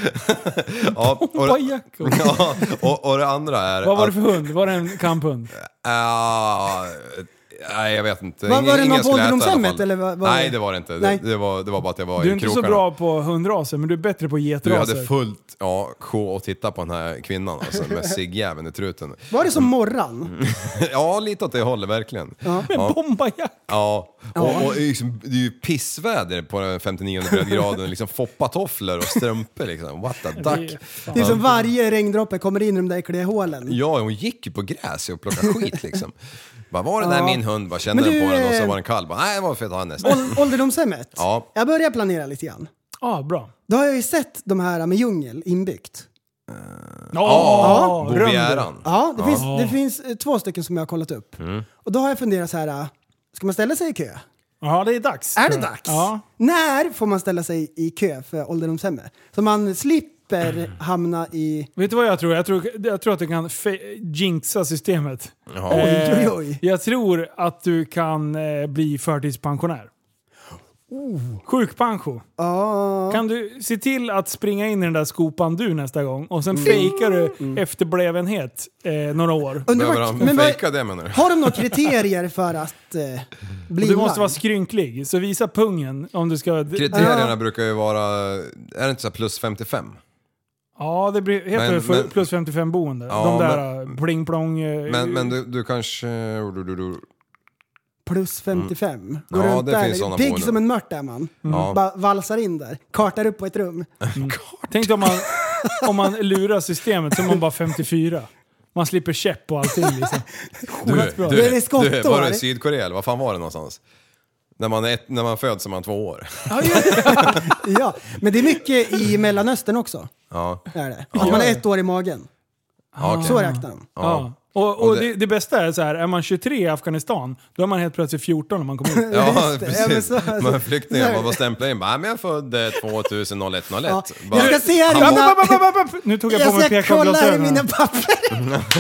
Ja, och, det- Bombajackor. ja, och, och det andra är... Vad var det att- för hund? Var det en kamphund? Ah, Nej, jag vet inte. Var- var det Ingen någon på skulle äta i alla fall. ålderdomshemmet, eller vad- vad var Nej, det? det var det inte. Det, Nej. det, var, det var bara att jag var Du är i inte krokarna. så bra på hundraser, men du är bättre på Du getraser. hade fullt ja, sjå att titta på den här kvinnan alltså, med ciggjäveln i truten. Var det som morran? Ja, lite åt det hållet verkligen. Ja. Men bomba ja. Ja, och, och liksom, det är ju pissväder på den 59 breddgraden. Liksom foppatofflor och strumpor liksom. What the duck. Det är som varje regndroppe kommer in i de där äckliga hålen. Ja, hon gick ju på gräs och plockade skit liksom. Bara, var det där Ja. min hund? Bara, kände Men den på du, den och så eh, var den kall. Bara, nej, det var för att ta nästa. Ål- Ålderdomshemmet? Ja. Jag börjar planera lite grann. Ah, bra. Då har jag ju sett de här med djungel inbyggt. Ja, Ja, rönder. Bovieran. Ja, det, Finns, det finns eh, två stycken som jag har kollat upp. Mm. Och då har jag funderat så här, eh, ska man ställa sig i kö? Ja, det är dags. Är det dags? Ja. När får man ställa sig i kö för ålderdomshemmet? Så man slipper hamna i... Vet du vad jag tror? Jag tror, jag tror att du kan fe- jinxa systemet. Eh, Ja. Oj, oj, oj. Jag tror att du kan eh, bli förtidspensionär. Oh. Sjukpension. Ah. Ja. Kan du se till att springa in i den där skopan du nästa gång och Mm. sen fejkar du efterblevenhet eh, några år. Undrar Behöver han vart- men vad- fejka det menar du? Har de några kriterier för att eh, bli Och du måste vara larm? skrynklig, så visa pungen om du ska... Kriterierna brukar ju vara, är det inte så här plus 55? Ja, det blir, heter Men- det för, men- plus 55 boende. Ja, De där eh, pling-plong... eh, Men, men du, du kanske... Du, du, Mm, du, Plus 55. Går Mm. Ja, runt det där. finns sådana Pigg boenden. som en mört är man. Ja. Bara valsar in där. Kartar upp på ett rum. Tänk dig om man, om man lurar systemet så är man bara 54. Man slipper käpp och allting liksom. du, bra. Det är skottår. var det i Sydkorea eller vad fan var det någonstans? När man, är ett, när man föds är man två år. Ja, men det är mycket i Mellanöstern också. Ja, Det är det. Att man är ett år i magen. ja okej. Så räknar de. Ja. Ja. Och, och, Och det, det- det, bästa är så här, är man 23 i Afghanistan, då är man helt plötsligt 14 när man kommer ut. Ja, Ja, men precis. så- alltså- Man flyktingar man bara stämplar in. Bara, men jag eh, födde 2001 01. Ja. Bara, Jag ska se här i App, mina... app, app, app, app, app. Nu tog jag, på mig Jag ska kolla här i mina pekavglasögonen. papper.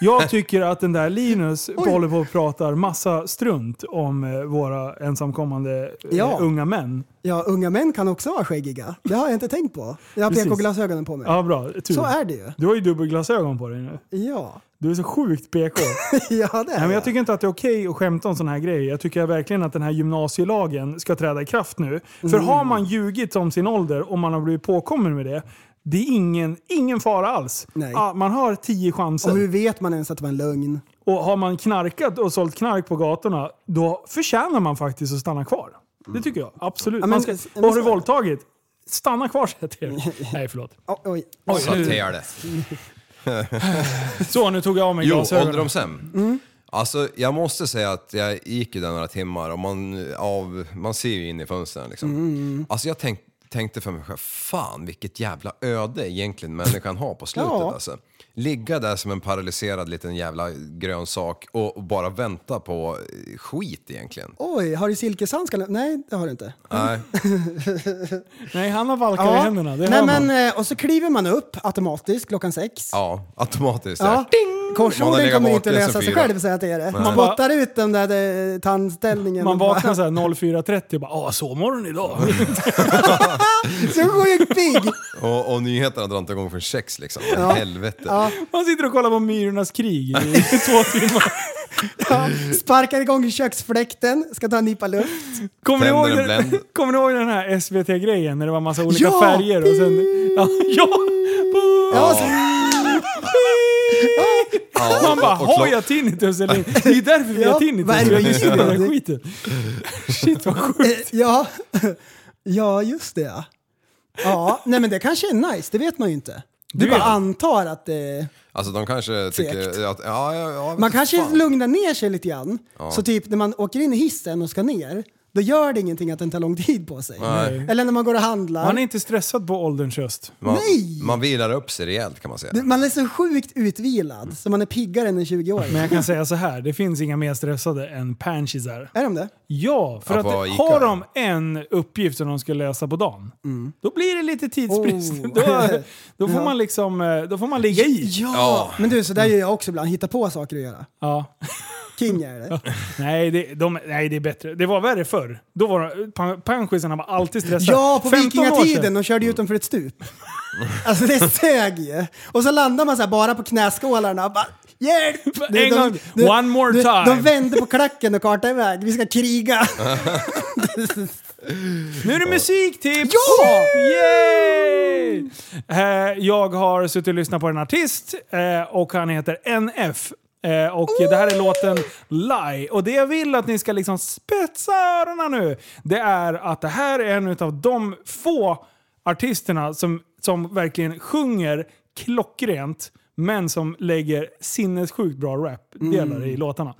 Jag tycker att den där Linus håller på och pratar massa strunt om eh, våra ensamkommande eh, Ja. unga män. Ja, unga män kan också vara skäggiga. Det har jag inte tänkt på. Jag har Precis. PK-glasögonen på mig. Ja, bra. Tur. Så är det ju. Du har ju dubbelglasögon på dig nu. Ja, Du är så sjukt PK. ja det är Nej, men jag tycker inte att det är okej att skämta om sådana här grejer. Jag tycker verkligen att den här gymnasielagen ska träda i kraft nu. För har Mm. man ljugit om sin ålder och man har blivit påkommen med det, det är ingen, ingen fara alls. Nej. Ah, Man har tio Och chanser. hur vet man ens att det var en lögn? Och har man knarkat och sålt knark på gatorna, då förtjänar man faktiskt att stanna kvar. Det tycker jag. Absolut. Mm. Ja, men- man ska, men- och har du våldtagit, stanna kvar säger jag till er. Nej, förlåt. Oj, oj. Så att det är det. Så, nu tog jag av mig Jo, glasögonen. ålderdomshem. Mm. Alltså jag måste säga att jag gick ju där några timmar och man, av, man ser ju in i fönstren liksom. Mm, Alltså jag tänk, tänkte för mig själv, fan vilket jävla öde egentligen människan har på slutet Ja. alltså. Ligga där som en paralyserad liten jävla grönsak och och bara vänta på eh, skit egentligen. Oj, har du silkeshandskar? Nej, det har du inte. Nej. Nej, han har valkar i händerna. Det Nej, hör man. men, eh, och så kliver man upp automatiskt klockan sex. Ja, automatiskt. Ja. Ja. Man har Korsorden legat kommer inte vaken lösa sen sig fyra. själv, säger jag till er. Man bara- spottar ut den där eh, tandställningen. Man och bara- vaknar såhär 04.30 och bara “Åh, sovmorgon idag”. Så sjukt pigg! Och, och nyheterna drar inte igång för sex liksom. Helvete. Man sitter och kollar på Myrornas krig i två timmar. Ja. Sparkar igång köksfläkten, ska ta en nypa luft. Kommer ni, ihåg Tänder en den, bländ. kommer ni ihåg den här SVT-grejen när det var massa olika Ja! färger? Och sen, ja, ja, Ja, så, Ja, Man bara, och har klock- jag tinnitus eller inte? Det är därför vi Ja, har tinnitus. vad är det Vi har vi ljugit om gör? den här skiten. Shit vad sjukt. eh, ja. ja, just det ja. Ja, nej men det kanske är nice, det vet man ju inte. Du Det bara vet jag. antar att det... Alltså de kanske Fegt. tycker att, ja, ja, ja, Man vet kanske fan. lugnar ner sig lite grann. Så typ när man åker in i hissen och ska ner, då gör det ingenting att den tar lång tid på sig. Nej. Eller när man går och handlar. Man är inte stressad på ålderns höst. Man, Nej! man vilar upp sig rejält kan man säga. Det- Man är så sjukt utvilad så man är piggare än en 20-åring. Men jag kan säga så här, det finns inga mer stressade än panschisar. Är de det? Ja, för Ja, att på Ica. har de en uppgift som de ska lösa på dagen, då blir det lite tidsbrist. Mm. Oh. Då, då, får Ja. man liksom, eh, då får man ligga i. Ja! Ja. Men du, så där gör jag också ibland. Hitta på saker att göra. Ja. King är det. Nej, det, de, nej, det är bättre. Det var värre förr. Då var pan- panschisarna var alltid stressade. Ja, på 15 år sedan. vikingatiden. De körde ut dem för ett stup. Alltså det sög ju. Och så landar man så här bara på knäskålarna och bara Hjälp! Du, En gång. One more time. De vände på klacken och kartade iväg. Vi ska kriga. Nu är det musiktips! Ja! Yay! Eh, jag har suttit och lyssnat på en artist eh, och han heter NF. Eh, och det här är låten Lie. Och det jag vill att ni ska liksom spetsa öronen nu, det är att det här är en av de få artisterna som, som verkligen sjunger klockrent men som lägger sinnessjukt bra rap-delar i låtarna.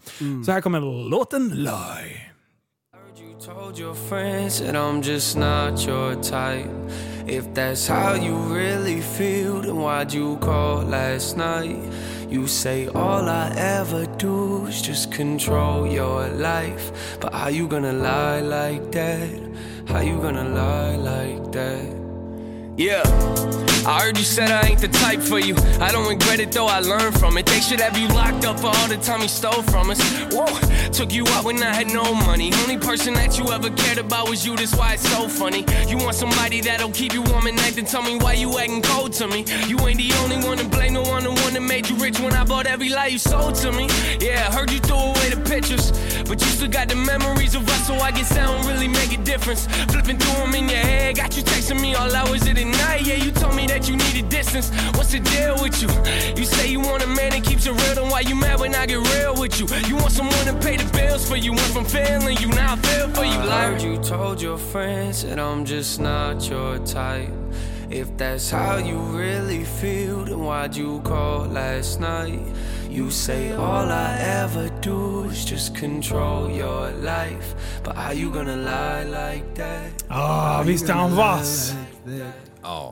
Så här kommer låten Lie. Heard you told your friends that I'm just not your type. If that's how you really feel, then why'd you call last night? You say all I ever do is just control your life. But how you gonna lie like that? How you gonna lie like that? Yeah. I heard you said I ain't the type for you. I don't regret it though, I learned from it. They should have you locked up for all the time you stole from us. Whoa, took you out when I had no money. Only person that you ever cared about was you, that's why it's so funny. You want somebody that'll keep you warm at night, then tell me why you acting cold to me. You ain't the only one to blame, no one the one that made you rich when I bought every lie you sold to me. Yeah, I heard you throw away the pictures, but you still got the memories of us, so I guess I don't really make a difference. Flipping through them in your head, got you texting me all hours of the night. Yeah, you told me that you needed distance. What's the deal with you? You say you want a man that keeps it real, then why you mad when I get real with you? You want someone to pay the bills for you. Went from feeling you, now I feel for you. Like you told your friends that I'm just not your type. If that's how you really feel, then why'd you call last night? You say all I ever do is just control your life. But how you gonna lie like that? Ah, visst är han vass!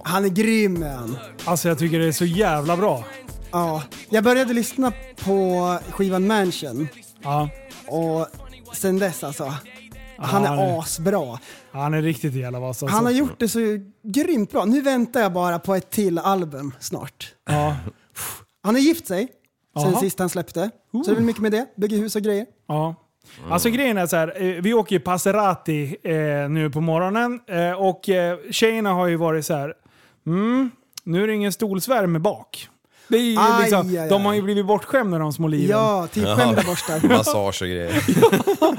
Han är grym är han. Alltså jag tycker det är så jävla bra. Ja. Jag började lyssna på skivan Mansion Ja, och sen dess alltså. Han Ja, det- är asbra. han är riktigt jävla vass alltså. Han har gjort det så grymt bra. Nu väntar jag bara på ett till album snart. Ja, Han har gift sig sen Jaha. sist han släppte. Så det är väl mycket med det. Bygger hus och grejer. ja. Alltså grejen är så här, eh, vi åker ju Passerati eh, nu på morgonen eh, och eh, tjejerna har ju varit så här, mm, nu är det ingen stolsvärme bak. Det är ju Aj, liksom, aj, aj. De har ju blivit bortskämda de små liven. Ja, typ skämdaborstar. Massage och grejer.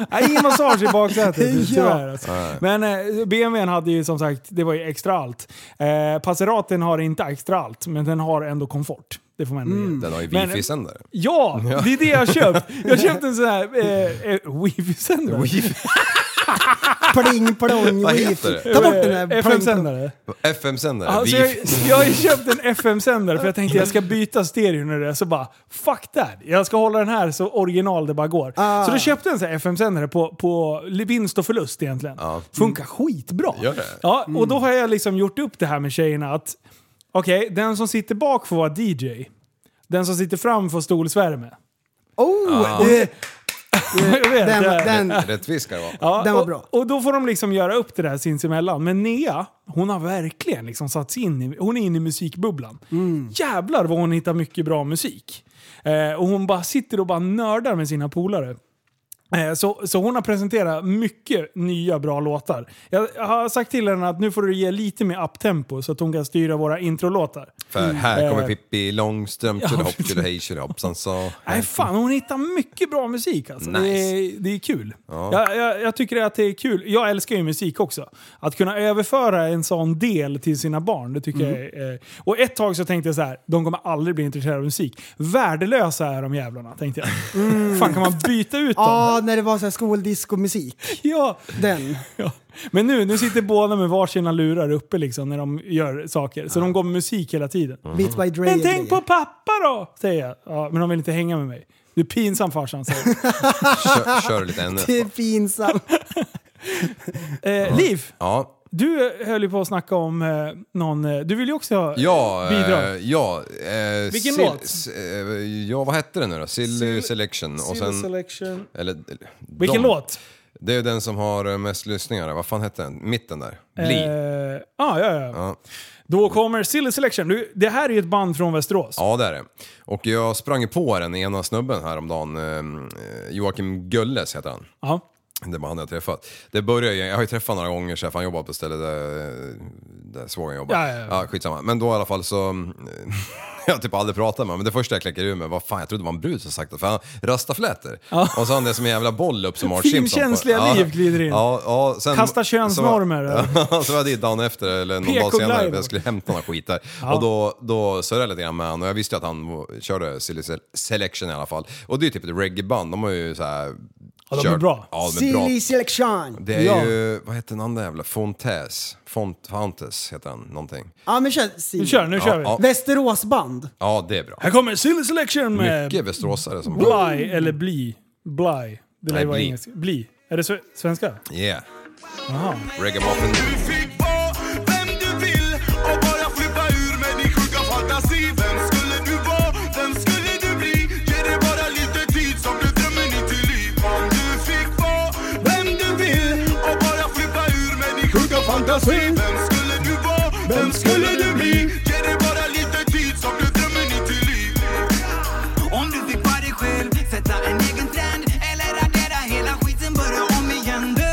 Nej, ingen massage i baksätet Ja. tyvärr. Alltså. Men eh, BMWn hade ju som sagt, det var ju extra allt. Eh, Passeraten har inte extra allt, men den har ändå komfort. Det får man ändå ge. Mm. Den har ju Men- wifi-sändare. Ja, det är det jag har köpt. Jag köpte en sån här eh, eh, wifi-sändare. Pling plong Vad wifi. heter det? Ta bort den där pling, plong. FM-sändare. FM-sändare. Eh, Alltså jag, wifi. jag har ju köpt en FM-sändare för jag tänkte jag ska byta stereo nu. Så bara, fuck that. Jag ska hålla den här så original det bara går. Så då köpte jag en sån här FM-sändare på, på vinst och förlust egentligen. Funkar skitbra. Gör det? Ja, och då har jag liksom gjort upp det här med tjejerna att okej, den som sitter bak får vara DJ. Den som sitter fram får stolsvärme. Oh, eh, Jag vet, den, det är- den, Rättvis ska det vara. Ja, Den var och, bra. Och då får de liksom göra upp det där sinsemellan. Men Nea, hon har verkligen liksom satt sig in i, hon är inne i musikbubblan. Mm. Jävlar vad hon hittar mycket bra musik. Eh, och hon bara sitter och bara nördar med sina polare. Eh, Så, så hon har presenterat mycket nya bra låtar. Jag jag har sagt till henne att nu får du ge lite mer uptempo så att hon kan styra våra introlåtar. För här Eh. kommer Pippi Långstrump, Ja, tjolahopp, precis. tjolahej, tjolahoppsan sa... Nej fan, hon hittar mycket bra musik alltså. Nice. Det, är, det är kul. Jag, jag, jag tycker att det är kul. Jag älskar ju musik också. Att kunna överföra en sån del till sina barn, det tycker jag är... Eh, och ett tag så tänkte jag så här, de kommer aldrig bli intresserade av musik. Värdelösa är de jävlarna, tänkte jag. Fan kan man byta ut dem? ja, när det var så här skoldisco-musik. Ja. Den. Ja. Men nu, nu sitter båda med varsina lurar uppe liksom när de gör saker. Så de går med musik hela tiden. Beats by Dre. Men och tänk på grejer. pappa då! Säger jag. Ja, men de vill inte hänga med mig. Du är pinsam farsan, säger jag. Kör, kör lite ännu. Det är pinsamt. Eh, Liv, Ja, du höll ju på att snacka om eh, någon... Eh, du vill ju också ha... ja, eh, Bidrag. ja. Eh, Vilken Sil- låt? s- eh, ja, vad hette den nu då? Silly Selection. Och sen, Selection. eller, Vilken de, låt? Det är den som har eh, mest lyssningar. Vad fan hette den? Mitten där. Bli. Eh, ah, ja, ja, ja. Ja. Då kommer Silly Selection. Du, det här är ju ett band från Västerås. Ja, det är det. Och jag sprang ju på den ena snubben häromdagen. Eh, Joakim Gölles heter han. Ja. Det var han jag träffat. Det börjar ju- jag har ju träffat några gånger så här, för han jobbar på ett ställe där, där svågen jobbar. Ja, ja, ja. skitsamma. Men då i alla fall så... mm, Jag har typ aldrig pratat med honom, men det första jag kläcker ur med var fan jag trodde det var en brud som sagt det, för han rastafläter. Och så har han det som en jävla boll upp som Art Simpson. på- Finkänsliga liv glider in. Ja, ja, sen, Kasta könsnormer, Så var, ja, så var jag dit dagen efter, eller någon dag PK senare, Live. för jag skulle hämta några skit där. Och då, då surrade jag lite grann med honom och jag visste ju att han var- körde Silly Se- Selection i alla fall. Och det är typ ett reggaeband, de har ju så här... Ja, de är bra. Ja, de är bra. Silly selection! Det är Ja. ju, vad heter den andra jävla, Fontes, Font, Fontes heter han, någonting. Ja men kör Silly. Nu kör, nu kör vi. ja. Västeråsband. Ja, det är bra. Här kommer Silly Selection med Mycket västeråsare som bara, Bly eller Bly. Bly. Det lär Nej, ju vara Bly. engelska. Bly. Är det sve- svenska? yeah, Jaha. reggae-muffin. Vem skulle du bli? Ge det bara lite tid så blir drömmen ditt till liv Om du fick vara dig själv, sätta en egen trend Eller radera hela skiten, börja om igen Du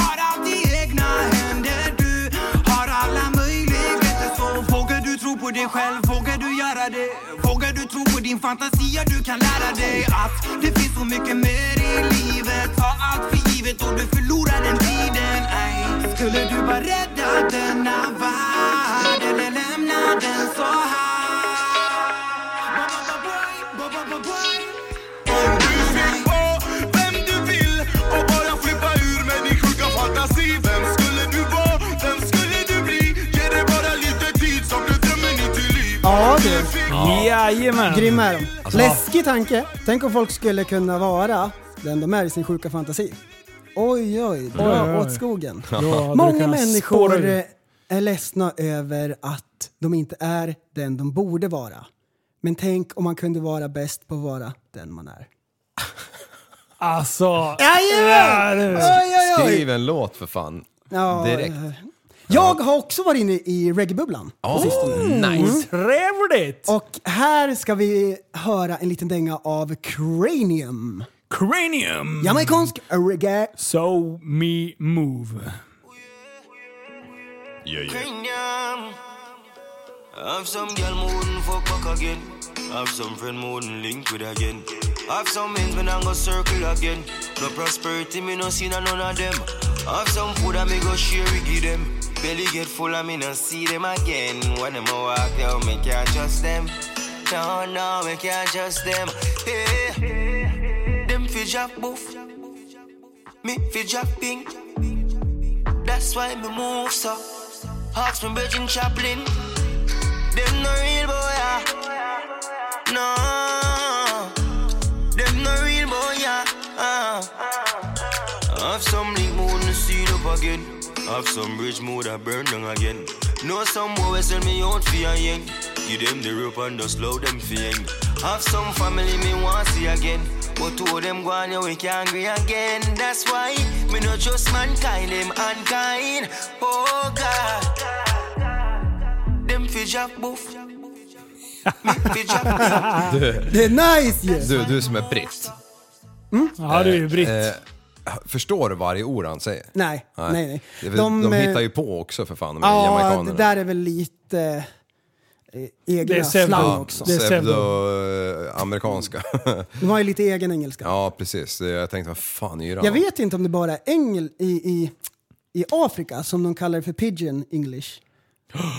har allt i egna händer Du har alla möjligheter Så vågar du tro på dig själv, vågar du göra det? Vågar du tro på din fantasi? Ja, du kan lära dig att det finns så mycket mer i livet Ta allt för givet och du förlorar den tiden ey. Skulle du vara rädda denna värld eller lämna den så här? Om du fick vara vem du vill och bara flippa ur med din sjuka fantasi Vem skulle du vara? Vem skulle du bli? Ge det bara lite tid så blir drömmen ditt till liv Ja du. Jajamän! Grymma är de. Alltså, Läskig tanke. Tänk om folk skulle kunna vara den de är i sin sjuka fantasi. Oj, oj, dra Oj, oj. åt skogen. Då hade du Många kunnat människor spåra eh, ut. är ledsna över att de inte är den de borde vara. Men tänk om man kunde vara bäst på att vara den man är. Alltså... Ja, Jajamän! det- Oj, oj, oj. Skriv en låt för fan. Ja, direkt. eh, Jag har också varit inne i reggaebubblan. Oh, Mm. nice. Trevligt! Och här ska vi höra en liten dänga av Cranium. Cranium! Jamaicansk reggae. So me move. Yeah, yeah. Premium. Have some girl me wouldn't fuck back again. Have some friend me wouldn't link with again. Have some men when I go circle again. No prosperity me no see na none of them. Have some food I me go share with give them. Belly get full I me no see them again. When them a walk down me can't trust them. No no me can't trust them. Hey, them fi drop boof. Me fi drop pink. That's why me move so. Hawks from Virgin Chaplin. Them no real boy, ah. no. Them no real boy, ah. ah. Have some league mood and see it up again. Have some bridge mood I burn down again. Know some boy sell me out for a yen. Give them the rope and just load them for yen. Have some family me want see again. But two of them gone, yeah, we can't agree again. That's why me not trust mankind, them unkind. Oh God. Them fi jack boof. Me fi jack boof. Det är nice ju! Du, du som är britt. Ja, du är ju britt. Eh, förstår du varje ord han säger? Nej, nej, nej. Det är väl- De, eh, hittar ju på också för fan, de här Ja, jamaikanerna. det där är väl lite eh, Det är egna Sevdo. slang Ja, också. det är pseudo. Pseudo-amerikanska. De har ju lite egen engelska. ja, precis. Det- Jag tänkte, vad fan är det? Jag vet inte om det bara är engel i, i, i Afrika som de kallar det för pidgin english.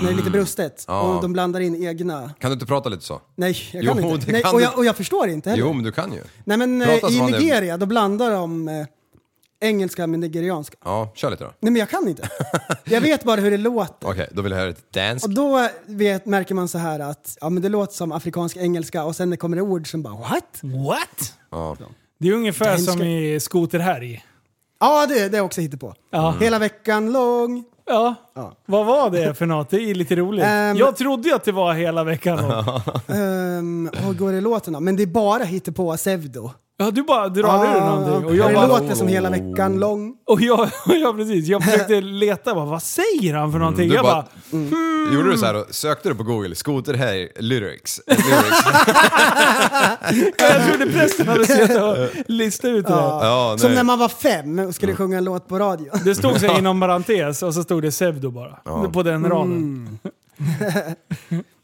När det är lite brustet och de blandar in egna. Kan du inte prata lite så? Nej, jag Jo, kan det inte. kan Nej, du. och, jag, och jag förstår inte heller. Jo, men du kan ju. Nej men eh, Prata som i han är- Nigeria, då blandar de eh, engelska med nigerianska. Ja, kör lite då. Nej men jag kan inte. Jag vet bara hur det låter. Okej, då vill jag höra ett dance. Och då vet, märker man så här att ja, men det låter som afrikansk engelska och sen det kommer det ord som bara what? What? Ja. Det är ungefär Danska. som i skoterhärj. Mm. Ja, det, det är också hittepå. Ja. Hela veckan lång. Ja, Vad var det för något? Det är lite roligt. Ehm. jag trodde ju att det var hela veckan. då. Ehm, vad går det låten då? Men det är bara hittepå, pseudo. Ja, du bara drar ur någonting. Och jag, Ah, det bara, låter som hela veckan lång. och jag, och jag, precis, jag försökte leta, bara, vad säger han för någonting? Du jag bara, bara- Gjorde du så här då? Sökte du på Google, skoter här, lyrics? lyrics. jag trodde prästen hade suttit och listat ut det där. Ja, Som nej. när man var fem och skulle sjunga en låt på radio. Det stod så här inom parentes och så stod det pseudo bara. På den raden.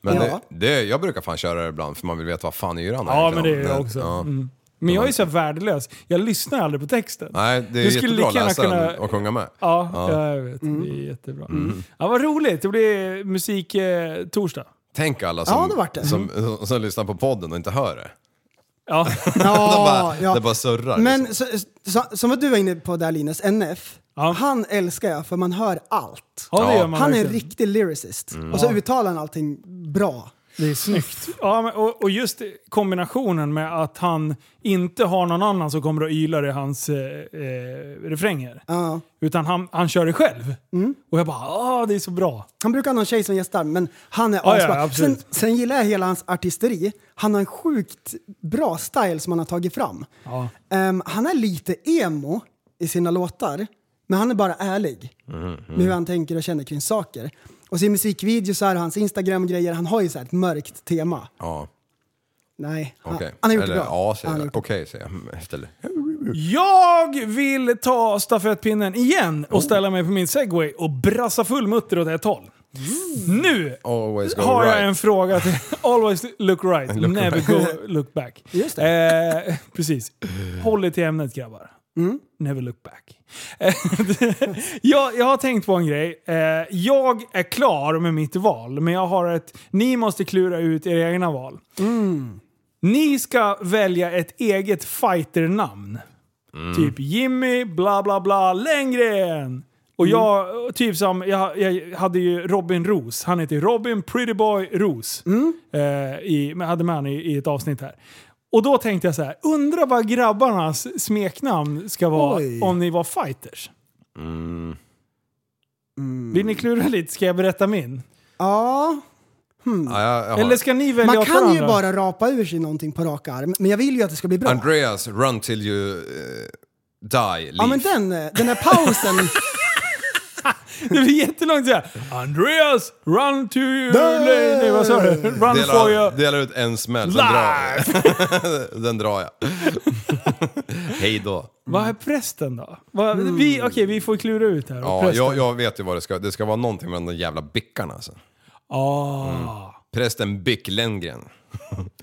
Men Ja. det, det, jag brukar fan köra det ibland för man vill veta vad fan är han är Ja, för men det någon. är jag också. ja. Mm. Men jag är ju så här värdelös. Jag lyssnar aldrig på texten. Nej, det Du är skulle jättebra att lika gärna läsa den kunna- och sjunga med. Ja, Mm. jag vet. Mm. Det är jättebra. Ja, vad roligt. Det blir musik eh, torsdag. Tänk alla Ja, som, det vart det. Mm. Som, som, lyssnar på podden och inte hör det. Ja. Det Ja, bara, ja. det bara surrar. liksom. Men så, så, som vad du var inne på där Linus, NF. Ja. Han älskar jag för man hör allt. ja, det Ja. gör man Han är en verkligen. riktig lyricist. Och så uttalar han allting bra. Det är snyggt. Ja, men, och, och just kombinationen med att han inte har någon annan som kommer och ylar i hans eh, eh, refränger. Ja. Mm. Utan han, han kör det själv. Och jag bara, ah, det är så bra. Han brukar ha någon tjej som gästar, men han är Ja, ja, asbra. sen, absolut. sen gillar jag hela hans artisteri. Han har en sjukt bra style som han har tagit fram. Ja. Ehm, han är lite emo i sina låtar, men han är bara ärlig Mm-hmm. med hur han tänker och känner kring saker. Och sin musikvideo så här, hans Instagram-grejer, han har ju så här ett mörkt tema. Ja, Nej, han, okej. han har gjort Eller, det bra. Ja, Han säger har jag. gjort det. Okej, säger jag. Mm, Istället. Jag vill ta stafettpinnen igen och ställa mig på min segway och brassa full mutter åt ett håll. Nu Always go har jag right. en fråga till... Always look right, Look never right. go look back. Just Eh, precis. Håll er till ämnet grabbar. Mm. Never look back. Eh, jag, jag har tänkt på en grej. Eh, jag är klar med mitt val, men jag har ett... Ni måste klura ut era egna val. Ni ska välja ett eget fighternamn. Mm. Typ Jimmy, bla bla bla, Lenngren. Och Mm. jag, typ som, jag, jag hade ju Robin Roos. Han heter ju Robin Prettyboy Roos. Mm. Eh, i, men jag hade med honom i, i ett avsnitt här. Och då tänkte jag så här, undra vad grabbarnas smeknamn ska vara Oj. Mm. om ni var fighters. Vill ni klura lite? Ska jag berätta min? Ja, Ja, jag, jag har- Eller ska ni välja man åt kan ju varandra? bara rapa ur sig någonting på rak arm, men jag vill ju att det ska bli bra. Andreas, run till you eh, die, ja, men leave. den, den här pausen. Det blir jättelångt såhär. Andreas, run to your lane. Nej, Vad sa du? Run for Delar, your... delar ut en smäll, sen drar jag. den drar jag. Hej då. Vad är prästen då? Vad, Mm. vi, okej, vi får klura ut här. Ja, prästen. jag, jag vet ju vad det ska Det ska vara någonting med de där jävla bickarna alltså. Ah, Mm. Prästen Bick Lenngren.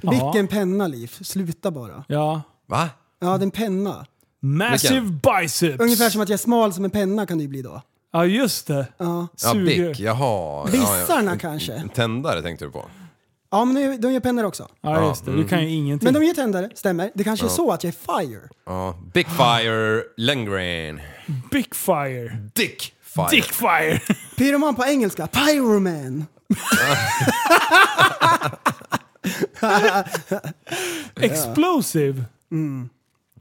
Vilken penna, Liv. Sluta bara. ja. Va? Ja, det är en penna. Massive biceps. Ungefär som att jag är smal som en penna kan det ju bli då. Ja, just det. Ja. Ja, Suger. Bick, jaha. Vissarna ja, ja. kanske? Tändare tänkte du på? Ja, men de- de gör pennor också. Ja, just det. Du kan ju Mm. ingenting. Men de gör tändare, stämmer. Det kanske är så att jag är fire. Ja. Big Fire Lenngren. Big fire. Dick Fire. Dick fire. Pyroman på engelska, Mm. pyroman. Explosive.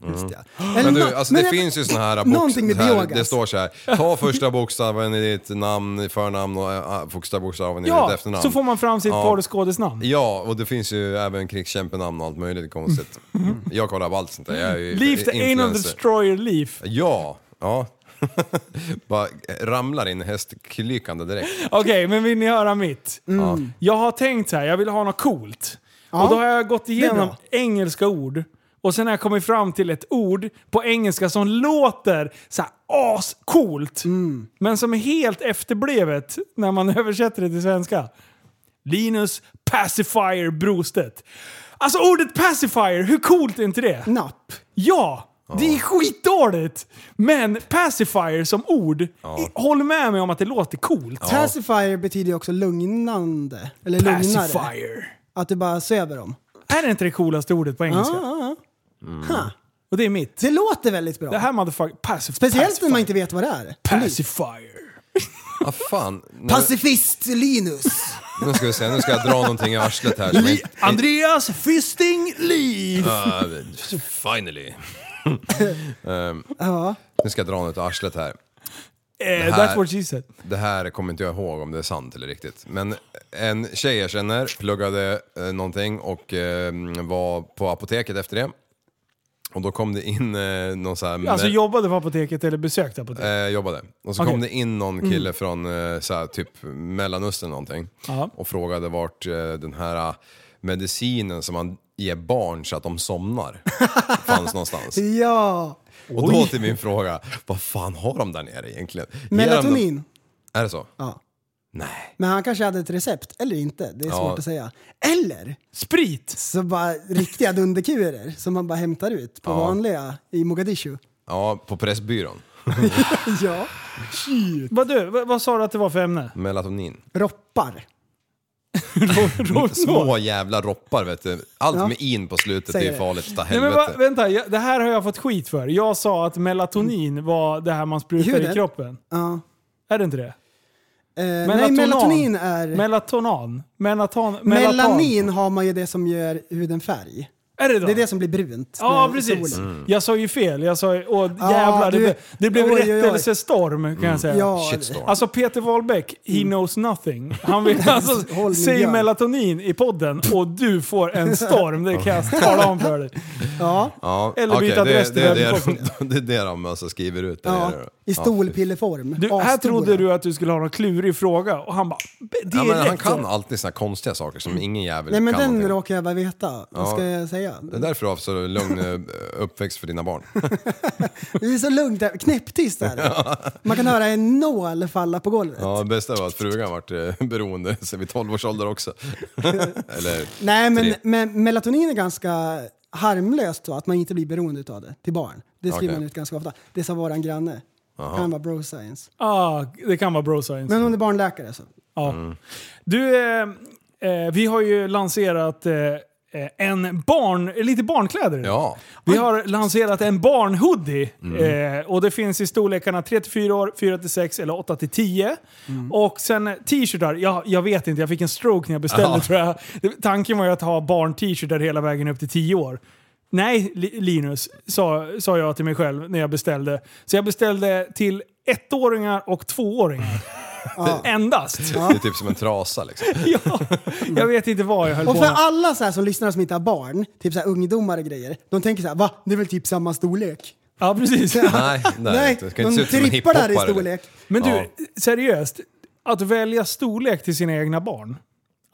Just det. Men du, alltså det finns ju såna här Någonting med så här, biogas. Det står så här. ta första bokstaven i ditt namn, i förnamn och äh, första bokstaven i ditt Ja, efternamn. så får man fram sitt Ja. porrskådisnamn. Ja, och det finns ju även krigskämpenamn och allt möjligt konstigt. Jag kollar på allt sånt där. Jag är ju Leaf the anal influencer. destroyer leaf. Ja, ja. Bara eh, ramlar in hästklikande direkt. Okej, men vill ni höra mitt? Jag har tänkt så här, jag vill ha något coolt. Och då har jag gått igenom bra. engelska ord. Och sen har jag kommit fram till ett ord på engelska som låter så här ascoolt. Men som är helt efterblevet när man översätter det till svenska. Linus Pacifier Brostedt. Alltså ordet pacifier, hur coolt är inte det? Napp. Ja! Det är skitdåligt! Men pacifier som ord, håll med mig om att det låter coolt. Pacifier betyder ju också lugnande. Eller lugnare. Pacifier. Att du bara söver dem. Är det inte det coolaste ordet på engelska? Mm. Ja, Ha. Och det är mitt. Det låter väldigt bra. Det här motherfucker... Pacif- Speciellt när pacifier. man inte vet vad det är. Pacifier. Vad Ah, fan. Nu, Pacifist Linus. nu ska vi se, nu ska jag dra någonting i arslet här. Som inte, Andreas Fisting Eh, Lee! Ah, finally. Ehm, Nu ska jag dra något i arslet här. Eh, här- that's what she said. Det här kommer inte jag ihåg om det är sant eller riktigt. Men en tjej jag känner pluggade eh, någonting och eh, var på apoteket efter det. Och då kom det in eh, någon så här... Alltså jobbade på apoteket eller besökte apoteket? Eh, jobbade. Och så Okej. Mm. kom det in någon kille från eh, så här, typ Mellanöstern någonting Ja. och frågade vart eh, den här eh, medicinen som man ger barn så att de somnar fanns någonstans. Ja! Och då till min fråga, vad fan har de där nere egentligen? Ger de dem- Melatonin. Är det så? Ja. Nej. Men han kanske hade ett recept, eller inte. Det är Ja. svårt att säga. Eller Sprit! så bara riktiga dunderkurer som man bara hämtar ut på Ja. vanliga i Mogadishu. Ja, på Pressbyrån. Ja. Vad, du, vad, vad sa du att det var för ämne? Melatonin. Roppar. Små jävla roppar vet du. Allt Ja. med in på slutet Säger det är det. farligt utav Nej, men helvete. va, vänta, jag, det här har jag fått skit för. Jag sa att melatonin var det här man Hur sprutar Mm. det? i kroppen. Ja. Är det inte det? Eh, nej, Melatonan. melatonin är... Melatonan? Melaton, melatan. melanin har man ju det som gör huden färg. Är det då? Det är det som blir brunt. Ja, när precis. Mm. solen- Mm. Jag sa ju fel. Jag sa ju, åh jävlar, det, du- blev- det blev oj, oj, oj. rättelsestorm kan jag säga. Ja, Mm. Mm. Shitstorm. Alltså Peter Wahlbeck, he knows nothing. Han vill Håll alltså, min säg björn. melatonin i podden och du får en storm, det kan jag tala om för dig. ja, ja, eller okej, byta adress det, till det, det, är- webbshoppen. det, det är de alltså skriver ut. där ja, nere. i Ja, stolpilleform. Du, här Asstora. trodde du att du skulle ha någon klurig fråga och han bara direkt. Ja, men han kan alltid såna konstiga saker som ingen jävel Nej men kan. den någonting. råkar jag bara veta. Vad Ja. ska jag säga? Det är därför du har så lugn eh, uppväxt för dina barn. Det är så lugnt där. Knäpptyst är det. Man kan höra en nål falla på golvet. Ja, det bästa var att frugan varit eh, beroende sen vid 12 års ålder också. Eller Nej men, tre. men melatonin är ganska harmlöst så att man inte blir beroende av det till barn. Det skriver Okej. man ut ganska ofta. Det sa våran granne. Han var bro science. Ah, det kan vara bro science. Men hon är barnläkare alltså. så. Ja. Mm. Du, eh, eh, vi har ju lanserat eh, eh, en barn, lite barnkläder. nu. Ja. Vi har lanserat en barnhoodie Mm. eh, och det finns i storlekarna 3-4 år, 4-6 eller 8-10. Mm. Och sen eh, t-shirtar, jag, jag vet inte, jag fick en stroke när jag beställde tror jag. Det- Tanken var ju att ha barn-t-shirtar hela vägen upp till 10 år. Nej Li- Linus, sa, sa jag till mig själv när jag beställde. Så jag beställde till ettåringar och tvååringar. Endast. Det är typ som en trasa liksom. Ja, jag vet inte vad jag höll Och på för med. alla så här som lyssnar som inte har barn, typ så här ungdomar och grejer, de tänker så här va? Det är väl typ samma storlek? Ja, precis. Nej, nej, Nej, det ska inte se de ut som en liksom. trippar där i hiphopare. storlek. Men du, Ja. seriöst. Att välja storlek till sina egna barn.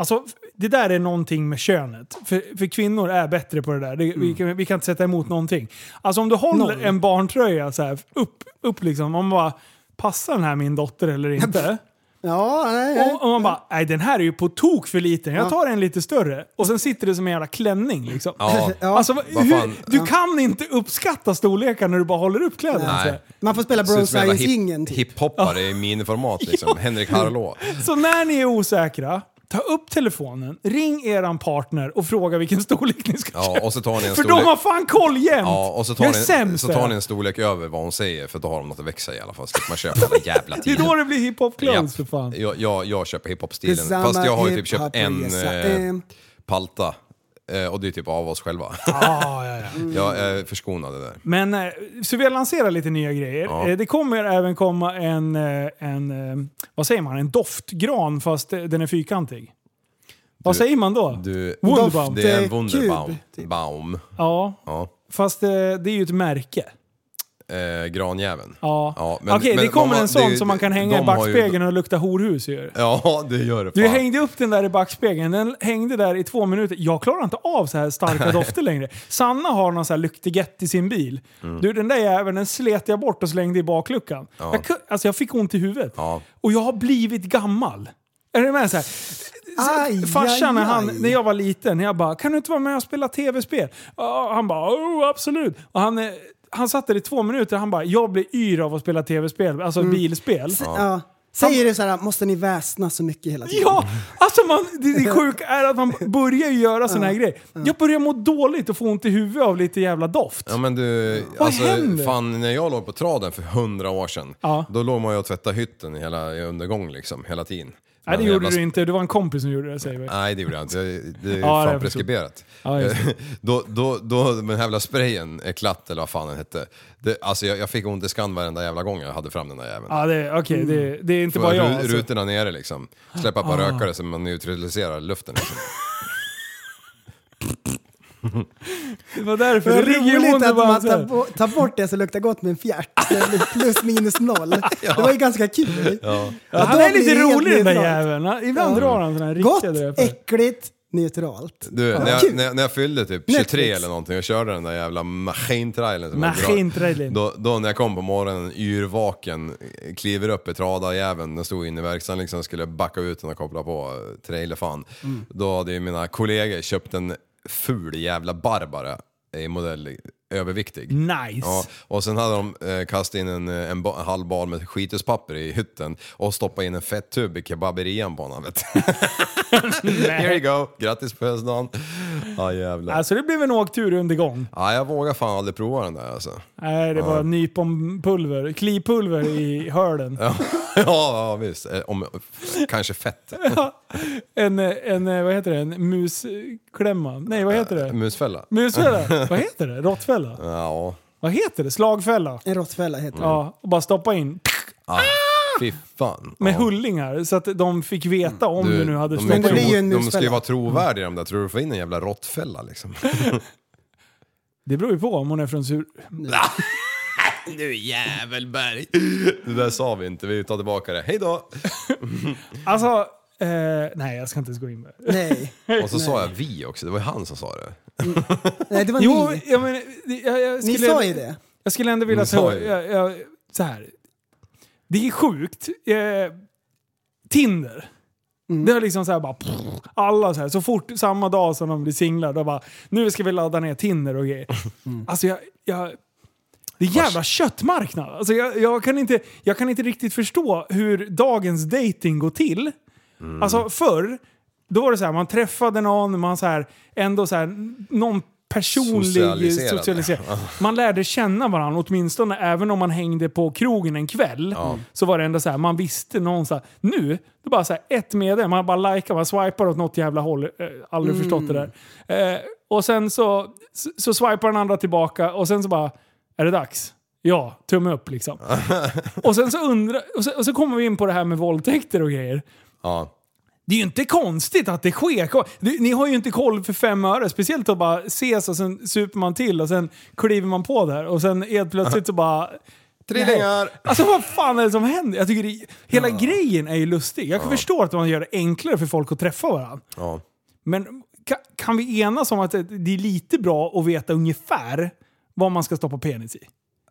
Alltså, det där är någonting med könet. För, för kvinnor är bättre på det där. Det, Mm. vi, kan, vi kan inte sätta emot någonting. Alltså om du håller Noll. en barntröja så här, upp, upp liksom. Om man bara, passar den här min dotter eller inte? Ja, nej, nej. Och, och man bara, nej den här är ju på tok för liten. Jag tar en lite större. Och sen sitter det som en jävla klänning liksom. Ja. Ja. Alltså, vad- Vad fan? hur, du kan inte uppskatta storlekar när du bara håller upp kläderna. alltså. så här. Nej. Man får spela Ser bro ut som en jävla science hip- ingen typ. Hiphoppare i miniformat liksom. Henrik Harlå. Så när ni är osäkra, ta upp telefonen, ring eran partner och fråga vilken storlek ni ska Ja, köpa. och så tar ni en För storlek... de har fan koll jämt! Ja, och så jag är tar, ni, sämst så tar där. ni en storlek över vad hon säger för då har de något att växa i i alla fall. Så slipper man köpa den jävla Det är tiden. då det blir hiphop-glans för Japp. fan. Jag, jag, jag köper hiphop-stilen. Detsamma, Fast jag har ju typ hiphop, köpt en resa, eh, ehm. palta. Eh, och det är typ av oss själva. Ah, ja, ja. jag är förskonad det där. Men, eh, så vi har lanserat lite nya grejer. Ja. Eh, Det kommer även komma en, eh, en, eh, vad säger man, en doftgran fast eh, den är fyrkantig. Vad Du- säger man då? Du, Wunderbaum. det är en Doft, eh, Wunderbaum. kub, typ. Baum. Ja, Ja. fast eh, det är ju ett märke. Eh, granjäven. Ja. men- Okej, men det de- kommer en det är sån ju- som man kan hänga i de har ju- backspegeln och lukta horhus ju. Ja, det gör det Du fan. hängde upp den där i backspegeln, den hängde där i två minuter. Jag klarar inte av så här starka dofter längre. Sanna har någon så här luktigett i sin bil. Mm. Du, den där jäveln den slet jag bort och slängde i bakluckan. Jag, ku- alltså jag fick ont i huvudet. Ja. Och jag har blivit gammal. Är du med? Så här, Aj, Farsan när, aj, han, aj. när jag var liten, jag bara “Kan du inte vara med och spela tv-spel?” Ja, Han bara “Oh, absolut”. Och han, eh, Mm. han satt där i två minuter han bara “Jag blir yr av att spela tv-spel, alltså bilspel”. Ja. Säger det så här, måste ni väsna så mycket hela tiden? Ja, alltså man, det, det sjuka är att man börjar ju göra såna här grejer. Jag börjar må dåligt och få ont i huvudet av lite jävla doft. Ja men du, Vad alltså, händer? fan när jag låg på traden för hundra år sedan, Ja. då låg man ju och tvättade hytten i hela i undergång liksom, hela tiden. Nej det Men gjorde jag du bara- inte, det var en kompis som gjorde det säger vi. Nej det gjorde jag inte, Jag- det är ju Ja, jag förstod. fan preskriberat. Ja, just då, då, då, den här jävla sprayen, Eklatt eller vad fan den hette, det, alltså jag, jag fick ont i skan varenda jävla gång jag hade fram den där jäveln. Ja, det, okej, det, det är inte bara jag Ru- alltså. Ah. Rutorna nere liksom, släppa på rökare så man neutraliserar luften. Liksom. Det var därför. Vad Det ligger ju roligt under att man tar, bara bo- tar bort det så luktar gott med en fjärt. Det blir plus minus noll. Det var ju ganska kul. Ja. ja, Han är lite rolig den där jäveln. jäveln. Han- Ibland Ja. drar han såna här Gott, riktiga dräper. äckligt, neutralt. Du, när, jag, kul. när, jag, när jag fyllde typ 23 Netflix. eller någonting och körde den där jävla maskintrailern som Machine jag trailern. Då, då när jag kom på morgonen, yrvaken, kliver upp i tradarjäveln, den stod inne i verkstaden liksom, skulle backa ut den och koppla på eh, trailerfan. Då hade ju mina kollegor köpt en ful jävla Barbara i modell eh, överviktig. Nice. Ja, och sen hade de eh, kastat in en, eh, en, ba- en halv bal med skituspapper i hytten och stoppat in en fettub i kebaberian på honom. vet du. Here you go, grattis på födelsedagen. Ja jävlar. Alltså det blev en åktur under gång. ja, jag vågar fan aldrig prova den där alltså. Nej, det var nyponpulver. Klipulver i hörden. Ja, ja visst. Eh, Om, kanske fett. En, eh, en, eh, vad heter det? En musklämma? Nej, vad heter det? Musfälla. Musfälla? Vad heter det? Råttfälla? Ja, Vad heter det? Slagfälla? En råttfälla heter det. Ja, och bara stoppa in fy fan. med ja. hullingar så att de fick veta om du, nu hade de, stoppat Men det blir in. ju en de ska ju musfälla. vara trovärdiga de där. Tror du du får in en jävla råttfälla liksom? Det beror ju på om hon är från sur... Nu jävelberg! Det där sa vi inte, vi tar tillbaka det. Hej då! Alltså, eh, nej jag ska inte ens gå in på det. Nej. Och så sa jag vi också, det var ju han som sa det. Nej, det var Jo, ni. jag, menar, jag, jag, Ni skulle, sa ju det. jag skulle ändå vilja Ni sa ta... ju det. Jag, jag, så här. Det är sjukt. Eh, Tinder. Det har liksom så här bara... pff, Alla så här, så fort samma dag som de blir singlar, då bara nu ska vi ladda ner Tinder och grejer. Alltså jag... jag det är jävla köttmarknad. Alltså jag, jag, kan inte, jag kan inte riktigt förstå hur dagens dating går till. Alltså förr, då var det så här, man träffade någon, man så här, ändå så här, någon personlig Socialiserade. socialisering. Man lärde känna varandra åtminstone, även om man hängde på krogen en kväll. Så var det ändå så här, man visste någon så här, Nu, det är bara så här, ett meddelande, man bara likar, man swipar åt något jävla håll. Eh, aldrig förstått det där. Eh, och sen så, så, så swipar den andra tillbaka och sen så bara, är det dags? Ja, tumme upp liksom. och, sen så undrar, och, så, och så kommer vi in på det här med våldtäkter och grejer. Ja. Det är ju inte konstigt att det sker. Du, Ni har ju inte koll för fem öre. Speciellt att bara ses och sen super man till och sen kliver man på där och sen helt plötsligt så bara... Trillingar! Alltså vad fan är det som händer? Jag tycker det, hela grejen är ju lustig. Jag kan förstå att man gör det enklare för folk att träffa varandra. Ja. Men kan, kan vi enas om att det, det är lite bra att veta ungefär vad man ska stoppa penis i?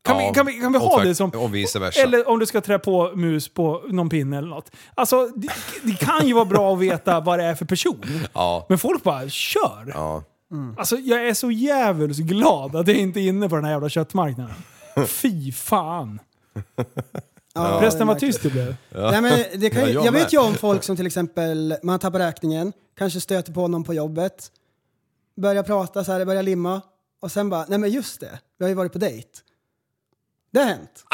Kan, Ja. vi, kan, vi, kan vi Och ha tvärt- det som... och vice versa. Eller om du ska trä på mus på någon pinne eller något. Alltså, det, det kan ju vara bra att veta vad det är för person. Ja. Men folk bara kör! Ja. Alltså, jag är så djävulskt glad att jag inte är inne på den här jävla köttmarknaden. Fy fan! Ja, det är Förresten vad märkligt. tyst det blev. Nej, men det kan ju, Ja, jag jag vet med. ju om folk som till exempel, man tappar räkningen, kanske stöter på någon på jobbet, börjar prata så här, börjar limma och sen bara, nej men just det, vi har ju varit på dejt. Det har hänt.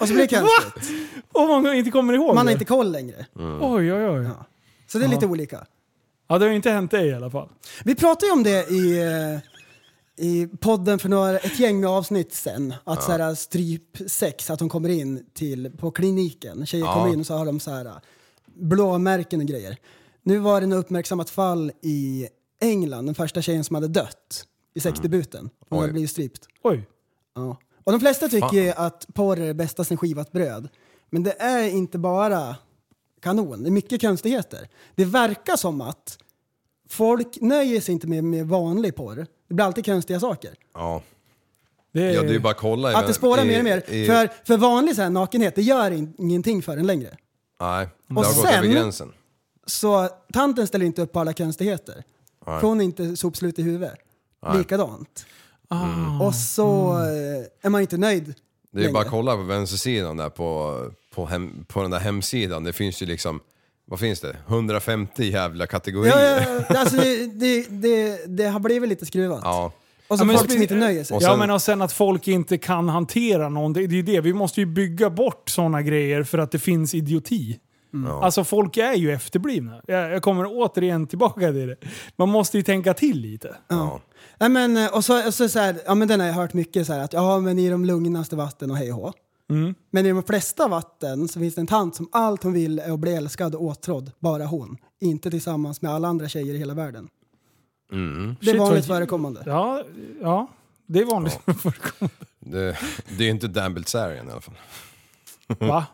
och så blir det konstigt. Och man inte kommer ihåg Man det. har inte koll längre. Oj, oj, oj. Ja. Så det är lite olika. det har ju inte hänt dig i alla fall. Vi pratade ju om det i, eh, i podden för några, ett gäng avsnitt sen. Att så här, strypsex, att de kommer in till, på kliniken. Tjejer kommer in och så har de så här blåmärken och grejer. Nu var det något uppmärksammat fall i England, den första tjejen som hade dött i sexdebuten. Hon hade Oj. blivit strypt. Oj. Ja. Och de flesta tycker ju att porr är det bästa sen skivat bröd. Men det är inte bara kanon, det är mycket konstigheter. Det verkar som att folk nöjer sig inte med, med vanlig porr. Det blir alltid konstiga saker. Ja. Det är, ja, det är ju bara att kolla. i- Att det spårar i- mer och mer. i- För, för vanlig så här nakenhet, det gör in- ingenting för en längre. Nej, det Och har gått sen- över gränsen. Så tanten ställer inte upp på alla konstigheter. För hon är inte sopslut i huvudet. Likadant. Och så eh, är man inte nöjd Det är ju bara längre. att kolla på vänstersidan där på, på, hem, på den där hemsidan, det finns ju liksom, vad finns det? 150 jävla kategorier. Ja, ja, ja. Alltså, det, det, det, det har blivit lite skruvat. Ja. Och så men folk som spe- inte nöjer sig. Och Ja sen- men och sen att folk inte kan hantera någonting. Det är ju det, vi måste ju bygga bort sådana grejer för att det finns idioti. Mm. Alltså folk är ju efterblivna. Jag, jag kommer återigen tillbaka till det. Man måste ju tänka till lite. Ja. Nej, men, eh, och så, och så, så här, ja, men den har jag hört mycket så här att ja, men i de lugnaste vatten och hej och hå. Mm. Men i de flesta vatten så finns det en tant som allt hon vill är att bli älskad och åtrådd, bara hon. Inte tillsammans med alla andra tjejer i hela världen. Mm. Det är Shit, vad- vanligt förekommande. Ja, ja det är vanligt. Det, det är ju inte Dan Bilzerian i alla fall. Va?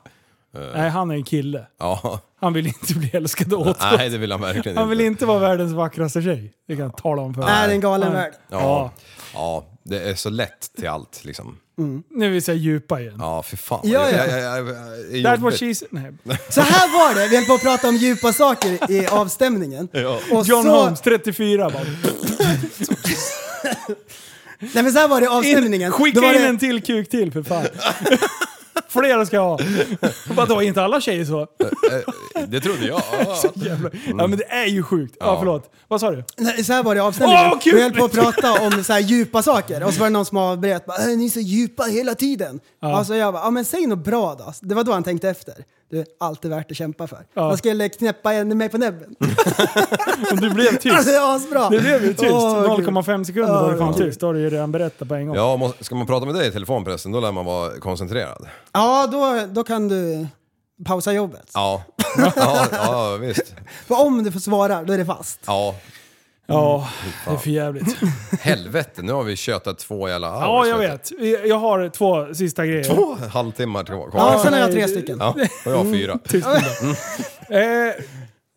Nej, han är en kille. Ja, Han vill inte bli älskad och åtrådd. nej det vill han verkligen Han vill inte vara världens vackraste tjej. Det kan jag tala om för Är dig. en galen Nej. värld. Ja. ja, det är så lätt till allt liksom. Nu är vi så här djupa igen. Ja, för fan. Ja, ja. Jag, jag, jag, jag, jag, That was jobbigt. she said. Nej. Så här var det, vi höll på att prata om djupa saker i avstämningen. Och John så, Holmes, 34 bara. Nej men så här var det i avstämningen. In, Då var skicka in det- en till kuk till för fan. Flera ska jag ha. Vadå, är inte alla tjejer så? det trodde jag. Jävlar. Ja men det är ju sjukt. Ja, Ja. förlåt. Vad sa du? Nej, så här var det i avstämningen. Åh, kul! vi höll på att prata om så här djupa saker och så var det någon som avbröt. bara, "Äh, Ni är så djupa hela tiden. Alltså jag bara, ja men säg något bra då. Det var då han tänkte efter. Du, allt är alltid värt att kämpa för. Ja. Jag skulle knäppa en- mig på näbben. Om du blev tyst. Alltså det är asbra. Det blev ju tyst. Åh, gud. 0,5 sekunder var det fan Ja, tyst. Då har du ju redan berättat på en gång. Ja, må- ska man prata med dig i telefon förresten, då lär man vara koncentrerad. Ja, då, då kan du pausa jobbet. Ja, ja, ja visst. För om du får svara, då är det fast. Ja, Ja, det är för jävligt. helvete. Nu har vi tjötat två jävla Ja, hours, jag du. vet. Jag har två sista grejer. Två halvtimmar kvar. Ja, Ja, sen har jag tre stycken. ja, och jag har fyra. Eh,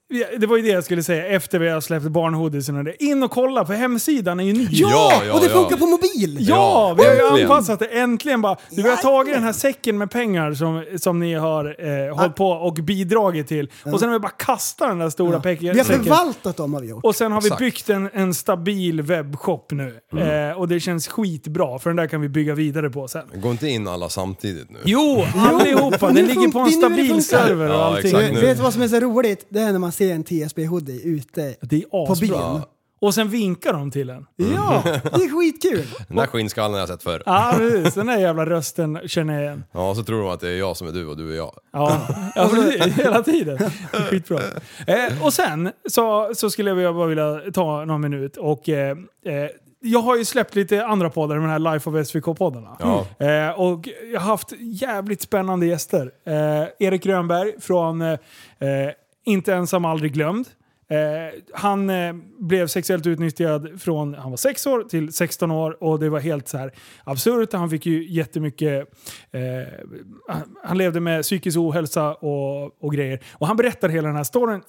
ja, det var ju det jag skulle säga efter vi har släppt barnhoodisen och det. In och kolla på hemsidan är ju ny. Ja, ja, och det ja. funkar på mobil! Ja, Ja, vi har ju äntligen. anpassat det äntligen bara. Du, vi har tagit den här säcken med pengar som, som ni har eh, hållit på och bidragit till. Och sen har vi bara kastat den där stora Vi pek- har säcken. förvaltat dem har vi gjort. Och sen har vi Exakt. byggt en, en stabil webbshop nu. Eh, och det känns skitbra, för den där kan vi bygga vidare på sen. Gå inte in alla samtidigt nu. Jo, allihopa! Den Nu ligger på en funkar- det är nu stabil det funkar. server och Ja, allting. Mm. exakt. Du, nu. vet du vad som är så roligt? Det är när man ser en TSB-hoodie ute Det är på asbra. byn. Och sen vinkar de till en. Ja, det är skitkul! Den där skinnskallen har jag sett förr. Ja, precis. Den där jävla rösten känner jag igen. Ja, så tror de att det är jag som är du och du är jag. Ja, ja precis. Hela tiden. Det är Skitbra. Eh, och sen så, så skulle jag bara vilja ta någon minut och eh, eh, jag har ju släppt lite andra poddar, de här Life of SVK-poddarna. Ja. Eh, och jag har haft jävligt spännande gäster. Eh, Erik Grönberg från eh, eh, Inte ensam, aldrig glömd. Eh, han eh, blev sexuellt utnyttjad från han var 6 år till 16 år och det var helt så här absurt. Han fick ju jättemycket... Eh, han- han levde med psykisk ohälsa och, och grejer. Och han berättar hela den här storyn.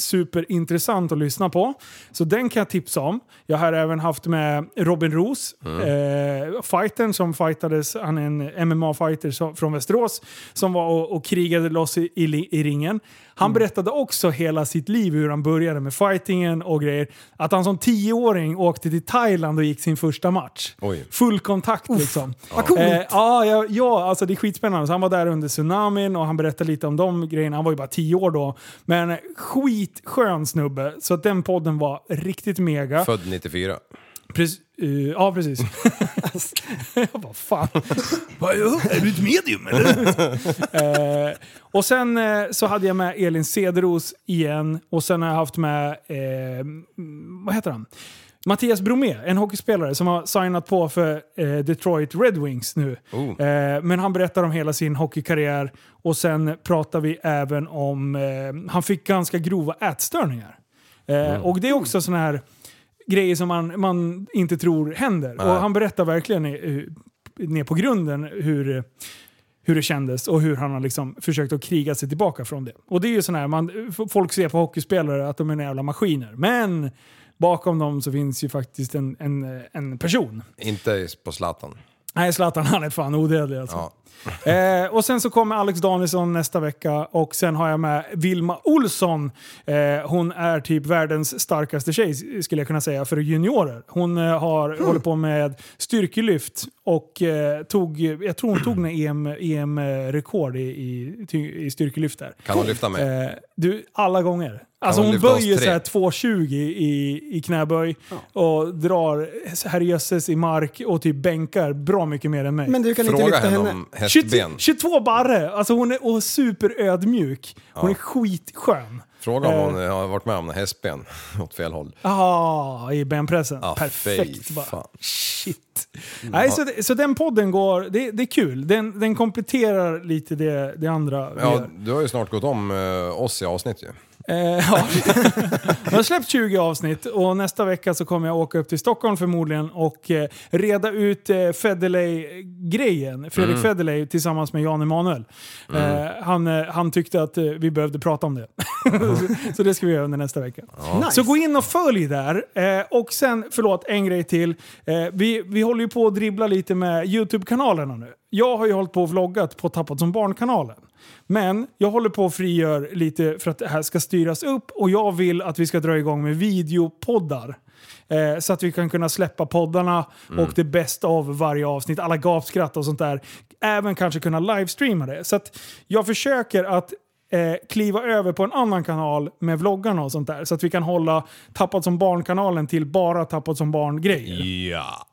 Jättesuperintressant att lyssna på. Så den kan jag tipsa om. Jag har även haft med Robin Roos, eh, fightern som fightades, han är en MMA-fighter som- från Västerås, som var och, och krigade loss i, i, li- i ringen. Han berättade också hela sitt liv, hur han började med fightingen och grejer. Att han som tioåring åkte till Thailand och gick sin första match. Oj. Full kontakt liksom. Vad coolt! Eh, ja, ja, ja, alltså det är skitspännande. Så han var där under tsunamin och han berättade lite om de grejerna. Han var ju bara tio år då. Men eh, skitskön snubbe. Så att den podden var riktigt mega. Född 94. Prec- eh, ja, precis. jag bara, fan. Är du ett medium eller? Eh, och sen eh, så hade jag med Elin Cederos igen. Och sen har jag haft med, eh, mm, vad heter han? Mattias Bromé, en hockeyspelare som har signat på för eh, Detroit Red Wings nu. Oh. Eh, men han berättar om hela sin hockeykarriär. Och sen pratar vi även om, eh, han fick ganska grova ätstörningar. Eh, Mm. Och det är också sån här grejer som man, man inte tror händer. Och han berättar verkligen eh, ner på grunden hur, hur det kändes och hur han har liksom försökt att kriga sig tillbaka från det. Och det är ju sån här, man, folk ser på hockeyspelare att de är en jävla maskiner. Men bakom dem så finns ju faktiskt en, en, en person. Inte på Zlatan. Nej, Zlatan han är fan odödlig alltså. Ja. Eh, och sen så kommer Alex Danielsson nästa vecka och sen har jag med Vilma Olsson. Eh, hon är typ världens starkaste tjej skulle jag kunna säga för juniorer. Hon eh, har, håller på med styrkelyft och eh, tog, jag tror hon tog E några EM-rekord eh, i, i, ty- i styrkelyft där. Kan hon lyfta mig? Eh, du, alla gånger. Alltså hon hon lyfta oss böjer tre? så här 2,20 i, i knäböj och drar herrejösses i mark och typ bänkar bra mycket mer än mig. Men du kan inte Fråga lyfta henne henne. om 22, hästben. 22 barre! Alltså hon är och superödmjuk. Hon är skitskön. Fråga om Eh. hon eh, har varit med om hästben åt fel håll. Ah, i benpressen. Ah, Perfekt fy bara. fan. Mm, Shit. Nej, så, det- så den podden går, det, det är kul. Den, den kompletterar lite det, det andra vi Ja, gör. du har ju snart gått om eh, oss i avsnitt ju. Eh, ja. Jag har släppt 20 avsnitt och nästa vecka så kommer jag åka upp till Stockholm förmodligen och eh, reda ut eh, Federley-grejen. Fredrik Federley tillsammans med Jan Emanuel. Eh, han, eh, han tyckte att eh, vi behövde prata om det. så, så det ska vi göra under nästa vecka. Nice. Så gå in och följ där. Eh, och sen, förlåt, en grej till. Eh, vi, vi håller ju på att dribbla lite med YouTube-kanalerna nu. Jag har ju hållit på och vloggat på Tappat som barn-kanalen. Men jag håller på och frigör lite för att det här ska styras upp och jag vill att vi ska dra igång med videopoddar. Eh, så att vi kan kunna släppa poddarna och det bästa av varje avsnitt, alla gapskratt och sånt där. Även kanske kunna livestreama det. Så att jag försöker att eh, kliva över på en annan kanal med vloggarna och sånt där. Så att vi kan hålla Tappat som barn-kanalen till bara Tappat som barn-grejer. Ja.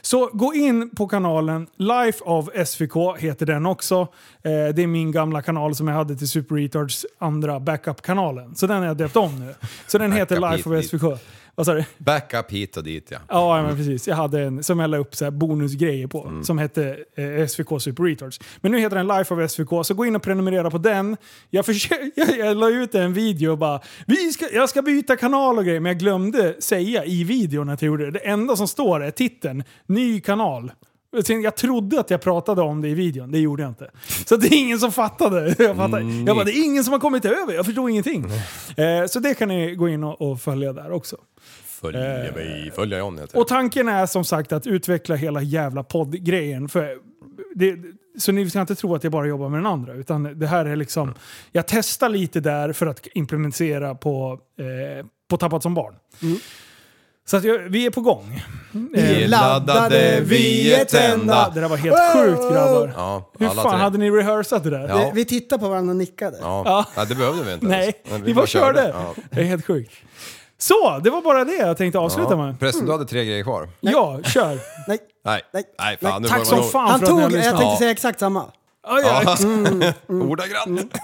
Så gå in på kanalen Life of SVK heter den också. Eh, det är min gamla kanal som jag hade till Super Retards andra backup-kanalen. Så den har jag döpt om nu. Så den heter Backup Life hit dit. of SVK. Vad sa du? Backup hit och dit ja. Ja, ja, men precis. Jag hade en som jag la upp så här bonusgrejer på som hette eh, SVK Super Retards. Men nu heter den Life of SVK, så gå in och prenumerera på den. Jag, försö- jag, jag la ut en video och bara Vi ska, “Jag ska byta kanal” och grejer, men jag glömde säga i videon att jag gjorde det. Det enda som står är titeln “Ny kanal”. Sen Jag trodde att jag pratade om det i videon, det gjorde jag inte. Så det är ingen som fattade. Jag, fattade. jag bara, det är ingen som har kommit över, jag förstod ingenting. Eh, så det kan ni gå in och, och följa där också. Följa mig, följa John heter Eh, Och det. tanken är som sagt att utveckla hela jävla poddgrejen. För det, så ni ska inte tro att jag bara jobbar med den andra. Utan det här är liksom, jag testar lite där för att implementera på, eh, på Tappat som barn. Så att jag, vi är på gång. Eh, Vi laddade, vi är tända. Det där var helt sjukt grabbar. Ja, Hur alla fan tre. hade ni rehearsat det där? Ja. Vi tittar på varandra och nickade. Ja. Ja. ja, det behövde vi inte Nej, ens. Men vi bara körde. Ja. Det är helt sjukt. Så, det var bara det jag tänkte avsluta Ja. med. Prästen, du hade tre grejer kvar. Ja, kör. Nej. Nej, Nej. nej fan. nu Tack får det som vara nog. fan Han för att tog, ni jag har lyssnat. tänkte Ja. säga exakt samma. Aj, aj, Ja. Mm. Ordagrant.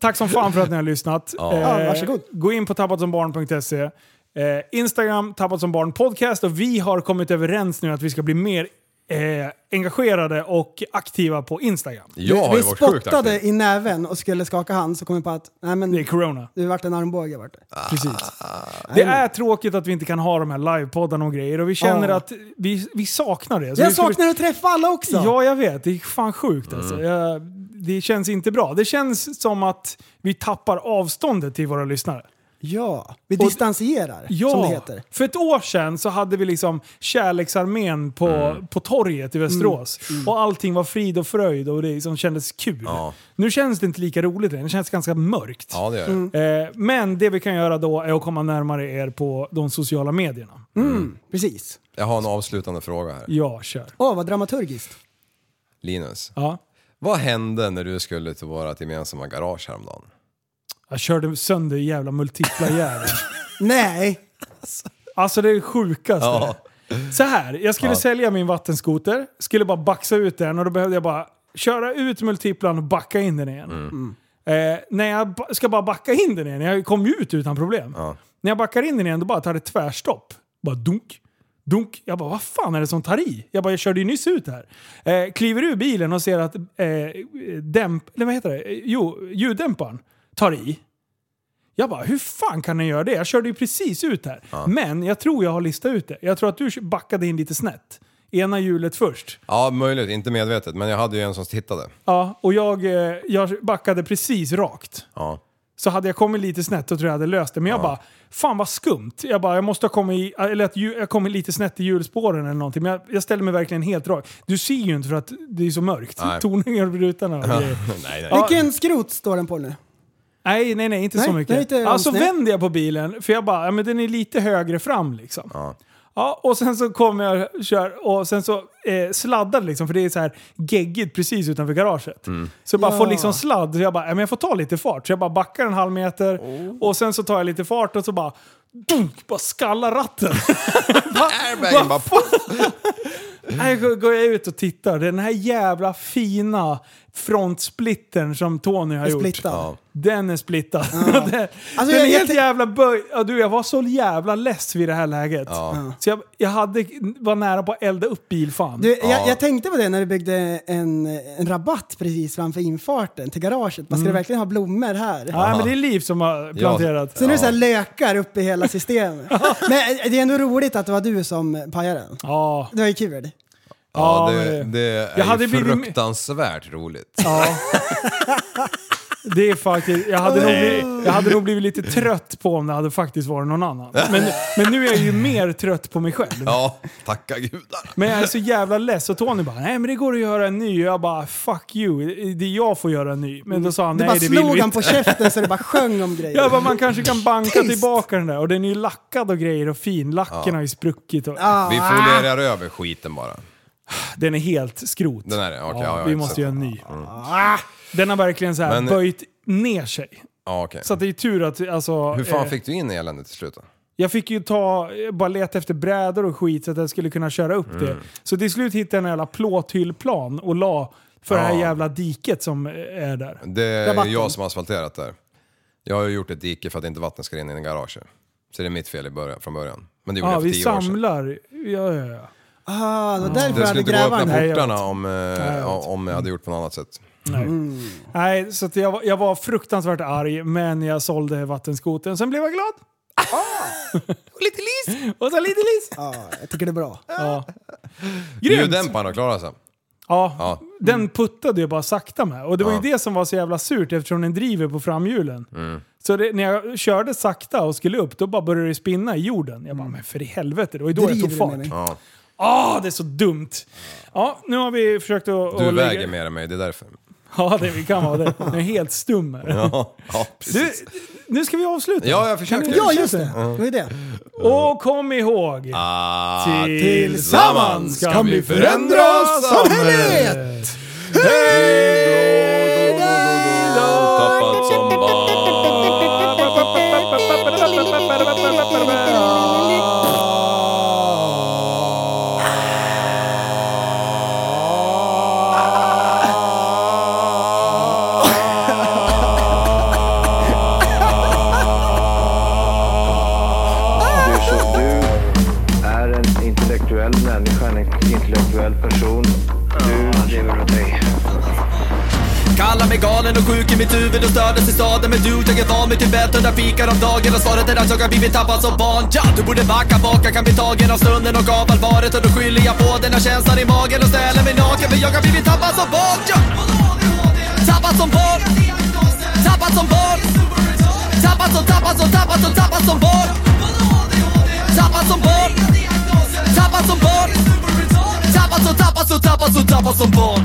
Tack som fan för att ni har lyssnat. Eh, Ja, varsågod. Gå in på tappatsombarn.se. Eh, Instagram, Tappat som barn podcast. Och vi har kommit överens nu att vi ska bli mer eh, engagerade och aktiva på Instagram. Jag har vi ju varit sjukt aktiv. spottade i näven och skulle skaka hand så kom vi på att nej men Det är corona. det vart en armbåge vart det. Precis. Det är tråkigt att vi inte kan ha de här livepoddarna och grejer och vi känner Ja. att vi, vi saknar det. Så Ah. Jag vi får- saknar att träffa alla också! Mm. Ja, jag vet. Det är fan sjukt alltså. Jag, det känns inte bra. Det känns som att vi tappar avståndet till våra lyssnare. Ja, vi Och- distanserar Ja, som det heter. för ett år sedan så hade vi liksom kärleksarmén på, Mm. på torget i Västerås. Mm. Och allting var frid och fröjd och det liksom kändes kul. Ja. Nu känns det inte lika roligt längre, det känns ganska mörkt. Ja, det gör det. Eh, men det vi kan göra då är att komma närmare er på de sociala medierna. Precis. Jag har en avslutande fråga här. Ja, kör. Åh, vad dramaturgiskt. Linus, Ja. vad hände när du skulle till vårt gemensamma garage häromdagen? Jag körde sönder jävla multipla jäveln. Nej! Alltså det är det sjukaste. Ja. Så här, jag skulle Ja. sälja min vattenskoter, skulle bara baxa ut den och då behövde jag bara köra ut multiplan och backa in den igen. Mm. Eh, när jag ba- ska bara backa in den igen, jag kom ju ut utan problem. När jag backar in den igen då bara tar det tvärstopp. Bara dunk, dunk. Jag bara vad fan är det som tar i? Jag bara jag körde ju nyss ut här. Eh, kliver ur bilen och ser att eh, dämp, eller vad heter det? Eh, Jo, ljuddämparen tar i. Jag bara, hur fan kan den göra det? Jag körde ju precis ut här. Men jag tror jag har listat ut det. Jag tror att du backade in lite snett. Ena hjulet först. Ja, möjligt. Inte medvetet, men jag hade ju en som tittade. Ja, och jag, eh, jag backade precis rakt. Ja. Så hade jag kommit lite snett och tror jag hade löst det. Men jag bara, fan vad skumt. Jag bara, jag måste ha kommit, i, eller att ju- jag kommit lite snett i hjulspåren eller någonting. Men jag, jag ställde mig verkligen helt rak. Du ser ju inte för att det är så mörkt. Nej. Toningar och rutorna och grejer. nej, nej. Vilken skrot står den på nu? Nej, nej, nej, inte Nej, så nej, mycket. inte alls, alltså nej. vände jag på bilen, för jag bara, ja men den är lite högre fram liksom. Ja. och sen så kommer jag och kör och sen så eh, sladdar det liksom, för det är så här geggigt precis utanför garaget. Så jag bara Ja. får liksom sladd, så jag bara, ja, men jag får ta lite fart. Så jag bara backar en halv meter och sen så tar jag lite fart och så bara, dunk, bara skallar ratten. Airbagen bara... Här går- går jag ut och tittar, den här jävla fina frontsplittern som Tony har Är gjort. splittad. Den är splittad. den den Alltså, är jag- jag helt tänk- jävla böj... Ja, du, jag var så jävla less vid det här läget. Så jag, jag hade, var nära på att elda upp bilfan. Du, jag, jag tänkte på det när du byggde en, en rabatt precis framför infarten till garaget. Man ska du verkligen ha blommor här? Mm. ja, men det är Liv som har planterat. Så nu är det så här lökar uppe i hela systemet. Men eh, det är ändå roligt att det var du som pajade den. Ja, Det var ju kul. Ja, Ja, det, men- det är Jag hade ju blivit- fruktansvärt roligt. ja. Det är faktiskt, jag hade, nog Oh. blivit, jag hade nog blivit lite trött på om det hade faktiskt varit någon annan. Men, men nu är jag ju mer trött på mig själv. Ja, tacka gudarna. Men jag är så jävla less och Tony bara nej men det går att göra en ny. Jag bara fuck you, det är jag får göra en ny. Men då sa han Du nej bara det vill slog vi han inte. på käften så det bara sjöng om grejer. Jag bara man kanske kan banka Tyst! tillbaka den där och den är ju lackad och grejer och fin. Lacken har ju spruckit och Ah, Vi folierar över skiten bara. den är helt skrot. Den är det? Okej, ja, ja, vi exakt. måste göra en ny. Ah, Den har verkligen så här Men- böjt ner sig. Ja, okej. Så att det är tur att alltså, Hur fan eh, fick du in eländet till slut då? Jag fick ju ta, bara leta efter brädor och skit så att jag skulle kunna köra upp Mm. det. Så till slut hittade jag en jävla plåthyllplan och la för det här Ja. jävla diket som är där. Det är Rabatten. jag som har asfalterat där. Jag har ju gjort ett dike för att inte vattnet ska in i garaget. Så det är mitt fel i början, från början. Men det gjorde Ja, jag för vi tio år sedan. samlar. Ja, ja, ja. ah, det var därför Det jag hade skulle inte gå att grävaren. öppna Nej, jag portarna om, eh, vet. om jag hade gjort på något annat sätt. Nej. Nej, så att jag, var- jag var fruktansvärt arg, men jag sålde vattenskoten. Sen blev jag glad. Ah! och lite lis! Och så lite lis! Ja, jag tycker det är bra. Ja. Grymt! Ljuddämparen har klarat sig. Ja, Ja. Mm. den puttade jag bara sakta med. Och det var Ja. Mm. ju det som var så jävla surt eftersom den driver på framhjulen. Så det, när jag körde sakta och skulle upp, då bara började det spinna i jorden. Jag bara, men för i helvete, det var ju då jag Mm. Driver tog fart. du med mig? Ja. Ah, det är så dumt! Ja, nu har vi försökt att... Du att lägga- väger mer än mig, det är därför. Ja, det kan vara det. Jag är helt stum här. Ja, ja Du, precis. nu ska vi avsluta. Ja, jag försöker. Kan du- Ja, just det. Det var ju det. Och kom ihåg. Ah, tillsammans kan vi förändra samhället! Hej då! Tappat som Du, så, du är en intellektuell människa, en intellektuell person. Du lever av dig. Kallar mig galen och sjuk i mitt huvud och stördes i staden Men du, jag är van vid Tibet och där fikar om dagen Och svaret är att jag har blivit tappad som barn ja, Du borde backa bak, jag kan bli tagen av stunden och av allvaret Och då skyller jag på den här känslan i magen och ställer mig naken För jag har blivit tappad som barn ja. Tappad som barn Tappad som barn Tappad som, tappad som, tappad som, tappad som barn Tappad som barn Tappad som barn Tappad som, tappad som, tappad som, tappad som barn